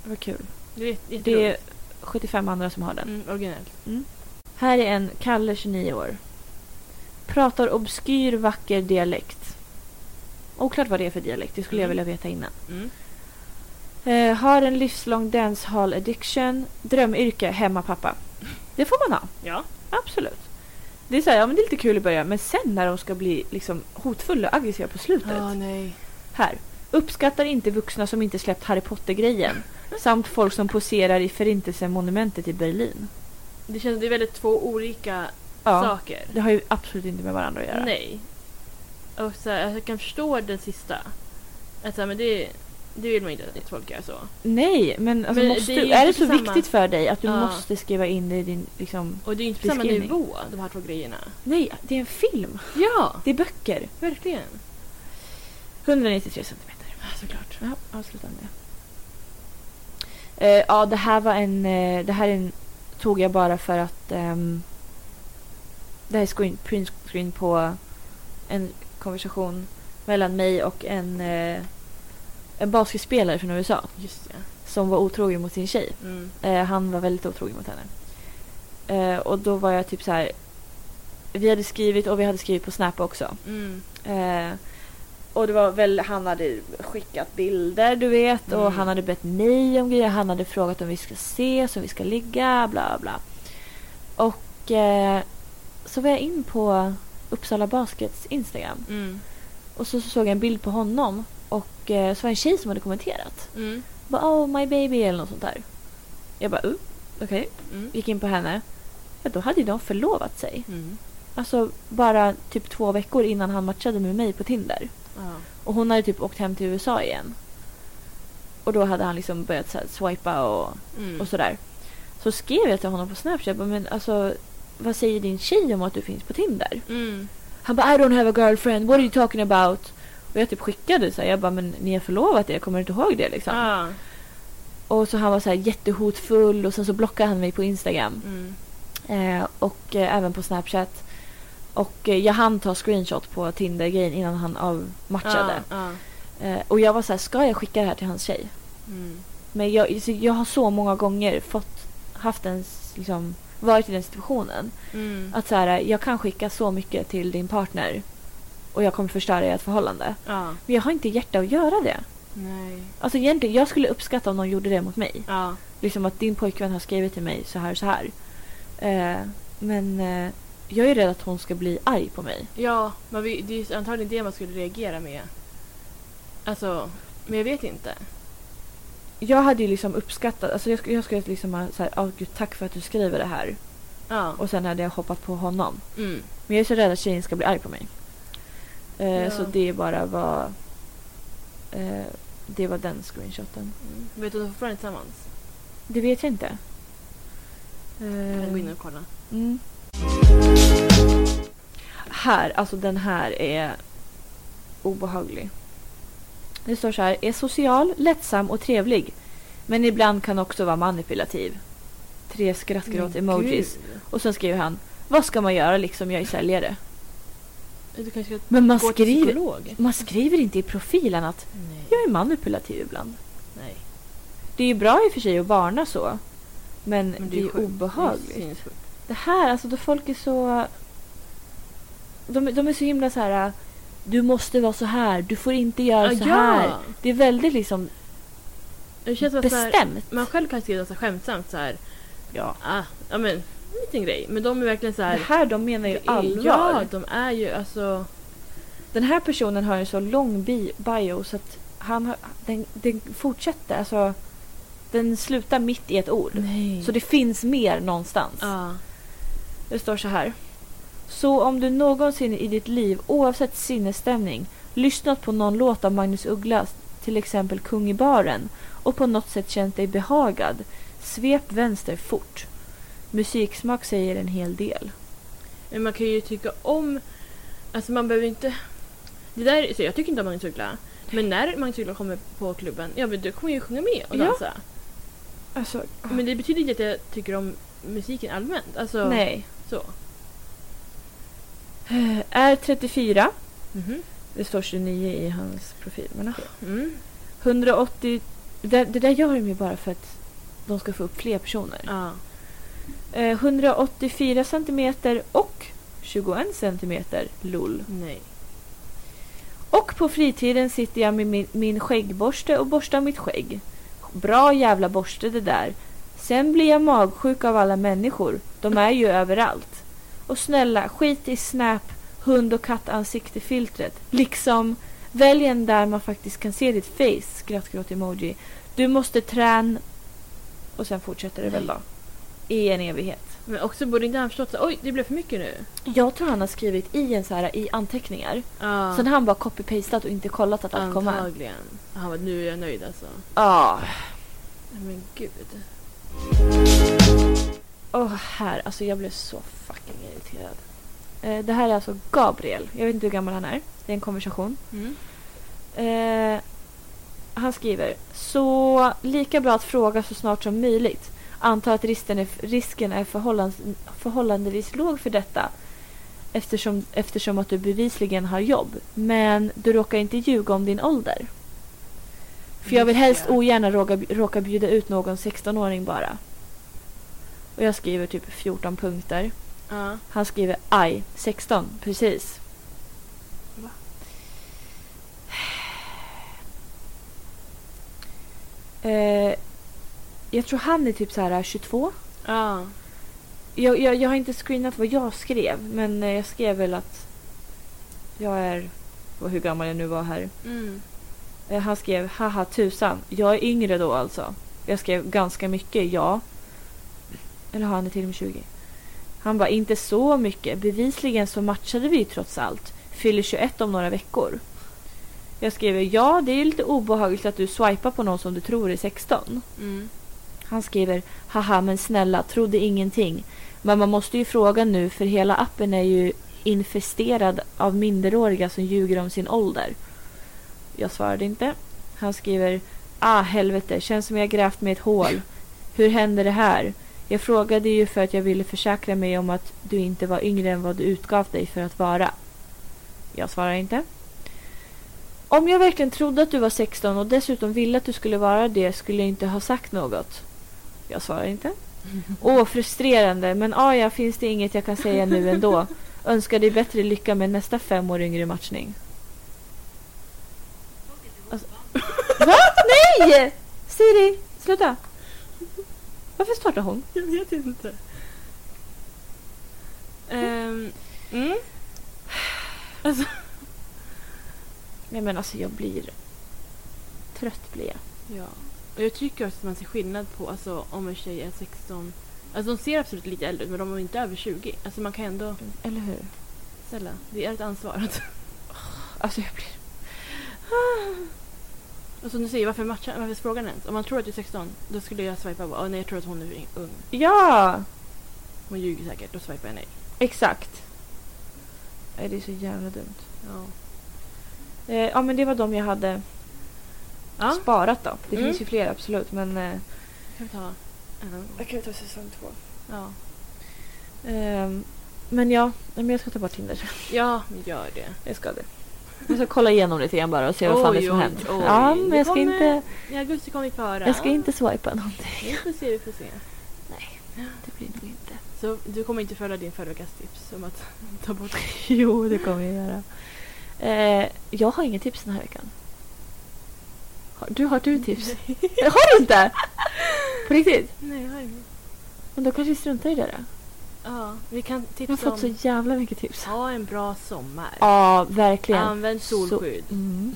A: Vad kul.
B: Det är jätte-
A: Det är
B: jätteroligt.
A: 75 andra som har den.
B: Mm, originellt.
A: Här är en Kalle, 29 år. Pratar obskyr, vacker dialekt. Oklart vad det är för dialekt, det skulle jag
B: Mm.
A: vilja veta innan.
B: Mm.
A: Eh, har en livslång dancehall addiction. Drömyrke, hemmapappa. Det får man ha,
B: Ja.
A: absolut. Det är, så här, ja, men det är lite kul i början, men sen när de ska bli liksom, hotfulla och aggressiva på slutet.
B: Ah, nej.
A: Här. Uppskattar inte vuxna som inte släppt Harry Potter-grejen. Samt folk som poserar i Förintelsemonumentet i Berlin.
B: Det känns det är väldigt två olika
A: Ja,
B: saker.
A: det har ju absolut inte med varandra att göra.
B: Nej. Och så här, alltså, jag kan förstå den sista. Att så här, men det, det vill man inte att folk gör så.
A: Nej, men, alltså,
B: Men
A: måste,
B: det är
A: är,
B: ju
A: är
B: inte
A: det så
B: samma.
A: viktigt för dig att du
B: Ja.
A: måste skriva in det i din... Liksom...
B: Och det är ju inte på samma
A: Beskrivning.
B: nivå, de här två grejerna.
A: Nej, det är en film.
B: Ja,
A: Det är böcker.
B: verkligen.
A: 193 centimeter.
B: Ja, Såklart.
A: Ja, avsluta med det. Eh, ja, det här var en... eh, det här är en, tog jag bara för att... ehm, det här är screen, print screen på en konversation mellan mig och en, eh, en basketspelare från USA
B: Just det.
A: som var otrogen mot sin tjej.
B: Mm.
A: Eh, han var väldigt otrogen mot henne. Eh, och då var jag typ så här. Vi hade skrivit och vi hade skrivit på Snap också.
B: Mm.
A: Eh, och det var väl, han hade skickat bilder du vet och
B: Mm.
A: han hade bett mig om grejer. Han hade frågat om vi ska ses, om vi ska ligga, bla bla. Och eh, så var jag in på Uppsala Baskets Instagram
B: Mm.
A: och så, så såg jag en bild på honom och eh, så var det en tjej som hade kommenterat.
B: Mm.
A: Bara, oh my baby eller något sånt där. Jag bara, uh, okej.
B: Mm.
A: Gick in på henne. Ja, då hade ju de förlovat sig.
B: Mm.
A: Alltså bara typ två veckor innan han matchade med mig på Tinder.
B: Ja.
A: Och hon hade typ åkt hem till USA igen. Och då hade han liksom börjat så här, swipa och,
B: Mm.
A: och sådär. Så skrev jag till honom på Snapchat. Jag bara, men alltså vad säger din tjej om att du finns på Tinder?
B: Mm.
A: Han bara I don't have a girlfriend, what are you talking about? Och jag typ skickade så här, jag bara men ni har förlovat er, jag kommer inte ihåg det liksom?
B: Ja.
A: Och så han var så här jättehotfull och sen så blockade han mig på Instagram.
B: Mm.
A: Eh, och eh, även på Snapchat. Och eh, jag hann ta screenshot på Tinder-grejen innan han avmatchade.
B: Ja. Ja.
A: Eh, och jag var så här, ska jag skicka det här till hans tjej?
B: Mm.
A: Men jag, så jag har så många gånger fått, haft en, s- liksom, varit i den situationen.
B: Mm.
A: Att så här, jag kan skicka så mycket till din partner och jag kommer förstöra ert förhållande.
B: Ja.
A: Men jag har inte hjärta att göra det.
B: Nej.
A: Alltså egentligen, jag skulle uppskatta om någon gjorde det mot mig.
B: Ja.
A: Liksom att din pojkvän har skrivit till mig så här så här. Eh, men eh, jag är rädd att hon ska bli arg på mig.
B: Ja, men vi, det är ju antagligen det man skulle reagera med. Alltså, men jag vet inte.
A: Jag hade ju liksom uppskattat, alltså jag, sk- jag skulle liksom ha så här, "Åh, gud tack för att du skriver det här.
B: Ja.
A: Och sen hade jag hoppat på honom.
B: Mm.
A: Men jag är så rädd att tjejen ska bli arg på mig. Eh,
B: Ja.
A: Så det är bara vad... Eh, det var den screenshoten.
B: Mm. Vet du att de fortfarande är tillsammans?
A: Det vet jag inte.
B: Jag kan gå in
A: Eh,
B: och kolla.
A: mm. Här, alltså den här är obehaglig. Det står så här, är social, lättsam och trevlig. Men ibland kan också vara manipulativ. Tre skrattgråt-emojis.
B: Men
A: Och sen skriver han, vad ska man göra liksom, jag är säljare.
B: gud. Du kanske ska
A: Men man
B: gå till
A: skriver,
B: psykolog?
A: man skriver inte i profilen att
B: Nej.
A: jag är manipulativ ibland.
B: Nej.
A: Det är ju bra i och för sig att varna så. Men, det är, ju
B: sjukt. Det är
A: obehagligt.
B: sinnessjukt.
A: Det här, alltså då folk är så... De, de är så himla så här... Du måste vara så här, du får inte göra så här. Det är väldigt liksom
B: Ah, Det känns bara så här,
A: bestämt.
B: man själv kan skriva så här skämtsamt så här. Ja. Ah, ja men, en liten grej. Men de är verkligen så här.
A: det här de menar ju
B: det är-
A: allvar.
B: Ja, de är ju alltså.
A: Den här personen har en så lång bi- bio så att han har, den, den fortsätter, alltså den slutar mitt i ett ord.
B: Nej.
A: Så det finns mer någonstans.
B: Ja.
A: Det står så här. Så om du någonsin i ditt liv, oavsett sinnesstämning, lyssnat på någon låt av Magnus Uggla, till exempel Kung i baren, och på något sätt känt dig behagad, svep vänster fort. Musiksmak säger en hel del.
B: Men man kan ju tycka om... Alltså man behöver inte... Det där, så jag tycker inte om Magnus Uggla. Men när Magnus Uggla kommer på klubben, ja men då kommer jag ju sjunga med och
A: Ja.
B: dansa.
A: Alltså,
B: Men det betyder inte att jag tycker om musiken allmänt. Alltså,
A: nej. Eh,
B: Så.
A: Är 34.
B: Mhm.
A: Det står 29 i hans profil. Men, ja.
B: Mm.
A: 180... Det, det där gör de ju bara för att de ska få upp fler personer.
B: Ja.
A: Eh, 184 centimeter och 21 centimeter, LOL.
B: Nej.
A: Och på fritiden sitter jag med min, min skäggborste och borstar mitt skägg. Bra jävla borste det där. Sen blir jag magsjuk av alla människor. De är ju överallt. Och snälla, skit i Snap, hund och kattansikte-filtret. Liksom, välj en där man faktiskt kan se ditt face, skrattgråt-emoji. Du måste träna... Och sen fortsätter det väl då. I en evighet.
B: Men också borde inte han förstått så, oj det blev för mycket nu.
A: Jag tror han har skrivit i en så här i anteckningar.
B: Ja.
A: Sen har han bara copy-pastat och inte kollat att allt kommer.
B: Antagligen. Han bara, nu är jag nöjd alltså.
A: Ja.
B: Men gud.
A: Åh här, alltså jag blev så fucking irriterad. Eh, det här är alltså Gabriel. Jag vet inte hur gammal han är. Det är en konversation.
B: Mm.
A: Eh, han skriver. Så lika bra att fråga så snart som möjligt. Antar att risken är, risken är förhållands, förhållandevis låg för detta. Eftersom, eftersom att du bevisligen har jobb. Men du råkar inte ljuga om din ålder. För jag vill
B: Just
A: helst
B: det.
A: ogärna råka, råka bjuda ut någon 16-åring bara. Och jag skriver typ 14 punkter.
B: Ja.
A: Han skriver aj, 16, precis.
B: Va?
A: Eh, jag tror han är typ så här 22.
B: Ja.
A: Jag, jag, jag har inte screenat vad jag skrev, men eh, jag skrev väl att jag är, vad- hur gammal jag nu var här.
B: Mm.
A: Eh, Han skrev haha tusan, jag är yngre då alltså. Jag skrev ganska mycket, ja. Eller har han det till och med 20? Han bara inte så mycket, bevisligen så matchade vi ju trots allt. Fyller 21 om några veckor. Jag skrev ja, det är lite obehagligt att du swipar på någon som du tror är 16.
B: Mm.
A: Han skriver haha men snälla, trodde ingenting. Men man måste ju fråga nu för hela appen är ju infesterad av minderåriga som ljuger om sin ålder. Jag svarade inte. Han skriver ah helvete, känns som jag grävt mig ett hål. Hur hände det här? Jag frågade ju för att jag ville försäkra mig om att du inte var yngre än vad du utgav dig för att vara. Jag svarar inte. Om jag verkligen trodde att du var 16 och dessutom ville att du skulle vara det skulle jag inte ha sagt något. Jag svarar inte. Åh, frustrerande, men ah, ja, finns det inget jag kan säga nu ändå. Önskar dig bättre lycka med nästa fem år yngre matchning. Alltså, va? Nej! Siri, sluta! Varför startar hon?
B: Jag vet inte. Ehm, mm.
A: Nej men alltså jag blir... Trött blir jag.
B: Ja. Och jag tycker också att man ser skillnad på alltså, om en tjej är 16. Alltså de ser absolut lite äldre ut men de är inte över 20. Alltså man kan ändå...
A: Eller hur?
B: Snälla, det är ett ansvar.
A: Alltså jag blir...
B: Och som du säger, varför, matchar, varför frågar den ens? Om man tror att du är 16, då skulle jag swipa bara, "Åh, nej jag tror att hon är ung.
A: Ja!
B: Hon ljuger säkert, då swipar jag nej.
A: Exakt. Nej, det är så jävla dumt.
B: Ja.
A: Eh, ja men det var de jag hade
B: ja.
A: sparat då. Det
B: Mm.
A: finns ju fler absolut men... Eh,
B: Kan vi ta en annan gång?
A: Jag kan ta säsong två.
B: Ja.
A: Ehm, men ja, nej, men jag ska ta bort Tinder.
B: ja, men gör det.
A: Jag ska det. Jag ska kolla igenom lite igen bara och se vad fan det är
B: Oj,
A: som
B: oj,
A: hänt.
B: oj.
A: Ja, men
B: Det
A: jag ska,
B: kommer-
A: inte,
B: I augusti kommer vi få höra.
A: jag ska inte swipa någonting.
B: Vi får se, vi får se.
A: Det blir nog inte.
B: Så du kommer inte följa din förra veckas tips om att ta bort...
A: Jo, det kommer jag göra. Eh, jag har inget tips den här veckan. Har du, har du tips? har du inte? På riktigt?
B: Nej, jag har inget.
A: Men då kanske vi struntar i det då.
B: Ja, vi kan
A: Jag har
B: tipsa
A: fått
B: om...
A: så jävla mycket tips.
B: Ha en bra sommar.
A: Ja, verkligen.
B: Använd
A: Så-
B: solskydd.
A: Mm.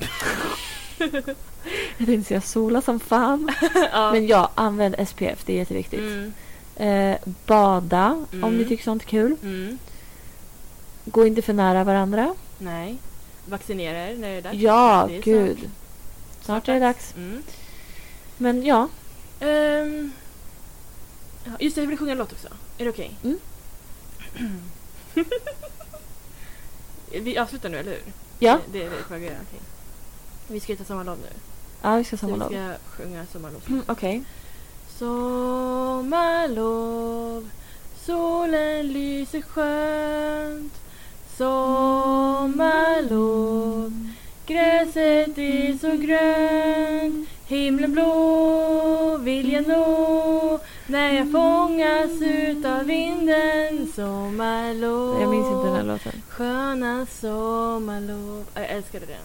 A: jag tänkte säga sola som fan.
B: ja.
A: Men ja, använd SPF. Det är jätteviktigt.
B: mm.
A: Eh, bada om
B: Mm.
A: ni tycker sånt är kul.
B: Mm.
A: Gå inte för nära varandra.
B: Nej. Vaccinera er när det är dags.
A: Ja,
B: Det är
A: gud.
B: snart.
A: Snart är det dags.
B: Mm.
A: Men ja,
B: Ehm, ja, just det, jag vill sjunga en låt också. Är det okej?
A: Mm.
B: vi avslutar nu, eller hur?
A: ja.
B: Det, det är det jag göra. Okej. Vi ska ju ta sommarlov nu.
A: ja vi ska ha
B: Så vi
A: sommarlov.
B: ska sjunga sommarlov.
A: Mm, Okej.
B: Sommarlov Solen lyser skönt Sommarlov Gräset är så grönt Himlen blå vill jag nå När jag fångas utav vinden Sommarlov
A: Jag minns inte den här låten.
B: Sköna sommarlov Jag älskade den.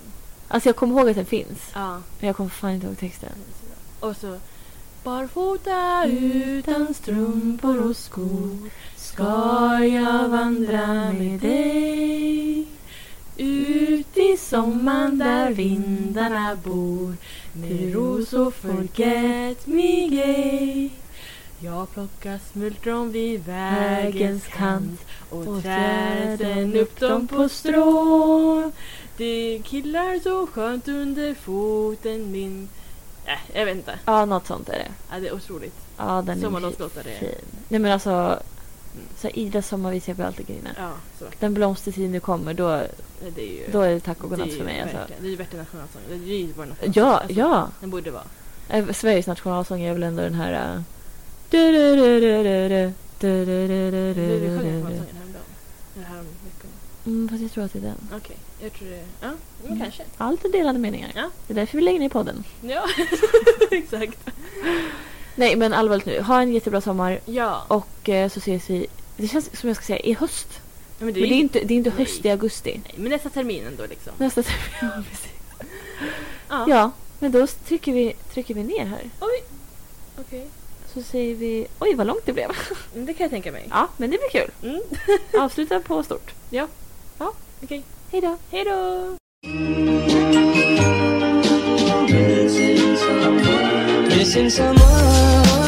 A: Alltså jag kommer ihåg att den finns.
B: Ja.
A: Men jag kommer fan inte ihåg texten.
B: Och så Barfota utan strumpor och skor ska jag vandra med dig Ut i sommaren där vindarna bor med rosor forget me gay Jag plockar smultron vid vägens kant och trär sen upp dem på strån Det killar så skönt under foten min Äh, jag vet inte.
A: Ja, något sånt är det.
B: Ja, det är otroligt.
A: Ja, den är
B: Sommarlovslåtar är...
A: fin. Nej men alltså, så här, Ida sommarvis jag blir alltid grinig.
B: Ja, så vackert.
A: Den blomstertid nu kommer, då,
B: Nej, Det är ju...
A: då är det tack och
B: det är
A: godnatt
B: ju
A: för mig. Alltså.
B: verkligen- Det är ju värt en nationalsång. Det är ju vår nationalsång.
A: Ja,
B: Alltså,
A: ja.
B: Den borde vara.
A: Eh, Sveriges nationalsång är väl ändå den här... eh, du-du-du-du-du-du,
B: Du, vi sjöng
A: du-du-du-du-du-du.
B: nationalsången häromdagen. Eller häromveckan.
A: Mm, fast jag tror att det är den.
B: Okej, jag tror det... Ja, men
A: Mm.
B: kanske.
A: Allt är delade meningar.
B: Ja.
A: Det är därför vi lägger ner podden.
B: Ja, exakt.
A: Nej men allvarligt nu, ha en jättebra sommar
B: Ja.
A: och eh, så ses vi, det känns som jag ska säga i höst.
B: Ja, men det
A: Men det är
B: ju-
A: inte, det är inte
B: Nej.
A: höst, det är augusti.
B: Nej, men nästa termin ändå liksom.
A: Nästa termin. Ja, precis.
B: Ja.
A: Ja, men då trycker vi, trycker vi ner här.
B: Oj. Okej.
A: Så säger vi, oj vad långt det blev.
B: Mm, Det kan jag tänka mig.
A: Ja, men det blir kul.
B: Mm.
A: Avsluta på stort.
B: Ja.
A: Ja,
B: Okej.
A: hej då.
B: Hej då!
C: Missing someone. Missing someone.